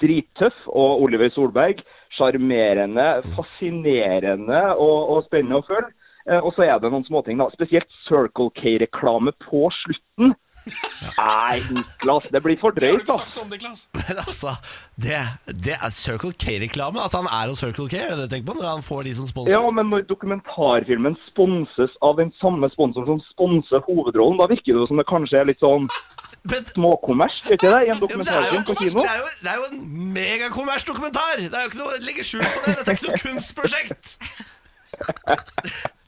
Speaker 10: drittøff, og Oliver Solberg, sjarmerende, fascinerende og, og spennende å følge. Eh, Og så er det noen småting, da. Spesielt Circle K-reklame på slutten. Nei, Niklas, det blir for
Speaker 2: Det har du
Speaker 10: drøyt,
Speaker 2: ikke
Speaker 10: da.
Speaker 2: sagt om, Niklas.
Speaker 1: *laughs* Men altså, det, det er Circle K-reklame. At han er hos Circle K, er det det du tenker på? Når han får de som sponsor?
Speaker 10: Ja, men når dokumentarfilmen sponses av den samme sponsoren som sponser hovedrollen, da virker det jo som det kanskje er litt sånn
Speaker 1: Men-
Speaker 10: småkommers, gjør ikke det? I en
Speaker 1: Ja, men det, er jo,
Speaker 10: dokumentarfilm på
Speaker 1: kommers-
Speaker 10: kino.
Speaker 1: det, er jo, det er jo en megakommersdokumentar! Det er jo ikke noe legge skjul på det. Dette er ikke noe kunstprosjekt!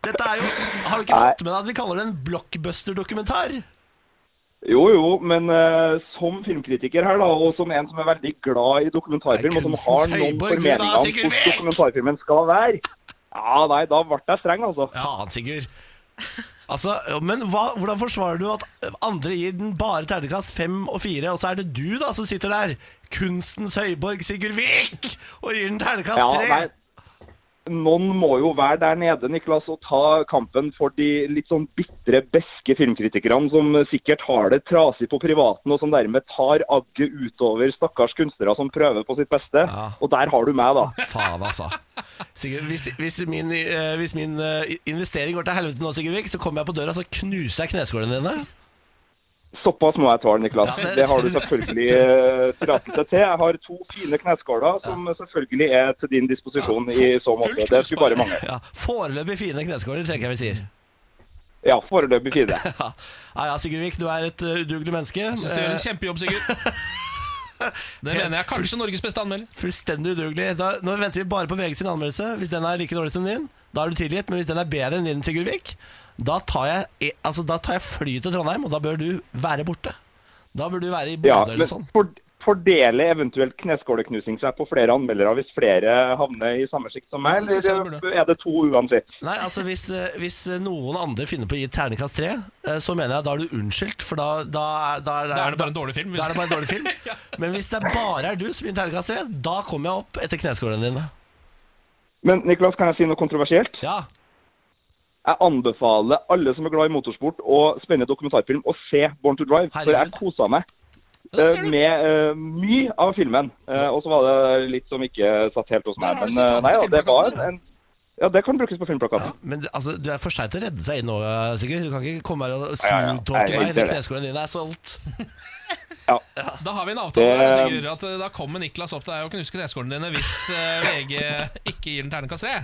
Speaker 1: Dette er jo Har du ikke
Speaker 10: Nei.
Speaker 1: fått med deg at vi kaller det en blockbuster-dokumentar?
Speaker 10: Jo, jo, men eh, som filmkritiker her, da, og som en som er veldig glad i dokumentarfilm,
Speaker 1: Det er
Speaker 10: og som
Speaker 1: kunstens
Speaker 10: har noen
Speaker 1: høyborg, Gud,
Speaker 10: formeninger
Speaker 1: da,
Speaker 10: om
Speaker 1: Sigurd
Speaker 10: hvordan
Speaker 1: Vik!
Speaker 10: dokumentarfilmen skal være Ja, nei, da ble jeg streng, altså.
Speaker 1: Faen, Sigurd. Altså, men hva, hvordan forsvarer du at andre gir den bare terningkast fem og fire, og så er det du da som sitter der, kunstens høyborg Sigurd Vik, og gir den terningkast
Speaker 10: Ja,
Speaker 1: tre?
Speaker 10: nei. Noen må jo være der nede Niklas, og ta kampen for de litt sånn bitre, beske filmkritikerne som sikkert har det trasig på privaten, og som dermed tar agget utover stakkars kunstnere som prøver på sitt beste.
Speaker 1: Ja.
Speaker 10: Og der har du meg, da.
Speaker 1: Faen, altså. Sigurd, hvis, hvis min, eh, hvis min eh, investering går til helvete nå, Sigurd Vik, så kommer jeg på døra så knuser jeg kneskålene dine.
Speaker 10: Såpass må jeg tåle, Niklas.
Speaker 1: Ja, det-
Speaker 10: det... har du selvfølgelig eh, tillatelse til. Jeg har to fine kneskåler som selvfølgelig er til din disposisjon i så måte.
Speaker 2: fullt
Speaker 10: Det skulle bare mangle.
Speaker 1: Ja, foreløpig fine kneskåler, tenker jeg vi sier.
Speaker 10: Ja, foreløpig fire.
Speaker 1: Ja, ja, ja Sigurd Vik, du er et eh, udugelig menneske. Jeg
Speaker 2: Syns du gjør en kjempejobb, Sigurd.
Speaker 1: *laughs*
Speaker 2: Det mener jeg kanskje Norges beste anmelder.
Speaker 1: Fullstendig udugelig. Da, nå venter vi bare på VG sin anmeldelse. Hvis den er like dårlig som din, da er du tilgitt. Men hvis den er bedre enn din, Sigurd Vik, da tar jeg, eh, altså, da tar jeg flyet til Trondheim, og da bør du være borte. Da bør du være i Bodø
Speaker 10: Ja,
Speaker 1: eller
Speaker 10: men
Speaker 1: noe sånt.
Speaker 10: for, fordeler eventuelt kneskåleknusing seg på flere anmeldere hvis flere havner i samme sikt som meg,
Speaker 2: det synes jeg
Speaker 10: eller er det to uansett?
Speaker 1: Nei, altså hvis, eh, hvis noen andre finner på å gi terningkast tre, eh, så mener jeg da er du unnskyldt, for da, da, er- da,
Speaker 2: Da er det bare en dårlig film.
Speaker 1: da er det bare en dårlig
Speaker 2: *laughs*
Speaker 1: film. Men hvis det bare er du som gir terningkast tre, da kommer jeg opp etter kneskålene dine.
Speaker 10: Men Niklas, kan jeg si noe kontroversielt?
Speaker 1: Ja,
Speaker 10: Jeg anbefaler alle som er glad i motorsport og spennende dokumentarfilm, å se Born to Drive. For jeg
Speaker 1: Herregud.
Speaker 10: kosa meg
Speaker 2: Ja,
Speaker 10: eh,
Speaker 2: ser du.
Speaker 10: med eh, mye av filmen. Eh, og så var det litt som ikke satt helt hos
Speaker 2: Der
Speaker 10: meg.
Speaker 2: har du
Speaker 10: Men eh,
Speaker 2: sitatet
Speaker 10: nei,
Speaker 2: til
Speaker 10: ja, det var
Speaker 2: filmplakaten,
Speaker 10: en Ja, det kan brukes på filmplakaten.
Speaker 1: Men det- altså, du er for seint til å redde seg inn nå, eh, Sigurd. Du kan ikke komme her og
Speaker 10: Ja, ja, ja.
Speaker 1: smooth-talke
Speaker 10: Nei, jeg
Speaker 1: meg
Speaker 10: innser
Speaker 1: når
Speaker 10: det.
Speaker 1: kneskålene dine er solgt.
Speaker 2: Da har vi en avtale, her,
Speaker 10: Det-
Speaker 2: Sigurd. At eh, da kommer Niklas opp til deg og knusker kneskålene dine hvis eh, VG ikke gir den terningkast tre.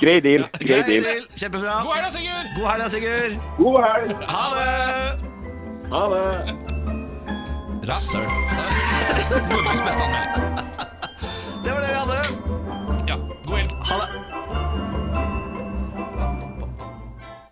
Speaker 10: Grei deal. Grei
Speaker 1: Grei
Speaker 10: deal.
Speaker 1: deal. Kjempebra.
Speaker 2: God helg, da, Sigurd!
Speaker 1: God helg, da, Sigurd.
Speaker 10: God helg!
Speaker 1: Ha det!
Speaker 10: Ha det!
Speaker 1: Rasshøl.
Speaker 2: Norges beste anmelder.
Speaker 1: Det var det vi hadde.
Speaker 2: Ja, god helg.
Speaker 1: Ha det.